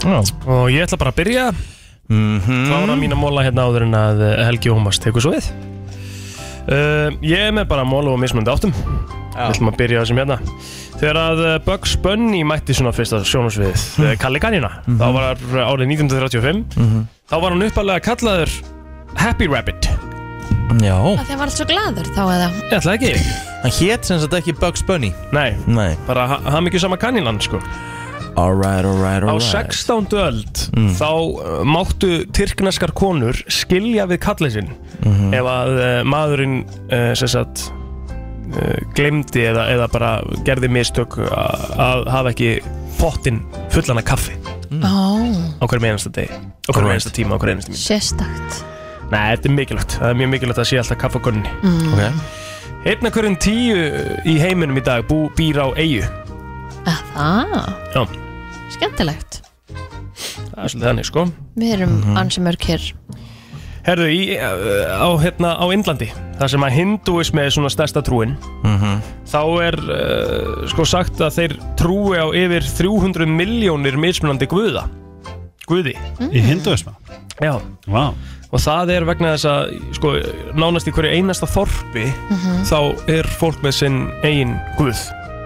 [SPEAKER 1] já.
[SPEAKER 3] og ég ætla bara að byrja mm -hmm. Klára mína móla hérna áður en að eh, Helgi Ómas tekur svo við uh, Ég er með bara móla og mismunandi áttum Við ætlum að byrja á þessum hérna Þegar að eh, Bugs Bunny mætti svona fyrsta sjónusviðið mm. Kalli Kanina
[SPEAKER 1] Mhm.
[SPEAKER 3] þá var eh, árið 1935
[SPEAKER 1] Mhm.
[SPEAKER 3] þá var hann uppalega kallaður Happy Rabbit
[SPEAKER 1] Já
[SPEAKER 2] Það þeim var allt svo gladur þá eða
[SPEAKER 3] Ég ætla ekki
[SPEAKER 1] Hann hét sem sagt ekki Bugs Bunny
[SPEAKER 3] Nei,
[SPEAKER 1] Nei.
[SPEAKER 3] bara ha hafði mikið sama kannilan sko
[SPEAKER 1] Alright, alright, Mhm.
[SPEAKER 3] Á
[SPEAKER 1] alright
[SPEAKER 3] 16. öld þá uh, máttu tyrkneskar konur skilja við kallið sinn
[SPEAKER 1] Mhm.
[SPEAKER 3] ef að uh, maðurinn uh, sem sagt uh, glemdi eða, eða bara gerði mistök að að hafa ekki pottin fullan af kaffi
[SPEAKER 2] Ó,
[SPEAKER 3] á hverjum einasta degi á hverjum einasta tíma, á hverjum einasta mínu
[SPEAKER 2] sérstakt
[SPEAKER 3] Nei, þetta er mikilvægt, það er mjög mikilvægt að sé alltaf kaffi á konunni
[SPEAKER 2] Mm. Ok.
[SPEAKER 3] Einn af hverjum tíu í heiminum í dag bú, býr á eigu
[SPEAKER 2] Að Það,
[SPEAKER 3] Já,
[SPEAKER 2] skemmtilegt
[SPEAKER 3] það er svolítið þannig sko
[SPEAKER 2] Við erum ansi mörg hér
[SPEAKER 3] Herðu, í, uh, á, hérna, á Indlandi, þar sem að hinduismi er svona stærsta trúin,
[SPEAKER 1] Mhm.
[SPEAKER 3] þá er eh, uh, sko sagt að þeir trúi á yfir 300 miljónir mismunandi guða Guði
[SPEAKER 5] Í hinduisma?
[SPEAKER 3] Já
[SPEAKER 5] wow.
[SPEAKER 3] Og það er vegna þess að sko, nánast í hverju einasta þorpi
[SPEAKER 5] Mhm.
[SPEAKER 3] þá er fólk með sinn eigin guð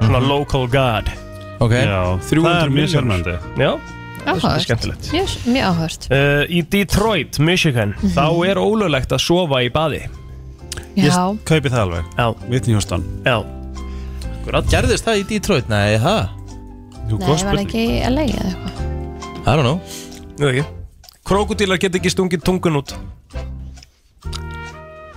[SPEAKER 3] svona local god
[SPEAKER 1] Ok
[SPEAKER 5] Já, það er
[SPEAKER 3] 300
[SPEAKER 5] mjög
[SPEAKER 3] miljónir.
[SPEAKER 5] sérmændi
[SPEAKER 3] Já, það er
[SPEAKER 2] Áhugavert.
[SPEAKER 3] skemmtilegt
[SPEAKER 2] Mjög, mjög áhört
[SPEAKER 3] Uh, í Detroit, Michigan þá er ólöglegt að sofa í baði
[SPEAKER 2] Já,
[SPEAKER 5] kaupi það alveg
[SPEAKER 3] Já
[SPEAKER 5] Whitney Houston
[SPEAKER 3] Já Hvernig
[SPEAKER 1] gerðist það í Detroit? Nei, það
[SPEAKER 5] Jú,
[SPEAKER 2] nei, var ekki að leggja eða eitthvað
[SPEAKER 1] I don't know
[SPEAKER 3] Nú ekki Krokodílar get ekki stungið tungun út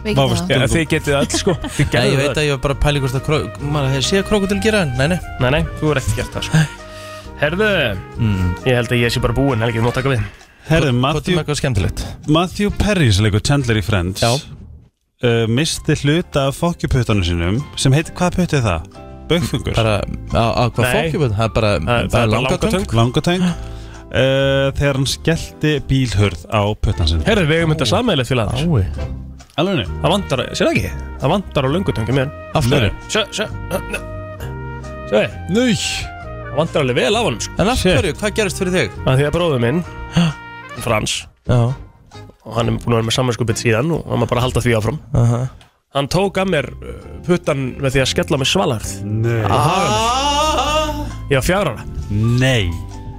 [SPEAKER 2] Við
[SPEAKER 1] Má
[SPEAKER 2] getum
[SPEAKER 1] veist-
[SPEAKER 2] það.
[SPEAKER 3] ja, Þið getið all sko Þið
[SPEAKER 1] Nei,
[SPEAKER 3] gerðuð
[SPEAKER 1] ég veit
[SPEAKER 3] það.
[SPEAKER 1] að ég var bara að pæli hvort að kró... maður hefði séð krokodil gera en, nei, nei
[SPEAKER 3] Nei, nei, þú er ekkert gert það sko Herðu, ég held að ég sé bara búinn Helgi, þú mátt taka við
[SPEAKER 5] Herðu, Matthew
[SPEAKER 1] Hvað er skemmtilegt?
[SPEAKER 5] Matthew Perry sem leikur Chandler í Friends Já uh, Misti hluta af fokkjuputtunum sínum sem heitir, hvað putt er það? Bögfungur
[SPEAKER 1] Bara, á, á hvað
[SPEAKER 5] Nei.
[SPEAKER 1] fokkjuböð? Það er bara, bara langatöng
[SPEAKER 5] Langatöng uh, Þegar hann skellti bílhörð á puttan sinni
[SPEAKER 3] Herðu, við hefum þetta sammeðlega til aðeins
[SPEAKER 1] Ái
[SPEAKER 5] Alveg niður
[SPEAKER 3] Það vantar, sér það ekki? Það vantar á löngutöngum mér
[SPEAKER 1] Af hverju?
[SPEAKER 3] Sjö, sjö, sjö
[SPEAKER 5] Nau
[SPEAKER 3] Það vantar alveg vel af honum sko
[SPEAKER 1] En af hverju, hvað gerist fyrir þig?
[SPEAKER 3] Að því að bróður minn, Frans
[SPEAKER 1] Já
[SPEAKER 3] og hann er búin að vera með samverðskupið síðan og hann var bara að halda því áfram
[SPEAKER 1] Aha.
[SPEAKER 3] Hann tók að mér uh, puttan með því að skella með svalarð
[SPEAKER 5] Nei
[SPEAKER 3] Ég var fjár ára
[SPEAKER 5] Nei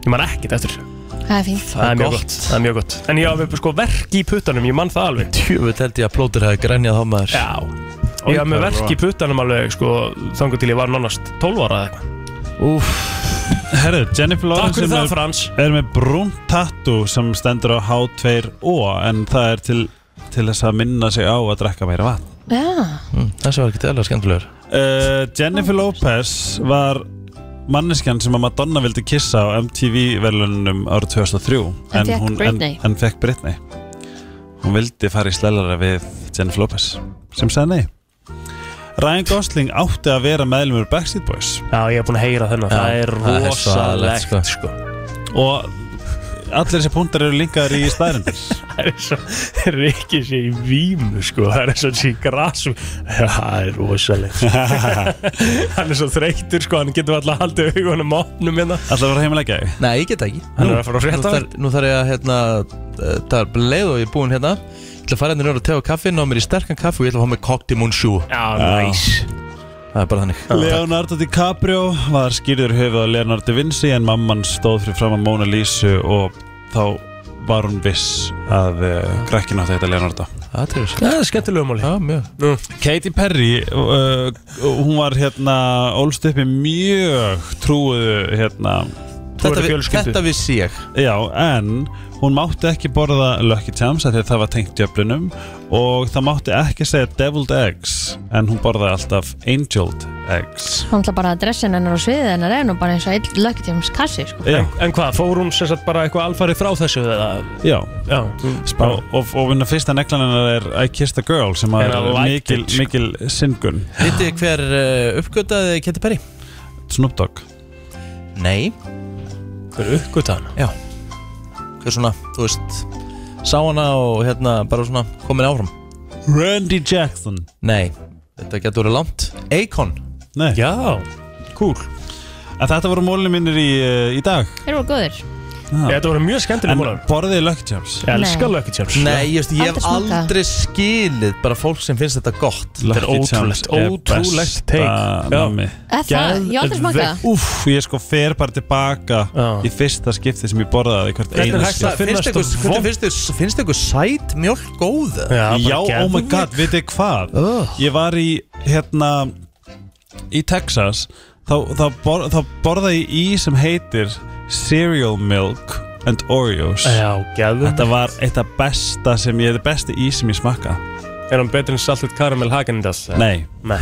[SPEAKER 3] Ég man ekkert eftir þessu.
[SPEAKER 2] Það er fínt
[SPEAKER 3] Það er mjög gott Það er mjög gott En ég hafði sko verk í puttanum, ég mann það alveg
[SPEAKER 1] Tjöfull held ég að plótur hefði grænjað þá maður
[SPEAKER 3] Já Ég hafði með verk í puttanum alveg sko þangur til ég var nánast 12 ára eða eitthvað
[SPEAKER 5] Úf Herru,
[SPEAKER 3] Takk
[SPEAKER 5] Jennifer Lawrence
[SPEAKER 3] fyrir
[SPEAKER 5] sem
[SPEAKER 3] það
[SPEAKER 5] er-
[SPEAKER 3] Frans
[SPEAKER 5] er með brún tattoo sem stendur á H2O en það er til, til þess að minna sig á að drekka meira vatn
[SPEAKER 2] Já,
[SPEAKER 1] Mm, Þessi var ekki eðla skemmtilegur
[SPEAKER 5] uh, Jennifer
[SPEAKER 2] Oh,
[SPEAKER 5] Lopez var manneskjan sem að Madonna vildi kissa á MTV verðlunum árið 2003
[SPEAKER 2] En fékk
[SPEAKER 5] en,
[SPEAKER 2] Britney.
[SPEAKER 5] en fekk Britney hún vildi fara í slælara við Jennifer Lopez sem sagði nei Ryan Gosling átti að vera meðlumur Backstreet Boys
[SPEAKER 3] Já, ég hef búin að heyra þennan Það er rosalegt sko
[SPEAKER 5] og allir þessi púntar eru linkaður í staðrindir
[SPEAKER 3] Það er svo, Rikki sé í vímu sko, það er svo sé í grasu Það er rosalegt Hann er svo þreytur sko, hann getur alltaf haldið augunum opnum hérna
[SPEAKER 5] Alltaf var heimilegja
[SPEAKER 1] Nei, ég get það ekki
[SPEAKER 3] Hann er að fara á frétta.
[SPEAKER 1] Nú þarf- Nú þarf ég að, hérna, eh, það er bara leið og ég er búinn hérna Ég ætla að fara hérna niður og tega kaffi, ná mér í sterkan kaffi og ég ætla að fá mér kokti mun sjú
[SPEAKER 3] Já,
[SPEAKER 5] næs.
[SPEAKER 1] Það er bara þannig
[SPEAKER 5] Leonardo DiCaprio var skýrður höfuð á Leonardo da Vinci en mamman stóð fyrir fram að Mona Lisa og þá var hún viss að uh, grækkin átti að heita Leonardo
[SPEAKER 1] Það er
[SPEAKER 3] Það er skemmtilega máli
[SPEAKER 1] Já, mjög
[SPEAKER 5] Katy Perry uh, hún var hérna ólst uppi mjög trúuðu hérna
[SPEAKER 1] Þetta vi- fjölskyldu. þetta vissi ég
[SPEAKER 5] Já, en hún mátti ekki borða Lucky Charms af því að það var tengt djöflunum og það mátti ekki segja Deviled Eggs en hún borðaði alltaf Angeled Eggs
[SPEAKER 2] Hún ætla bara að dressin hennar og sviðið hennar er nú bara eins og eitt löggetjáms kassi sko.
[SPEAKER 5] Já.
[SPEAKER 3] en, en hvað, fór hún sem sagt bara eitthvað alfarið frá þessu eða?
[SPEAKER 5] Já,
[SPEAKER 3] Já.
[SPEAKER 5] Spá, og, og vinna fyrsta neglan hennar er I Kissed a Girl sem
[SPEAKER 3] And
[SPEAKER 5] er
[SPEAKER 3] I liked
[SPEAKER 5] mikil,
[SPEAKER 3] it, sko.
[SPEAKER 5] mikil syngun
[SPEAKER 1] Vitið þið hver uh, uppgötaði Katy Perry?
[SPEAKER 5] Snoop Dogg
[SPEAKER 1] Nei
[SPEAKER 3] Hver uppgötaði hana?
[SPEAKER 1] Já Hver svona, þú veist Sá hana og hérna bara svona komin áfram
[SPEAKER 5] Randy Jackson
[SPEAKER 1] Nei, þetta getur verið langt Akon
[SPEAKER 5] Nei.
[SPEAKER 3] Já, cool
[SPEAKER 5] En þetta voru mólunum minnir í, eh, í dag
[SPEAKER 2] Þeir voru góður
[SPEAKER 3] Þetta voru mjög skemmtileg
[SPEAKER 5] mólar En borðið Lucky Charms
[SPEAKER 3] Ég elska Nei. Lucky Charms.
[SPEAKER 1] Nei, ég, veist, ég hef
[SPEAKER 2] Aldrei smakað.
[SPEAKER 1] aldrei skilið bara fólk sem finnst þetta gott
[SPEAKER 5] Lucky Charms er besta nammi.
[SPEAKER 2] Er það? Ég hef aldrei smakað það.
[SPEAKER 5] Úff, ég sko fer bara tilbaka í fyrsta skipti sem ég borðaði hvert
[SPEAKER 1] Hvernig
[SPEAKER 5] eina
[SPEAKER 1] er hægt að- finnst ykkur- hvernig finnst ykkur- Finnst ykkur sæt mjölk góð?
[SPEAKER 5] Já, oh my god, veit þið hvað Ég var í, hérna Í Texas Þá, þá, bor, þá borða ég í sem heitir Cereal Milk and Oreos
[SPEAKER 3] Já, geðum
[SPEAKER 5] Þetta var eitt af besta sem ég, þetta besti í sem ég smakka
[SPEAKER 3] Er hann betri en saltet karamel Hagendas?
[SPEAKER 5] Nei.
[SPEAKER 3] Nei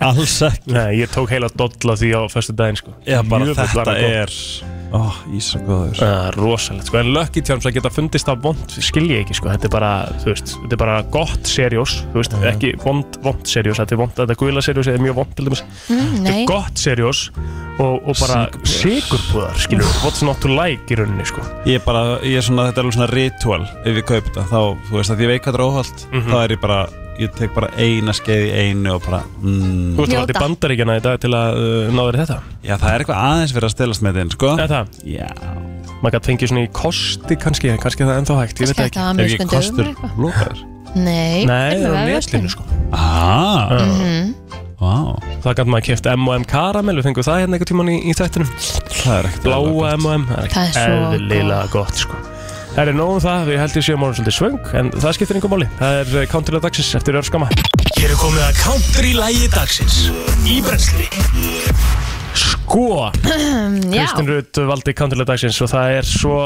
[SPEAKER 5] Alls ekki
[SPEAKER 3] Nei, ég tók heila doll á því á fyrstu daginn sko
[SPEAKER 5] Já, bara
[SPEAKER 3] Jöfull var
[SPEAKER 5] þetta
[SPEAKER 3] hann góð.
[SPEAKER 5] er Ó, ísa góður
[SPEAKER 3] uh, Rosalegt, sko, en Lucky Charms að geta fundist það vond, skil ég ekki, sko, þetta er bara þú veist, þetta er bara gott serjós þú veist, ekki vond, vond serjós, þetta er vond þetta gula serjós er mjög vond til dæmis
[SPEAKER 2] Mm,
[SPEAKER 3] þetta
[SPEAKER 2] nei.
[SPEAKER 3] er gott serjós og, og bara sigurpúðar, skilur, við, what's not to like í rauninni, sko
[SPEAKER 5] Ég er bara, ég er svona, þetta er alveg svona ritual Ef ég kaup þetta, þá, þú veist að ég veit hvað þetta er óholt Þá er ég bara, ég tek bara eina skeið í einu og bara mm,
[SPEAKER 3] Þú ert að fara til bandaríkjana í dag til að uh, ná þér í þetta
[SPEAKER 5] Já, það er eitthvað aðeins verið að stelast með þinn, sko
[SPEAKER 3] Eða það?
[SPEAKER 5] Já
[SPEAKER 3] maður gæti fengið svona í kosti kannski, kannski það er ennþá hægt, ég veit
[SPEAKER 2] Kannski
[SPEAKER 3] ekki
[SPEAKER 2] þetta var mjög skundum eða eitthvað.
[SPEAKER 3] lokaður?
[SPEAKER 2] Nei,
[SPEAKER 3] Nei, það er á
[SPEAKER 2] vefverslun.
[SPEAKER 3] netlinu sko ah,
[SPEAKER 2] Mhm.
[SPEAKER 3] wow. Það gæti maður kæft M&M karamel, við fengum það hérna einhvern tíman í, í þættinum Það er ekkert Bláa M&M,
[SPEAKER 2] Það er
[SPEAKER 3] ekkert
[SPEAKER 2] svo gott.
[SPEAKER 3] eðlilega gott sko Það er nóg um það, við heldum séum orðin svolítið svöng en það skiptir engum máli, það er countrilega dagsins eftir örskama
[SPEAKER 4] Hér er komið að country lægi dagsins Í brensli
[SPEAKER 3] Sko,
[SPEAKER 2] Já,
[SPEAKER 3] Kristinn Rutt valdi countrilega dagsins og það er svo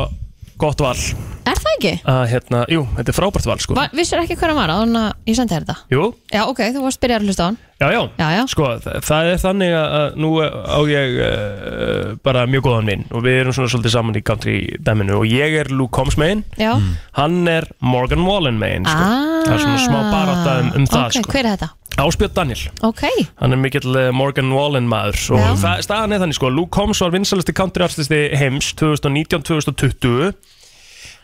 [SPEAKER 3] gott val
[SPEAKER 2] er það ekki?
[SPEAKER 3] að hérna, jú, þetta er frábært val sko
[SPEAKER 2] Va, vissur ekki hver hann var áður en að ég sendi þér þetta?
[SPEAKER 3] Jú,
[SPEAKER 2] Já, ok, þú varst byrjar að hlusta á hann
[SPEAKER 3] Já, já, sko, þa- það er þannig að- að nú eh, á ég uh, bara mjög góðan minn og við erum svona svolítið saman í country dæminu og ég er Luke Combs megin,
[SPEAKER 2] Já. Mm.
[SPEAKER 3] hann er Morgan Wallen megin, sko.
[SPEAKER 2] Ah.
[SPEAKER 3] það er svona smá barátta um, um það,
[SPEAKER 2] Ok,
[SPEAKER 3] sko.
[SPEAKER 2] hver er þetta?
[SPEAKER 3] Áspjöld Daniel,
[SPEAKER 2] Ok,
[SPEAKER 3] hann er mikill eh, Morgan Wallen maður og það- staðan er þannig, sko, Luke Combs var vinsalisti country artisti heims 2019-2020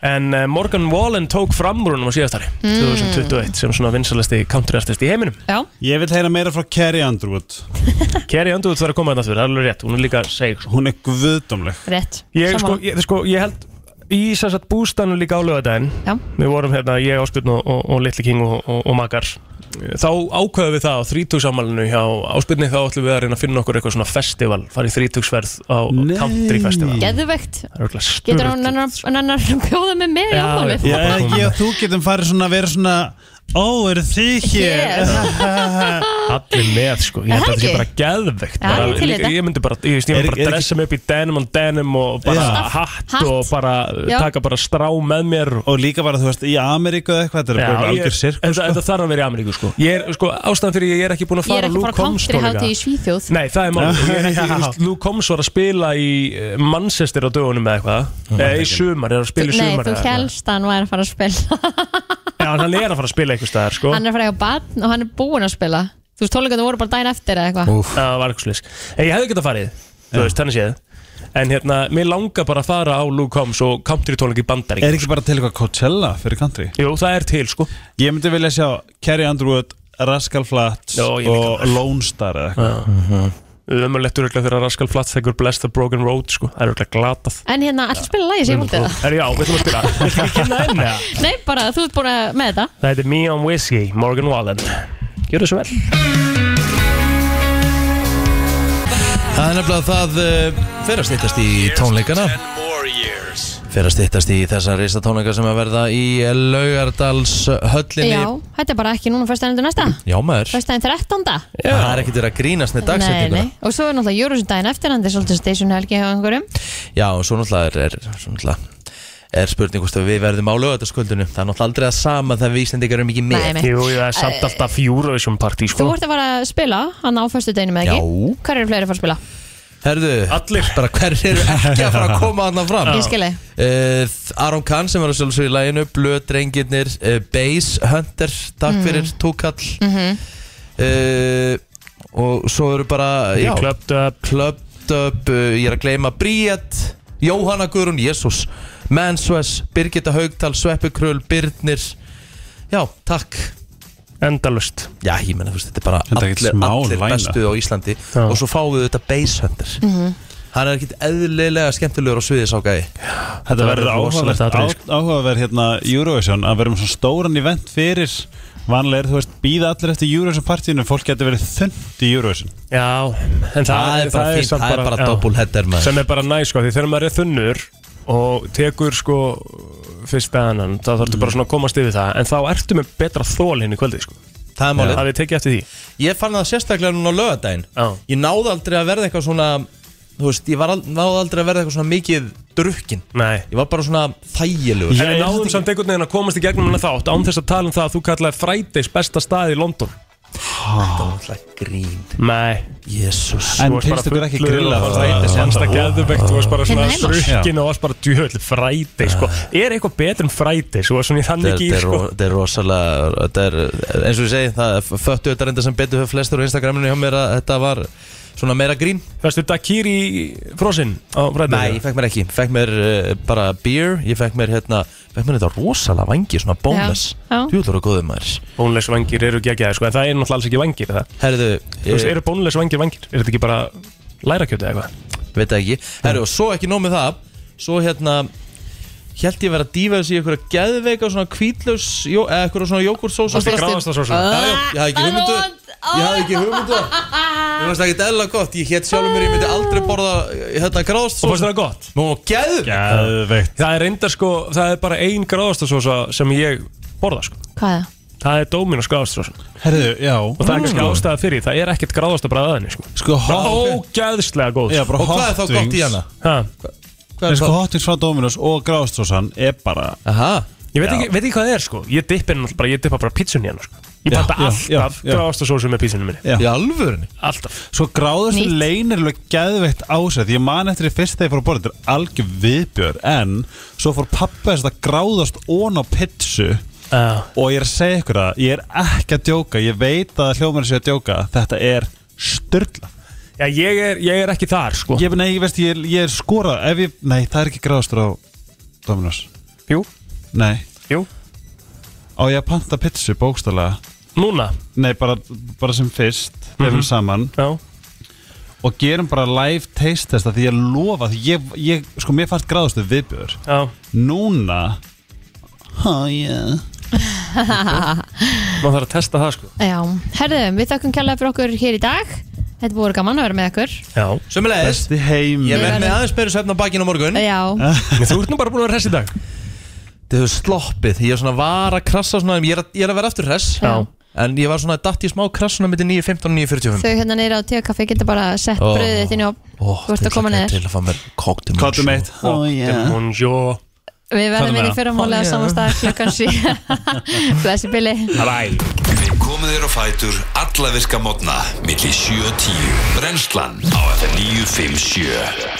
[SPEAKER 3] en eh, Morgan Wallen tók fram úr honum á síðastari,
[SPEAKER 2] Mm.
[SPEAKER 3] 2021 sem svona vinsalisti country artisti í heiminum
[SPEAKER 2] já,
[SPEAKER 5] Ég vil heyra meira frá Carrie Underwood
[SPEAKER 2] Ah.
[SPEAKER 3] Carrie Underwood þarf að koma þetta fyrir, það er alveg rétt Hún er líka sko. seg
[SPEAKER 5] Hún er guðdómleg
[SPEAKER 2] rétt
[SPEAKER 3] Ég, sko,
[SPEAKER 2] Sammála.
[SPEAKER 3] ég, sko, ég held í sem sagt bústanu líka á lögadaginn
[SPEAKER 2] Já.
[SPEAKER 3] Við vorum hérna, ég, Áspjörn og, og, og Little King og, og, og Makar Þá ákveðum við það á þrítugsammalinu hjá Áspjörni þá ætlum við að reyna að finna okkur eitthvað svona festival farið þrítugsverð á Nei. country festival
[SPEAKER 2] geðvegt
[SPEAKER 3] Það er örugglega
[SPEAKER 2] Getur
[SPEAKER 3] sturlað.
[SPEAKER 2] hann annar að bjóða mig með í
[SPEAKER 3] Já,
[SPEAKER 2] ámálið?
[SPEAKER 5] Já, ég og þú getum farið svona að vera svona Ó, eru þið hér?
[SPEAKER 3] Allir með sko, ég
[SPEAKER 5] Er
[SPEAKER 3] held að
[SPEAKER 5] það
[SPEAKER 3] þetta sé
[SPEAKER 5] ekki?
[SPEAKER 3] bara geðvegt
[SPEAKER 5] Já,
[SPEAKER 3] bara,
[SPEAKER 5] ég til í
[SPEAKER 3] líka-
[SPEAKER 5] þetta.
[SPEAKER 3] Ég myndi bara, ég veist, ég
[SPEAKER 5] Er-
[SPEAKER 3] myndi bara
[SPEAKER 5] er
[SPEAKER 3] dressa mig upp í denim og denim og bara
[SPEAKER 5] Já.
[SPEAKER 3] hatt,
[SPEAKER 2] Hatt.
[SPEAKER 3] og bara
[SPEAKER 2] Já.
[SPEAKER 3] Já. taka bara strá með mér
[SPEAKER 5] Og líka bara, þú veist, í Ameríku eða eitthvað Þetta er bara
[SPEAKER 3] ég-
[SPEAKER 5] algjör sirk
[SPEAKER 3] þetta- Þetta þarf að vera í Ameríku sko Ég er, sko, ástæðan fyrir ég er ekki búin að
[SPEAKER 2] Ég er
[SPEAKER 3] fara
[SPEAKER 2] ekki bara country hátíð í Svíþjóð
[SPEAKER 3] Nei, það er mál Ég er ekki,
[SPEAKER 5] Já.
[SPEAKER 3] þú veist, Luke Combs var að spila í eh, Manchester á dögunum eða eitthvað Eða í sumar, er að spila í
[SPEAKER 2] Nei,
[SPEAKER 3] sumar
[SPEAKER 2] þú
[SPEAKER 3] eða Sko. eitthvað.
[SPEAKER 2] helst að hann væri að fara að spila
[SPEAKER 3] Já, en hann er að fara að spila eitthvað staðar sko
[SPEAKER 2] Hann er að fara að eiga barn og hann er búinn að spila Þú veist, tónleikarnir voru bara daginn eftir eða eitthvað
[SPEAKER 3] Úff. Það var eitthvað slis En ég hefði getað farið, þú veist, þannig séð En hérna, mér langar bara að fara á Luke Combs og country tónleik í bandarík
[SPEAKER 5] Er ekki bara til eitthvað Coachella fyrir country?
[SPEAKER 3] Jú, það er til sko
[SPEAKER 5] Ég myndi vilja sjá Carrie Underwood, Rascal Flatts
[SPEAKER 3] Jó, ég líka
[SPEAKER 5] og Lone Star eða
[SPEAKER 3] eitthvað Ömurlegt öruglega þegar Rascal Flatts þegar Bless the Broken Road sko Það er öruglega glatað
[SPEAKER 2] En hérna, allir spila lagi sem ég mútið það
[SPEAKER 3] Herri, já, við ætlum að spila Viltu ekki kynna henni eða?
[SPEAKER 2] Nei, bara, þú ert búin að með þetta
[SPEAKER 3] Það heitir Neon Whiskey, Morgan Wallen Gjör þessu vel
[SPEAKER 1] Það er nefnilega það uh, fyrir að stýttast í tónleikana Fyrir að stýttast í þessa reysta tónleika sem að verða í Laugardals höllinni
[SPEAKER 2] Já, þetta er bara ekki núna fyrst endur næsta
[SPEAKER 1] Já, maður
[SPEAKER 2] Fyrst endur 13.
[SPEAKER 1] Það er ekkert verið að grínast með dagsettinguna
[SPEAKER 2] nei Og svo er náttúrulega Júruðsson daginn eftir Hann er svolítið station helgi hjá einhverjum
[SPEAKER 1] Já, og svo náttúrulega er, er, svo náttúrulega er spurning hvort að við verðum á lögatasköldinu Það er náttúrulega aldrei að sama þegar við Íslandingar erum ekki með
[SPEAKER 2] Nei, nei. Jú, jú, það er samt
[SPEAKER 3] alltaf Eurovision party sko.
[SPEAKER 2] Þú ert að fara að spila Hann á fyrstu daginu með ekki
[SPEAKER 1] Já.
[SPEAKER 2] Hver eru fleiri að fara að spila?
[SPEAKER 1] Herðu, Allir. bara hver eru ekki að fara að koma hann fram
[SPEAKER 2] Ég skil þig.
[SPEAKER 1] uh, Aron Kahn sem var að sjálfsögja í læginu Blöð drengirnir, uh, Bass Hunter Takk
[SPEAKER 2] Mm.
[SPEAKER 1] fyrir, Túkall
[SPEAKER 2] Mhm.
[SPEAKER 1] uh, Og svo eru bara
[SPEAKER 3] Ég klöpt upp
[SPEAKER 1] Klöpt upp, uh, ég er að gleyma Bríett, Jóhanna Guðrún, Jésús Mansves, Birgitta Haugtal Sveppi Krull, Birnir Já, takk
[SPEAKER 3] Endalust
[SPEAKER 1] Já, ég menna, þú veist, þetta er bara
[SPEAKER 5] Þetta er ekkert
[SPEAKER 1] allir,
[SPEAKER 5] smá
[SPEAKER 1] allir
[SPEAKER 5] lineup.
[SPEAKER 1] bestu á Íslandi Og svo fáum við þetta Bass Hunter
[SPEAKER 5] Mhm.
[SPEAKER 1] Hann er ekkert eðlilega skemmtilegur á sviði sá gæði
[SPEAKER 5] Þetta verður áhugaverð, á- áhugaverð hérna Eurovision að verðum svona stóran event fyrir Vanlega er þú veist býða allir eftir Eurovision partíinu Fólk getur verið þund í Eurovision
[SPEAKER 3] Já, en það,
[SPEAKER 5] Það er bara fínt,
[SPEAKER 3] samt
[SPEAKER 5] það er bara
[SPEAKER 3] já.
[SPEAKER 5] double header, maður.
[SPEAKER 3] Sem er bara næ, sko, því þegar maður er þunnur og tekur sko fyrst aðanann, þá þarftu bara svona að komast yfir það en þá ertu með betra þól hinn í kvöldi sko.
[SPEAKER 1] Það er málið.
[SPEAKER 3] Það við tekið eftir því
[SPEAKER 1] Ég fann það sérstaklega núna á lögadaginn Ég náði aldrei að verða eitthvað svona Þú veist, ég var al náði aldrei að verða eitthvað svona mikið drukkin
[SPEAKER 3] Nei
[SPEAKER 1] Ég var bara svona þægilegur
[SPEAKER 3] En við náðum samt einhvern veginn að komast í gegnum hana þátt án þess að tala um það að þú kallaði Fridays besta staði í London
[SPEAKER 1] Þetta var alltaf grín
[SPEAKER 3] Nei
[SPEAKER 1] Jésús
[SPEAKER 5] En finnst ykkur ekki grilla að fara
[SPEAKER 3] Fridays
[SPEAKER 5] Fridays
[SPEAKER 3] Fannst það
[SPEAKER 5] ennþá?
[SPEAKER 3] geðveikt Þú varst bara svona
[SPEAKER 5] Hérna heima.
[SPEAKER 3] srukkin og varst bara djöðli Fridays sko
[SPEAKER 5] Ah.
[SPEAKER 3] Er eitthvað betur en Fridays? Þú varst svona í þannig
[SPEAKER 1] Þetta
[SPEAKER 3] gýr
[SPEAKER 1] er,
[SPEAKER 3] sko
[SPEAKER 1] ro- þetta er rosalega þetta er, eins og ég segi, það föttu þetta reynda sem betur fyrir flestur á Instagraminu hjá mér að þetta var svona meira grín
[SPEAKER 3] Fæstu Dakiri frosinn á fræðinu?
[SPEAKER 1] Nei, ég fekk mér ekki, fekk mér uh, bara beer, ég fekk mér hérna fekk mér þetta rosalega vangi, svona bónus
[SPEAKER 2] Já, já.
[SPEAKER 1] Þú ætlar að góðum maður
[SPEAKER 3] Bónlegs vangir eru geggjaði sko En það er náttúrulega alls ekki vangir það
[SPEAKER 1] Herðu eh,
[SPEAKER 3] Þú veist, eru bónlegs vangir vangir? Er þetta ekki bara lærakjöti eða eitthvað?
[SPEAKER 1] veit það ekki Herru, og svo ekki nóg með það Svo hérna Hjælt ég verið að dífa þessi í einhverja geðveika svona kvítlaus, jó- eða einhverja svona jógurtsósu
[SPEAKER 3] Varstu í gráðastasósu?
[SPEAKER 1] Já, já, ég hafði ekki hugmyndu Ég hafði ekki hugmyndu Mér fannst það ekki eðla gott, ég hétt sjálfur mér, ég myndi aldrei borða hérna gráðastasósu
[SPEAKER 3] Og fannst þér það gott?
[SPEAKER 1] Nú, geðveikt
[SPEAKER 3] Geðveikt Það er reyndar sko, það er bara ein gráðastasósa sem ég borða sko
[SPEAKER 2] Hvað er það?
[SPEAKER 3] Það er Dominos gráðastasósa
[SPEAKER 5] Herðu, já Og
[SPEAKER 3] það er kannski ástæða fyrir, því, það er ekkert gráðastabræða að henni sko
[SPEAKER 5] Sko,
[SPEAKER 3] Það
[SPEAKER 5] hot-
[SPEAKER 3] er ógeðslega góð
[SPEAKER 5] Já, bara
[SPEAKER 3] Og hvað er þá
[SPEAKER 5] hot
[SPEAKER 3] gott í
[SPEAKER 5] wings.
[SPEAKER 3] hana? Ha?
[SPEAKER 5] En sko hotins frá Dominos og gráðstósan er bara
[SPEAKER 1] Aha
[SPEAKER 3] Ég veit ekki, veit ekki hvað það er sko Ég dippa henni bara, ég dippa bara pítsunni henni sko Ég
[SPEAKER 5] Já,
[SPEAKER 3] panta
[SPEAKER 5] já,
[SPEAKER 3] alltaf
[SPEAKER 5] já, já.
[SPEAKER 3] gráðastasósu með pítsunni minni
[SPEAKER 5] Já. Í
[SPEAKER 1] alvörinni?
[SPEAKER 3] Alltaf
[SPEAKER 5] Svo gráðast
[SPEAKER 3] Nýtt.
[SPEAKER 5] leynir alveg geðveitt ásætt Ég man eftir því fyrst þegar ég fór að borða Þetta er algjör viðbjör En svo fór pappa þess að gráðast ón á pitsu
[SPEAKER 3] uh.
[SPEAKER 5] Og ég er að segja ykkur það Ég er ekki að djóka Ég veit að hljómar sé að djóka Þetta er styrla
[SPEAKER 3] Já, ég er, ég er ekki þar sko
[SPEAKER 5] Ég, nei, ég veist, ég, er- ég er skorað ef ég, Nei, það er ekki gráðastur á Dominos
[SPEAKER 3] Jú
[SPEAKER 5] Nei
[SPEAKER 3] Jú
[SPEAKER 5] Á ég að panta pitsu bókstala
[SPEAKER 3] Núna?
[SPEAKER 5] Nei, bara, bara sem fyrst Þegar við
[SPEAKER 3] Mhm.
[SPEAKER 5] erum saman
[SPEAKER 3] Já
[SPEAKER 5] Og gerum bara live taste test af Því ég lofa Því ég, ég sko, mér fannst gráðastu viðbjör
[SPEAKER 3] Já
[SPEAKER 5] Núna Ha, já
[SPEAKER 3] Má þarf að testa það sko
[SPEAKER 2] Já, herðu, við þakkum kjærlega fyrir okkur hér í dag Þetta búið gaman að vera með okkur
[SPEAKER 3] Já
[SPEAKER 1] Sumulegis
[SPEAKER 5] Besti heim
[SPEAKER 1] Ég verð
[SPEAKER 2] Ég
[SPEAKER 1] með
[SPEAKER 2] verð-
[SPEAKER 1] aðeins meira svefn á bakinn á morgun
[SPEAKER 2] Já.
[SPEAKER 1] Eh?
[SPEAKER 3] Þú ert nú bara búin að vera hress í dag
[SPEAKER 1] Þið hefur sloppið, ég er svona var að krassa svona Ég er að, ég er að vera aftur hress
[SPEAKER 2] Já.
[SPEAKER 1] En ég var svona datt í smá krassuna mitt 9.15 og 9.45
[SPEAKER 2] Þau hérna neyra á tíakaffi geta bara sett
[SPEAKER 1] Ó.
[SPEAKER 2] oh. bröðið þitt inn í opn
[SPEAKER 1] Ó,
[SPEAKER 2] Þú ert að koma
[SPEAKER 1] til
[SPEAKER 2] neður
[SPEAKER 1] að fá mér kóktum
[SPEAKER 5] Kóktum eitt
[SPEAKER 1] Ó, já.
[SPEAKER 3] Bonjour
[SPEAKER 2] Við
[SPEAKER 1] Hvað er
[SPEAKER 2] verðum inn
[SPEAKER 1] með
[SPEAKER 2] í
[SPEAKER 1] það?
[SPEAKER 2] fyrramálið á
[SPEAKER 1] Ó, já.
[SPEAKER 2] saman stað klukkan 7 Blessi Billy
[SPEAKER 3] Bye
[SPEAKER 16] Við komum þér á fætur alla virka mótna millir 7 og 10 Brennslan á FM 957